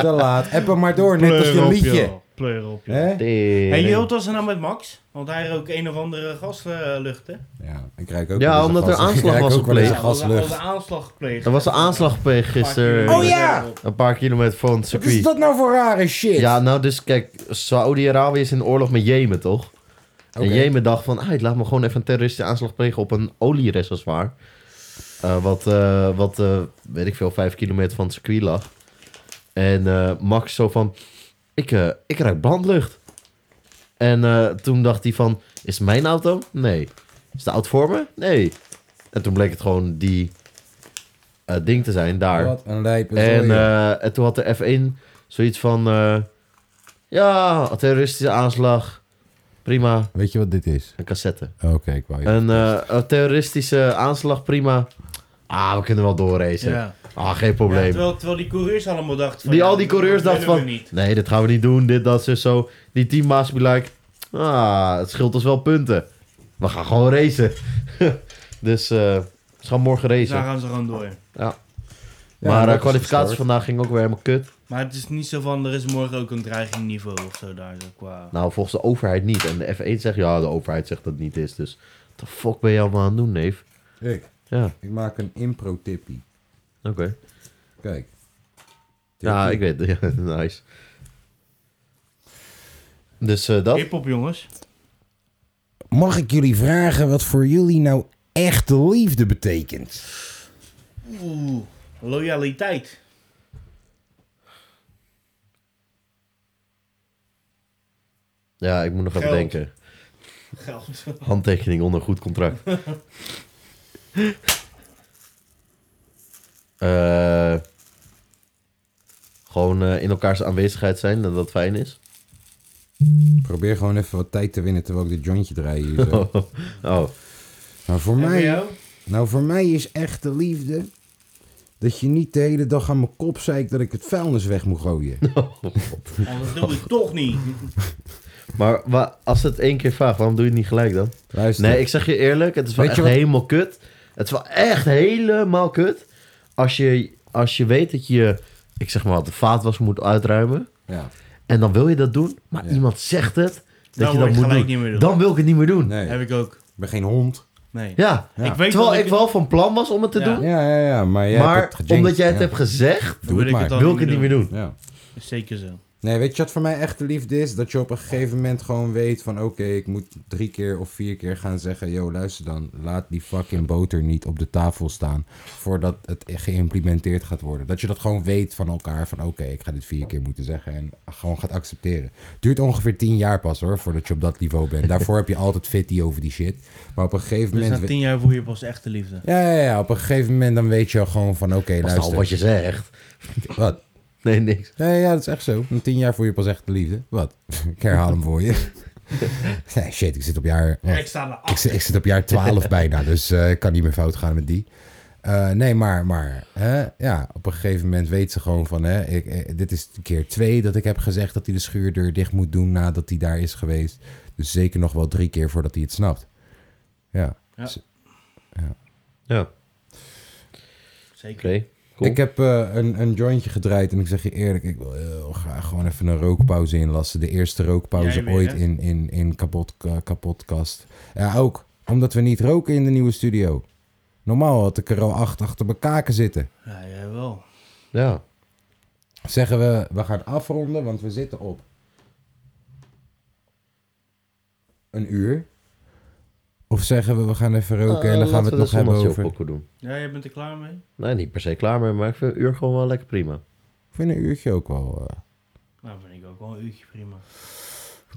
Speaker 1: <laughs> te laat. App hem maar door, net als
Speaker 3: pleur
Speaker 1: je
Speaker 3: op
Speaker 1: liedje.
Speaker 3: joh. Pleur op joh.
Speaker 1: Hè?
Speaker 3: Hey, je hield was er nou met Max? Want hij rook een of andere gaslucht, hè?
Speaker 1: Ja, ik krijg ook
Speaker 2: Ja,
Speaker 1: wel eens
Speaker 2: omdat
Speaker 1: een
Speaker 2: er
Speaker 1: gas- ik
Speaker 2: aanslag
Speaker 1: ruik
Speaker 2: was
Speaker 1: ook wel eens een
Speaker 2: gepleegd.
Speaker 3: was
Speaker 1: gaslucht.
Speaker 3: een aanslag gepleegd.
Speaker 2: Er was een aanslag eh, gepleegd gisteren.
Speaker 1: Oh ja!
Speaker 2: Een paar kilometer van het
Speaker 1: Wat is
Speaker 2: circuit.
Speaker 1: dat nou voor rare shit?
Speaker 2: Ja, nou dus kijk, Saudi-Arabië is in oorlog met Jemen, toch?
Speaker 1: Oké.
Speaker 2: En Jemen dacht van, "Ai, laat me gewoon even een terroristische aanslag plegen op een oliereservoir. Eh, wat, eh, wat eh, weet ik veel, vijf kilometer van het circuit lag. En eh, Max zo van, ik, eh ik ruik brandlucht. En eh, toen dacht hij van, is het mijn auto? Nee. Is de auto voor me? Nee. En toen bleek het gewoon die eh, ding te zijn daar.
Speaker 1: Wat een lijpe
Speaker 2: En,
Speaker 1: zooi.
Speaker 2: eh, en toen had de F1 zoiets van... eh, ja, een terroristische aanslag. Prima.
Speaker 1: Weet je wat dit is?
Speaker 2: Een cassette.
Speaker 1: Oh, Oké, ik wou je...
Speaker 2: Een, eh, een terroristische aanslag, prima. Ah, we kunnen wel doorracen.
Speaker 3: Ja.
Speaker 2: Ah, geen
Speaker 3: Ja,
Speaker 2: probleem.
Speaker 3: terwijl, terwijl die coureurs allemaal dachten van...
Speaker 2: die,
Speaker 3: ja,
Speaker 2: al die
Speaker 3: dat
Speaker 2: coureurs
Speaker 3: willen
Speaker 2: dachten van...
Speaker 3: we niet.
Speaker 2: Nee, dit gaan we niet doen. Dit, dat, zo, zo. Die teammaats be like... Ah, het scheelt ons wel punten. We gaan gewoon racen. <laughs> dus eh, ze gaan morgen
Speaker 3: Dus daar
Speaker 2: racen.
Speaker 3: gaan ze gewoon door.
Speaker 1: Ja,
Speaker 2: maar
Speaker 1: dat
Speaker 2: de
Speaker 1: is
Speaker 2: kwalificatie
Speaker 1: gestoord.
Speaker 2: vandaag ging ook weer helemaal kut.
Speaker 3: Maar het is niet zo van, er is morgen ook een dreigingniveau of zo daar. Zo qua...
Speaker 2: Nou, volgens de overheid niet. En de F1 zegt, ja, de overheid zegt dat het niet is. Dus wat de fuck ben je allemaal aan het doen, neef?
Speaker 1: Ik,
Speaker 2: Ja,
Speaker 1: ik maak een impro-tippie.
Speaker 2: oké.
Speaker 1: Kijk.
Speaker 2: Ja,
Speaker 1: Tippie.
Speaker 2: ik weet het. <laughs> Ja, nice. Dus eh, dat...
Speaker 3: Hip-hop jongens.
Speaker 1: Mag ik jullie vragen wat voor jullie nou echte liefde betekent?
Speaker 3: Oeh, loyaliteit.
Speaker 2: Ja, ik moet nog even
Speaker 3: Geld.
Speaker 2: denken.
Speaker 3: Geld.
Speaker 2: Handtekening onder een goed contract. Eh, gewoon eh, in elkaars aanwezigheid zijn, dat dat fijn is. <laughs>
Speaker 1: Probeer gewoon even wat tijd te winnen terwijl ik dit jointje draai
Speaker 2: <laughs>
Speaker 1: hier. Zo.
Speaker 2: Oh, oh.
Speaker 1: Nou, voor
Speaker 3: En voor
Speaker 1: mij,
Speaker 3: jou?
Speaker 1: nou, voor mij is echte liefde dat je niet de hele dag aan
Speaker 2: <laughs>
Speaker 1: mijn kop zeikt dat ik het vuilnis weg moet gooien.
Speaker 3: Oh, dat doe ik toch niet.
Speaker 2: Maar wa- als het één keer vraagt, waarom doe je het niet gelijk dan?
Speaker 1: Luister.
Speaker 2: Nee, ik zeg je eerlijk, het is wel
Speaker 1: Dus Weet
Speaker 2: echt
Speaker 1: je wat-
Speaker 2: helemaal kut. Het is wel echt helemaal kut. Als je, als je weet dat je, ik zeg maar wat, de vaatwas moet uitruimen.
Speaker 1: Ja.
Speaker 2: En dan wil je dat doen, maar
Speaker 1: Ja.
Speaker 2: iemand zegt het. Dat
Speaker 3: Dan
Speaker 2: je
Speaker 3: wil
Speaker 2: dat
Speaker 3: ik
Speaker 2: moet
Speaker 3: gelijk
Speaker 2: doen.
Speaker 3: niet meer doen.
Speaker 2: Dan wil ik het niet meer doen.
Speaker 1: Nee,
Speaker 3: Heb
Speaker 1: ik
Speaker 3: ik ook.
Speaker 1: ben geen hond.
Speaker 3: Nee.
Speaker 2: Ja.
Speaker 1: Ja.
Speaker 3: Ik weet wel
Speaker 2: Terwijl
Speaker 3: dat
Speaker 2: ik wel van plan was om het te
Speaker 3: Ja.
Speaker 2: doen.
Speaker 1: Ja, ja, ja. Maar, jij
Speaker 2: maar
Speaker 1: hebt het gejankt.
Speaker 2: omdat jij het
Speaker 1: Ja.
Speaker 2: hebt gezegd,
Speaker 1: Doe het
Speaker 3: wil ik
Speaker 1: maar.
Speaker 3: het dan
Speaker 2: wil ik het niet meer doen.
Speaker 1: Ja.
Speaker 3: Zeker zo.
Speaker 1: Nee, weet je wat voor mij echte liefde is? Dat je op een gegeven moment gewoon weet van... Oké, ik moet drie keer of vier keer gaan zeggen... Yo, luister dan. Laat die fucking boter niet op de tafel staan... voordat het geïmplementeerd gaat worden. Dat je dat gewoon weet van elkaar. Van oké, ik ga dit vier keer moeten zeggen. En gewoon gaat accepteren. Duurt ongeveer tien jaar pas hoor, voordat je op dat niveau bent. Daarvoor heb je altijd fitty over die shit. Maar op een gegeven
Speaker 3: Dus
Speaker 1: moment...
Speaker 3: na
Speaker 1: we-
Speaker 3: tien jaar voel je pas echte liefde.
Speaker 1: Ja, ja, ja, op een gegeven moment dan weet je al gewoon van... Oké,
Speaker 2: Pas
Speaker 1: luister.
Speaker 2: al wat je zegt.
Speaker 1: Wat?
Speaker 2: Nee, niks.
Speaker 1: Nee, ja, dat is echt zo. Na tien jaar voel je pas echt de liefde. Wat? <laughs> Ik herhaal hem voor je. Nee, shit, ik zit op jaar... eh,
Speaker 3: Ik sta er
Speaker 1: Ik zit, ik zit op jaar 12 bijna, dus eh, ik kan niet meer fout gaan met die. Eh, nee, maar, maar hè, ja, op een gegeven moment weet ze gewoon van... Hè, ik, eh, dit is keer twee dat ik heb gezegd dat hij de schuurdeur dicht moet doen nadat hij daar is geweest. Dus zeker nog wel drie keer voordat hij het snapt. Ja.
Speaker 3: Ja.
Speaker 1: Z-
Speaker 2: Ja, oké.
Speaker 3: Zeker.
Speaker 2: Cool.
Speaker 1: Ik heb eh, een, een jointje gedraaid en ik zeg je eerlijk, ik wil heel graag gewoon even een rookpauze inlassen. De eerste rookpauze
Speaker 3: Jij weer,
Speaker 1: ooit
Speaker 3: hè?
Speaker 1: in, in, in kapot, ka- kapotkast. Ja, ook omdat we niet roken in de nieuwe studio. Normaal had ik er al acht achter mijn kaken zitten.
Speaker 3: Ja, jij wel.
Speaker 2: Ja.
Speaker 1: Zeggen we, we gaan afronden, want we zitten op een uur. Of zeggen we, we gaan even
Speaker 2: Eh,
Speaker 1: roken en dan gaan we het nog hebben over...
Speaker 2: Pokoe doen.
Speaker 3: Ja, jij bent er klaar mee?
Speaker 2: Nee, niet per se klaar mee, maar ik vind een uur gewoon wel lekker prima.
Speaker 1: Ik vind een uurtje ook wel... eh,
Speaker 3: Nou, vind ik ook wel een uurtje prima.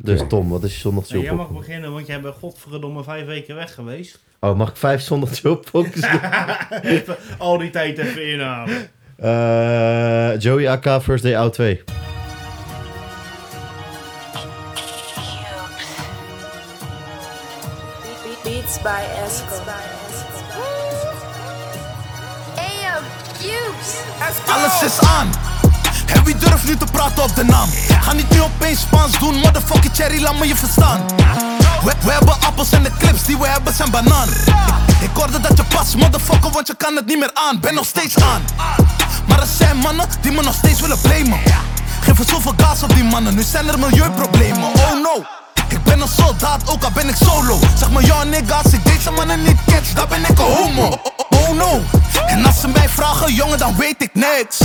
Speaker 2: Dus Tom, wat is je zondag
Speaker 3: Nee, jij
Speaker 2: chillpokoe?
Speaker 3: mag beginnen, want jij bent godverdomme vijf weken weg geweest.
Speaker 2: Oh, mag ik vijf zondag chillpokoes doen?
Speaker 3: Even al die tijd even inhalen.
Speaker 2: Eh, Joey AK First Day Out 2.
Speaker 7: Beats by Esco. Ayo, Cubes.
Speaker 8: Alles is aan. En wie durft nu te praten op de naam? Ga niet nu opeens Spaans doen, motherfucking cherry, laat me je verstaan. We, we hebben appels en de clips die we hebben zijn banaan. Ik, ik hoorde dat je pas, motherfucker, want je kan het niet meer aan. Ben nog steeds aan. Maar er zijn mannen die me nog steeds willen blamen. Geef er zoveel gas op die mannen, nu zijn er milieuproblemen. Oh no. Ik ben een soldaat, ook al ben ik solo. Zeg maar ja nigga, als ik deze mannen niet catch, dan ben ik een homo. Oh, oh, oh no. En als ze mij vragen, jongen, dan weet ik niks.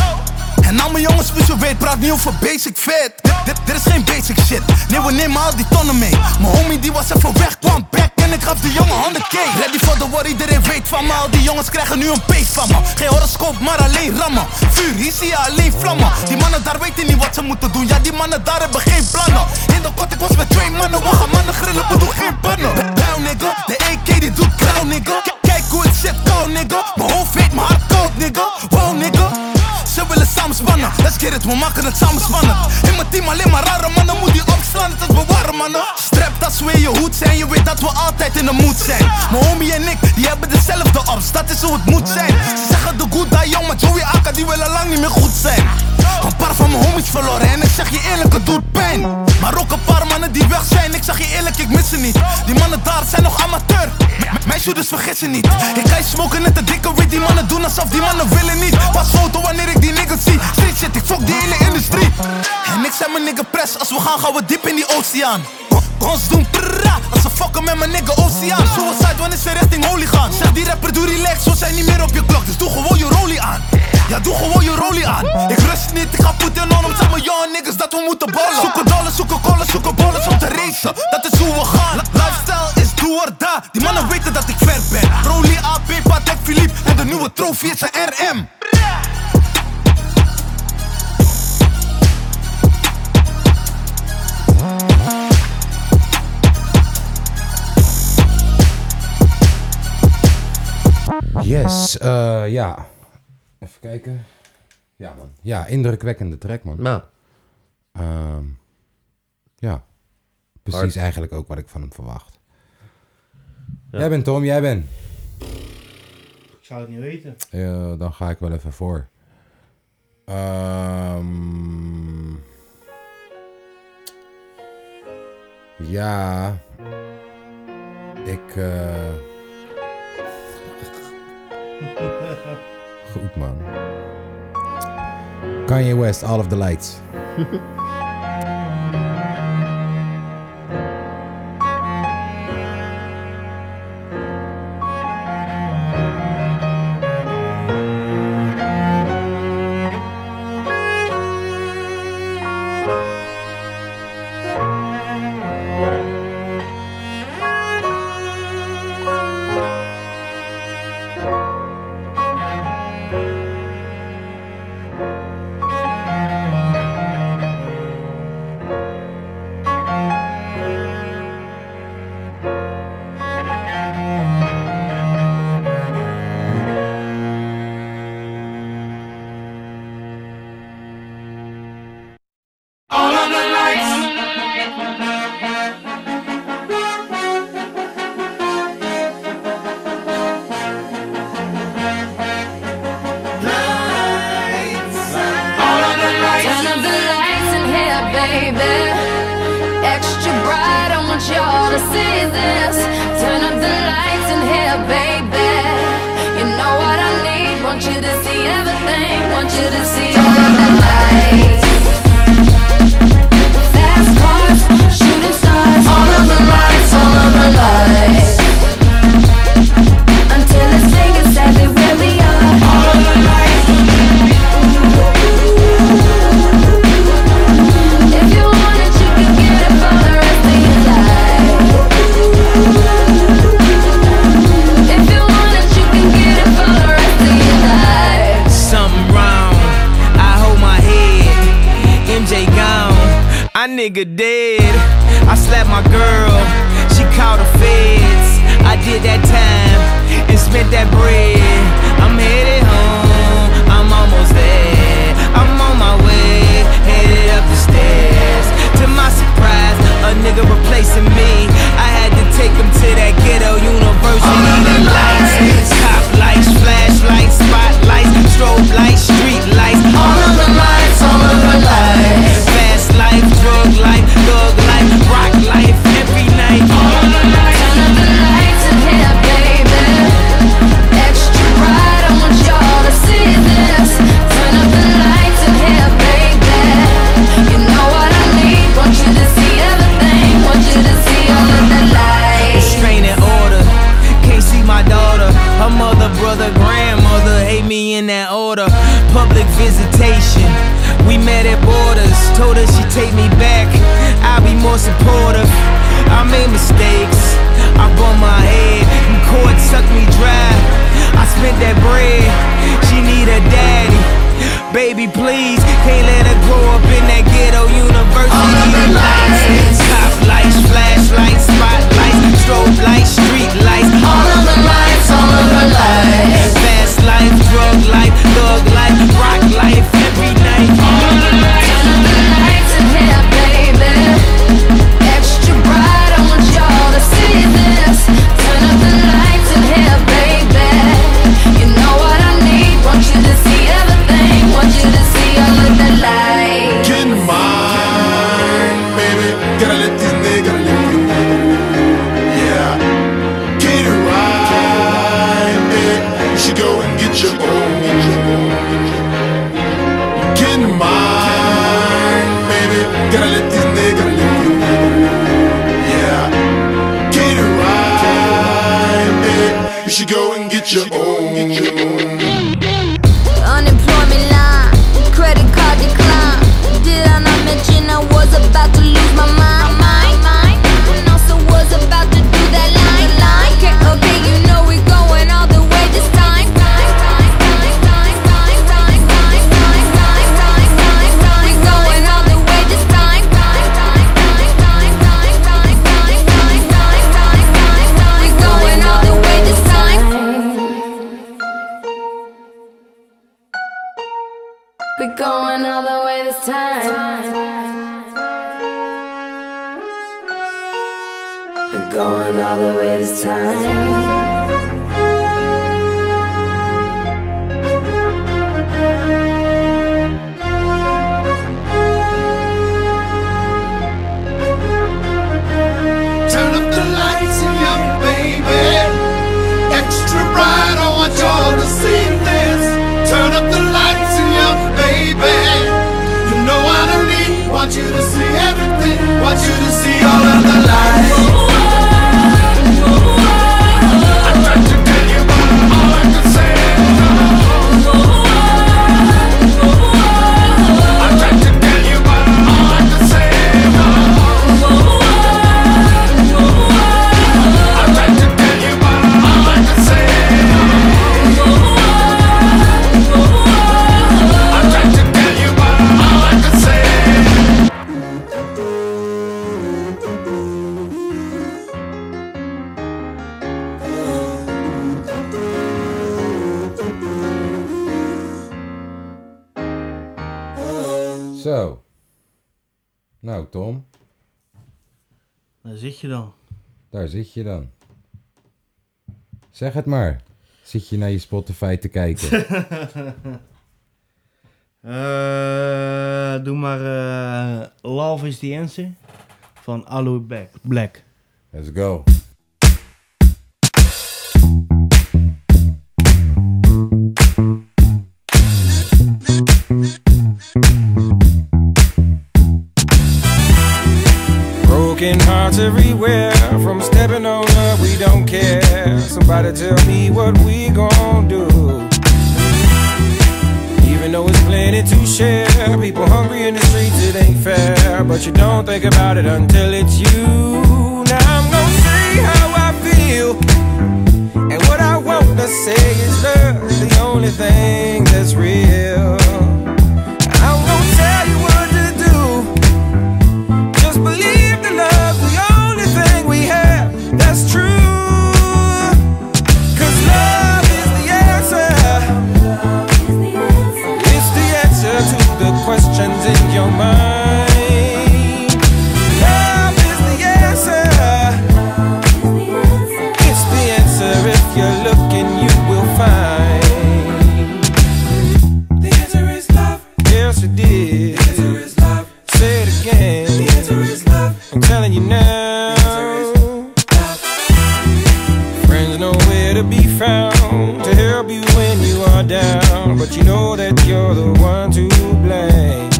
Speaker 8: En al mijn jongens, moet je weet, praat niet over basic fit. Dit, dit, dit is geen basic shit. Nee, we nemen al die tonnen mee. Mijn homie die was even weg, kwam back en ik gaf die jongen 100k. Ready for the war, iedereen weet van me. Al die jongens krijgen nu een pees van me. Geen horoscoop, maar alleen rammen. Vuur, hier zie je alleen vlammen. Die mannen daar weten niet wat ze moeten doen. Ja, die mannen daar hebben geen plannen. In de kot, ik was met twee mannen. We gaan mannen grillen, we doen geen bannen. Down, nigga. De AK die doet crown, nigga. K- Kijk hoe het zit, koud, nigga. Mijn hoofd weet, mijn hart koud, nigga. Wow, nigga. Ze willen samen spannen, let's get it, we maken het samen spannen. In mijn team alleen maar rare mannen, moet die opslaan, het is bewaren mannen. Strap dat we in je hoed zijn, je weet dat we altijd in de moed zijn. Mijn homie en ik, die hebben dezelfde ups, dat is hoe het moet zijn. Ze zeggen de good die jong, maar Joey Akka die willen lang niet meer goed zijn. Een paar van mijn homies verloren en ik zeg je eerlijk, het doet pijn. Maar ook een paar mannen die weg zijn, ik zeg je eerlijk, ik mis ze niet. Die mannen daar zijn nog amateur, M- m- mijn shooters vergissen niet. Ik ga je smoken net de dikke wit, die mannen doen alsof die mannen willen niet. Pas foto wanneer ik die niggas zie. Street shit, ik fok die hele industrie. En ik zijn mijn nigga press, als we gaan, gaan we diep in die oceaan. Ons doen prrra, als ze fucken met mijn nigga oceaan. Suicide, wanneer ze richting holy gaan. Zeg die rapper, doe relax, we zijn niet meer op je klok, dus doe gewoon je rollie aan. Ja, doe gewoon je rollie aan. Ik rust niet, ik ga Poetin on om. Zeg maar, ja, niggas, dat we moeten ballen. Zoeken dollars, zoeken kollen, zoeken bollens om te racen. Dat is hoe we gaan. Li- lifestyle is do or die. Die mannen weten dat ik ver ben. Rollie AP, Patek Philippe. En de nieuwe trofee is een RM.
Speaker 1: Yes, eh, ja. Even kijken. Ja, man. Ja, indrukwekkende track, man.
Speaker 2: Nou,
Speaker 1: Ehm, ja. Precies
Speaker 2: Hard.
Speaker 1: eigenlijk ook wat ik van hem verwacht. Jij bent Tom, jij bent.
Speaker 3: Ik zou het niet weten.
Speaker 1: Eh, dan ga ik wel even voor. Ehm, Ja. Ik. eh, <laughs> Goed man. Kanye West, All of the Lights.
Speaker 9: All of the lights.
Speaker 10: Turn up the lights in here, baby. Extra bright, I want y'all to see this. Turn up the lights in here, baby. You know what I need? Want you to see everything. Want you to see all of the lights. Fast cars, shooting stars. All of the lights, all of the lights. Until it's clear exactly where we are. All of the lights.
Speaker 11: Something wrong. I hold my head. MJ gone. I nigga dead. I slapped my girl. She called the feds. I did that time and spent that bread. I'm headed home. I'm almost there. I'm on my way. Headed up the stairs. To my surprise, a nigga replacing me. I had to take him to that ghetto university. lights, top lights, flashlights, spotlights, strobe lights, street lights. All of the lights, all of the lights. Fast life, drug life, thug life, rock life, every night. All of the lights. Restraining order. Can't see my daughter. Her mother, brother, grandmother hate me in that order. Public visitation. We met at borders. Told her she take me back. I'll be more supportive. I made mistakes. I bumped my head. And court sucked me dry. I spent that bread. She need a daddy. Baby, please, can't let her grow up in that ghetto university. lights, top lights, flashlights, spotlights, strobe lights, street lights. All of the lights, all of the lights. Fast life, drug life, thug life, rock life, every night. All of the lights, all of the lights in here, baby.
Speaker 12: Get in mine, baby. Gotta let this nigga live. Yeah. Get it right, baby. You should go and get your own. Get in mine, baby. Gotta let this nigga live. Yeah. Get it right, baby. You should go and get your own.
Speaker 10: Unemployment line, credit card decline. Did I not mention I was about to lose my mind? Mind, mind. And also was about to do that line, line. Okay, okay, you know we going all the way this time. We going all the way this time. We going all the way this time. We going all the way this time. We going all the way this time.
Speaker 12: Turn up the lights in your baby. You know what I mean. Want you to see everything. Want you to see all of the lights. I tried to tell you, but all I could say is no. I tried to tell you, but all I could say is no. I tried to tell you, but all I could say is no. I tried to tell you, but all I could say is no.
Speaker 1: Zo. Nou, Tom,
Speaker 3: Daar zit je dan.
Speaker 1: daar zit je dan. Zeg het maar. Zit je naar je Spotify te kijken?
Speaker 3: Eh, doe maar eh, Love is the Answer van Aloe Black. Black.
Speaker 1: Let's go.
Speaker 13: Broken hearts everywhere from stepping on up, we don't care. Somebody tell me what we gon' do. Even though it's plenty to share, people hungry in the streets, it ain't fair. But you don't think about it until it's you. Now I'm gonna say how I feel. And what I want to say is love's the only thing that's real. I'm gonna tell you what to do. Just believe the love, the only thing we have that's true. Cause love is the answer. It's the answer to the questions in your mind. Love is the answer. It's the answer. If you're looking, you will find. The answer is love. Yes, it did. The answer is love. Say it again. The answer is love. I'm telling you now. Friends nowhere to be found to help you when you are down, but you know that you're the one to blame.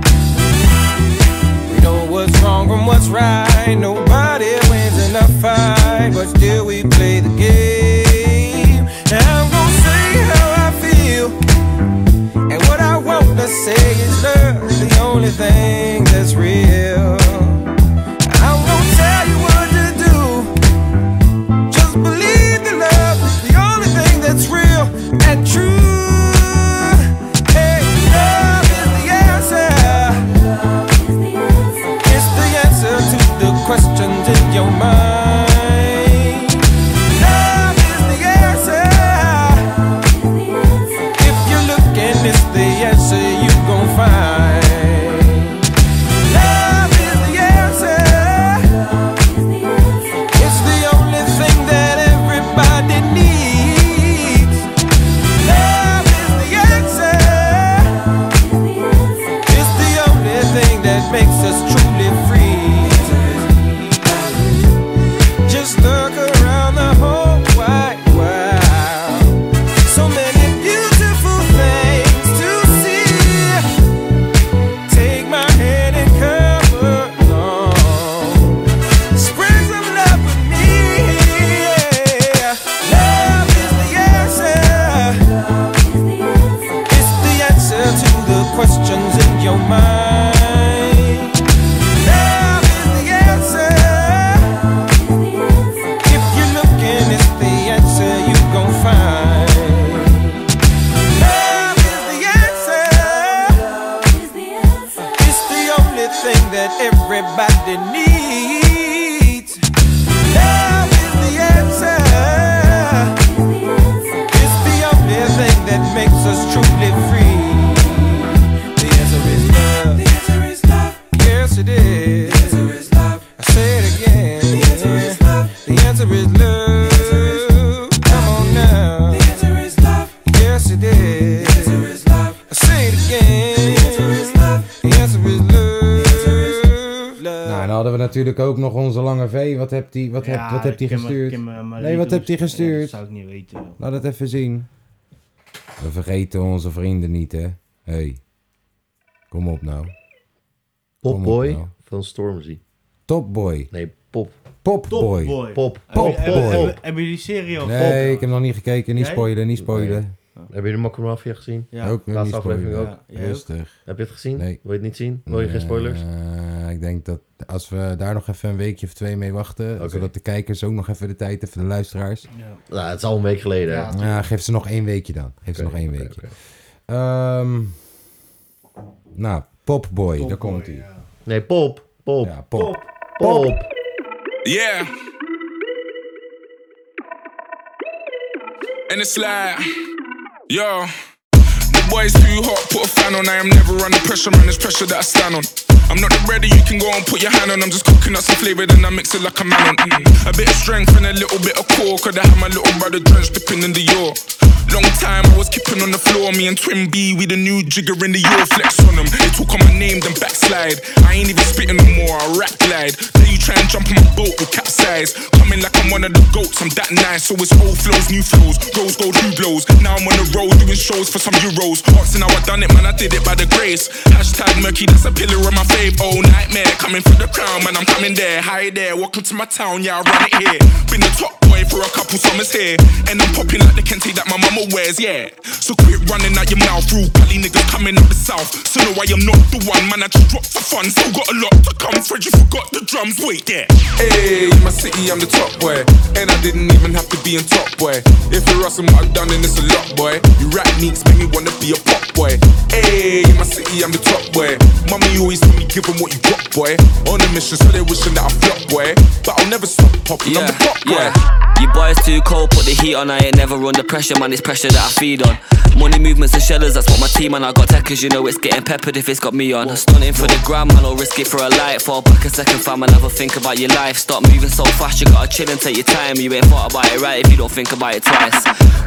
Speaker 13: We know what's wrong from what's right. Nobody wins in a fight, but still we play the game. And I'm gonna say how I feel. And what I want to say is love's the only thing that's real. I won't tell you what to do. Just believe that love is the only thing that's real and true. Hey, love is the answer. It's the answer to the questions in your mind. Love is the answer. If you're looking, it's the answer you gon' find. Love is the answer. It's the only thing that everybody needs. Love is the answer. It's the only thing that makes us truly free. Just look around the whole wide world. So many beautiful things to see. Take my hand and come along. Spring some love with me. yeah. Love is the answer. It's the answer to the questions in your mind. Love is the answer. If you're looking, it's the answer you gon' find. Love is the answer. It's the only thing that everybody needs. Love is the answer. It's the only thing that makes us truly free. The answer is love. The answer is love. Yes, it is. The answer is love. I say it again. The answer is love. The answer is love. Come on now. The answer is love. Yes, it is. The answer is love. I say it again. The answer is love. The answer is love.
Speaker 1: Nou, en dan hadden we natuurlijk ook nog onze lange V. Wat hebt hij wat
Speaker 3: Ja,
Speaker 1: hebt, wat hebt die
Speaker 3: ik ken me- dus
Speaker 1: gestuurd?
Speaker 3: ken me maar
Speaker 1: nee, wat
Speaker 3: regels.
Speaker 1: hebt hij
Speaker 3: Ja,
Speaker 1: gestuurd?
Speaker 3: dat zou ik niet weten.
Speaker 1: Laat het even zien. We vergeten onze vrienden niet, hè? hey. kom op nou. Kom op
Speaker 2: Popboy
Speaker 1: nou.
Speaker 2: van Stormzy.
Speaker 1: Topboy.
Speaker 2: Nee, Pop.
Speaker 1: Popboy.
Speaker 2: Popboy. Pop.
Speaker 3: Eh,
Speaker 1: Popboy.
Speaker 2: Hebben- hebben- hebben-
Speaker 3: Hebben jullie die serie al
Speaker 1: Nee, ik heb nog niet gekeken. Niet
Speaker 3: Jij?
Speaker 1: spoilen, niet spoilen.
Speaker 2: Heb je de Mokko Mafia gezien?
Speaker 3: Ja.
Speaker 1: Ook nog niet
Speaker 2: Laatste aflevering
Speaker 1: spoilen.
Speaker 2: ook.
Speaker 1: Ja, jij ook? Rustig.
Speaker 2: Heb je het gezien?
Speaker 1: Nee.
Speaker 2: Wil je het niet zien? Wil je geen spoilers?
Speaker 1: Eh, ik denk dat als we daar nog even een weekje of twee mee wachten, zodat de kijkers ook nog even de tijd hebben, de luisteraars.
Speaker 3: Ja.
Speaker 2: Nou, het is al een week geleden. hè?
Speaker 1: Ja, geef ze nog één weekje dan. Geef ze nog één weekje. Ehm, nou, Popboy, daar komt hij.
Speaker 2: Nee, Pop. Pop.
Speaker 1: Ja, pop. pop.
Speaker 2: Pop.
Speaker 14: Yeah. And it's like, yo, the boy's too hot, put a fan on. I am never under pressure, man. It's pressure that I stand on. I'm not the bread that you can go and put your hand on. I'm just cooking up some flavor, then I mix it like a man on. Mm. A bit of strength and a little bit of core. Could I have my little brother drenched dipping in the yaw? Long time I was kipping on the floor. Me and Twin B, we the new jigger in the yaw. Flex on them. They talk on my name, then backslide. I ain't even spitting no more. I rap glide. Then you try and jump on my boat, you capsize. Coming like I'm one of the <laughs> goats. I'm that nice. So it's old flows, new flows. Rose gold, new blows. Now I'm on the road doing shows for some euros. Asking how I done it, man. I did it by the grace. Hashtag murky, that's a pillar of my fave. Oh, nightmare. Coming for the crown, man. I'm coming there. Hi there. Welcome to my town. Yeah, I run it here. Been the top boy for a couple summers here. And I'm popping like the kente that my mama wears, yeah. So quit running out your mouth, rule Cali niggas coming up the south. So no, I am not the one, man. I just dropped for fun. Still got a lot to come. Fred, you forgot the drums. Wait there. Hey, in my city, I'm the top boy. And I didn't even have to be in top boy. If you're us and what I've done, then it's a lot, boy. You rap neeks make me wanna be a pop boy. Hey, in my city, I'm the top boy. Mommy always told me, give 'em what you got, boy. On a mission, so they wishing that I flop, boy. But I'll never stop popping. I'm the pop boy.
Speaker 15: You boys too cold, put the heat on. I ain't never under pressure, man. It's pressure that I feed on. Money movements and shellers, that's what my team and I got tech, cause you know it's getting peppered if it's got me on. Stunning for the gram, man, I'll risk it for a light. Fall back a second, fam, and have a think about your life. Stop moving so fast, you gotta chill and take your time. You ain't thought about it right if you don't think about it twice.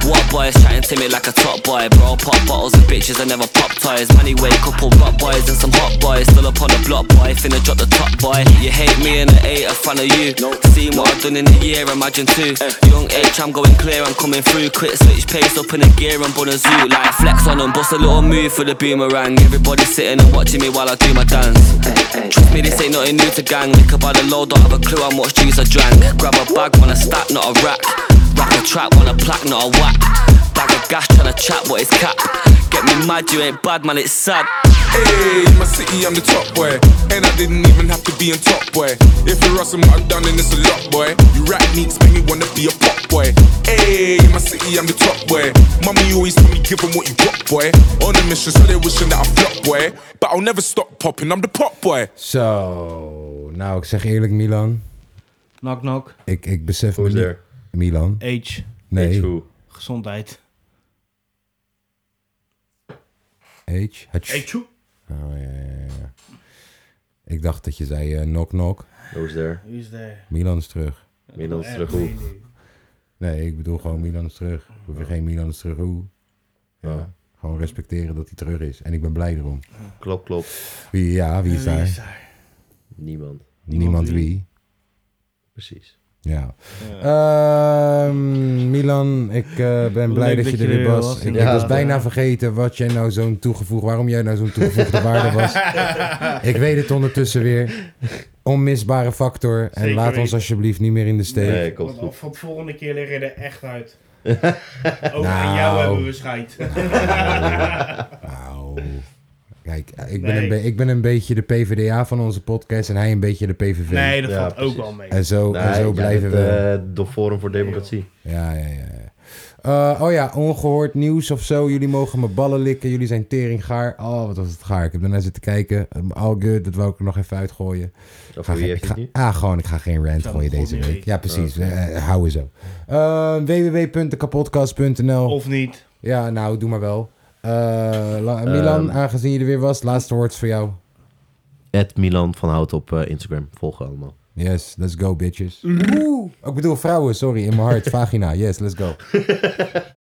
Speaker 15: What boys chatting to me like a top boy, bro? Pop bottles and bitches, I never pop toys. Money way, couple rock boys and some hot boys. Still up on the block, boy, finna drop the top boy. You hate me and I ain't a fan of you. Seen what I've done in a year, imagine two. Young H, I'm going clear, I'm coming through. Quick switch pace up in the gear, I'm bun a zoo. Like flex on them, bust a little move for the boomerang. Everybody sitting and watching me while I do my dance. Trust me, this ain't nothing new to gang. Liquor by the load, don't have a clue how much juice I drank. Grab a bag, want a stack, not a rack. Rack a trap, want a plaque, not a whack. Bag of gas, tryna chat, what is cap? Get me mad, you ain't bad, man, it's sad.
Speaker 14: Hey, in my city, I'm the top boy. And I didn't even have to be in top boy. If you're us and what I've done, then it's a lot, boy. You rap neeks make me wanna be a pop boy. Hey, in my city, I'm the top boy. Mommy always told me, give 'em what you got, boy. On a mission, so they wishing that I flop, boy. But I'll never stop popping, I'm the pop boy.
Speaker 1: Zo, nou, ik zeg eerlijk, Milan.
Speaker 3: Knock, knock.
Speaker 1: Ik, ik besef me
Speaker 3: Who's
Speaker 1: niet-
Speaker 3: there?
Speaker 1: Milan.
Speaker 3: Age.
Speaker 1: Nee. H.
Speaker 3: Gezondheid.
Speaker 1: Hatsch. Oh, ja, ja, ja. Ik dacht dat je zei eh, knock knock.
Speaker 2: Who's there?
Speaker 3: Who's there?
Speaker 1: Milan is terug.
Speaker 2: Milan is terug, hoe?
Speaker 1: Nee, ik bedoel gewoon Milan is terug. We hoeven geen Milan is terug hoe. Ja.
Speaker 2: Ja.
Speaker 1: Gewoon respecteren dat hij terug is. En ik ben blij erom.
Speaker 2: Klop, klop.
Speaker 1: Wie, ja, wie is
Speaker 2: En wie
Speaker 1: daar?
Speaker 2: is Niemand.
Speaker 1: Niemand wie.
Speaker 2: Precies.
Speaker 1: Ja. Ehm, Milan, ik eh, ben
Speaker 2: Leuk
Speaker 1: blij dat,
Speaker 2: dat
Speaker 1: je er
Speaker 2: je
Speaker 1: weer
Speaker 2: er
Speaker 1: was.
Speaker 2: was.
Speaker 1: Ik, ik
Speaker 2: Ja.
Speaker 1: was bijna vergeten wat jij nou zo'n toegevoegd, waarom jij nou zo'n toegevoegde waarde was. Ik weet het ondertussen weer. Onmisbare factor. En
Speaker 3: Zeker
Speaker 1: laat ons
Speaker 3: weten.
Speaker 1: alsjeblieft niet meer in de steek.
Speaker 3: Want al Van de volgende keer liggen er echt uit. Ook aan jou
Speaker 1: Nou.
Speaker 3: hebben we scheid. <laughs>
Speaker 1: Nou, kijk, eh, ik ben,
Speaker 3: Nee.
Speaker 1: een, be- ik ben een beetje de PvdA van onze podcast en hij een beetje de PVV.
Speaker 3: Nee, dat valt ook wel mee.
Speaker 1: En zo, en
Speaker 2: Nee,
Speaker 1: zo
Speaker 2: jij
Speaker 1: blijven
Speaker 2: bent,
Speaker 1: we.
Speaker 2: eh, de Forum voor Democratie.
Speaker 1: Ja, ja, ja. ja. Eh, oh ja, ongehoord nieuws of zo. Jullie mogen mijn ballen likken. Jullie zijn teringgaar. Oh, wat was het gaar. Ik heb daarna zitten kijken. Um, All good, dat wou ik er nog even uitgooien.
Speaker 2: Over
Speaker 1: Ga
Speaker 2: wie
Speaker 1: geen-
Speaker 2: heeft
Speaker 1: ik
Speaker 2: het
Speaker 1: ga-
Speaker 2: nu?
Speaker 1: Ah, gewoon, ik ga geen rant
Speaker 2: Zou
Speaker 1: gooien
Speaker 2: God
Speaker 1: deze
Speaker 2: niet
Speaker 1: week.
Speaker 2: weten.
Speaker 1: Ja, precies.
Speaker 2: Oké.
Speaker 1: Eh, houden zo. Eh www.kapodcast.nl
Speaker 3: Of niet.
Speaker 1: Ja, nou, doe maar wel. Eh, La- Milan,
Speaker 2: Ehm.
Speaker 1: aangezien je er weer was, laatste woord is voor jou.
Speaker 2: Ed Milan van Hout op eh, Instagram. Volgen allemaal.
Speaker 1: Yes, Oh, let's go, bitches. Oeh. Ik bedoel vrouwen, sorry, in mijn hart. Vagina, yes, let's go.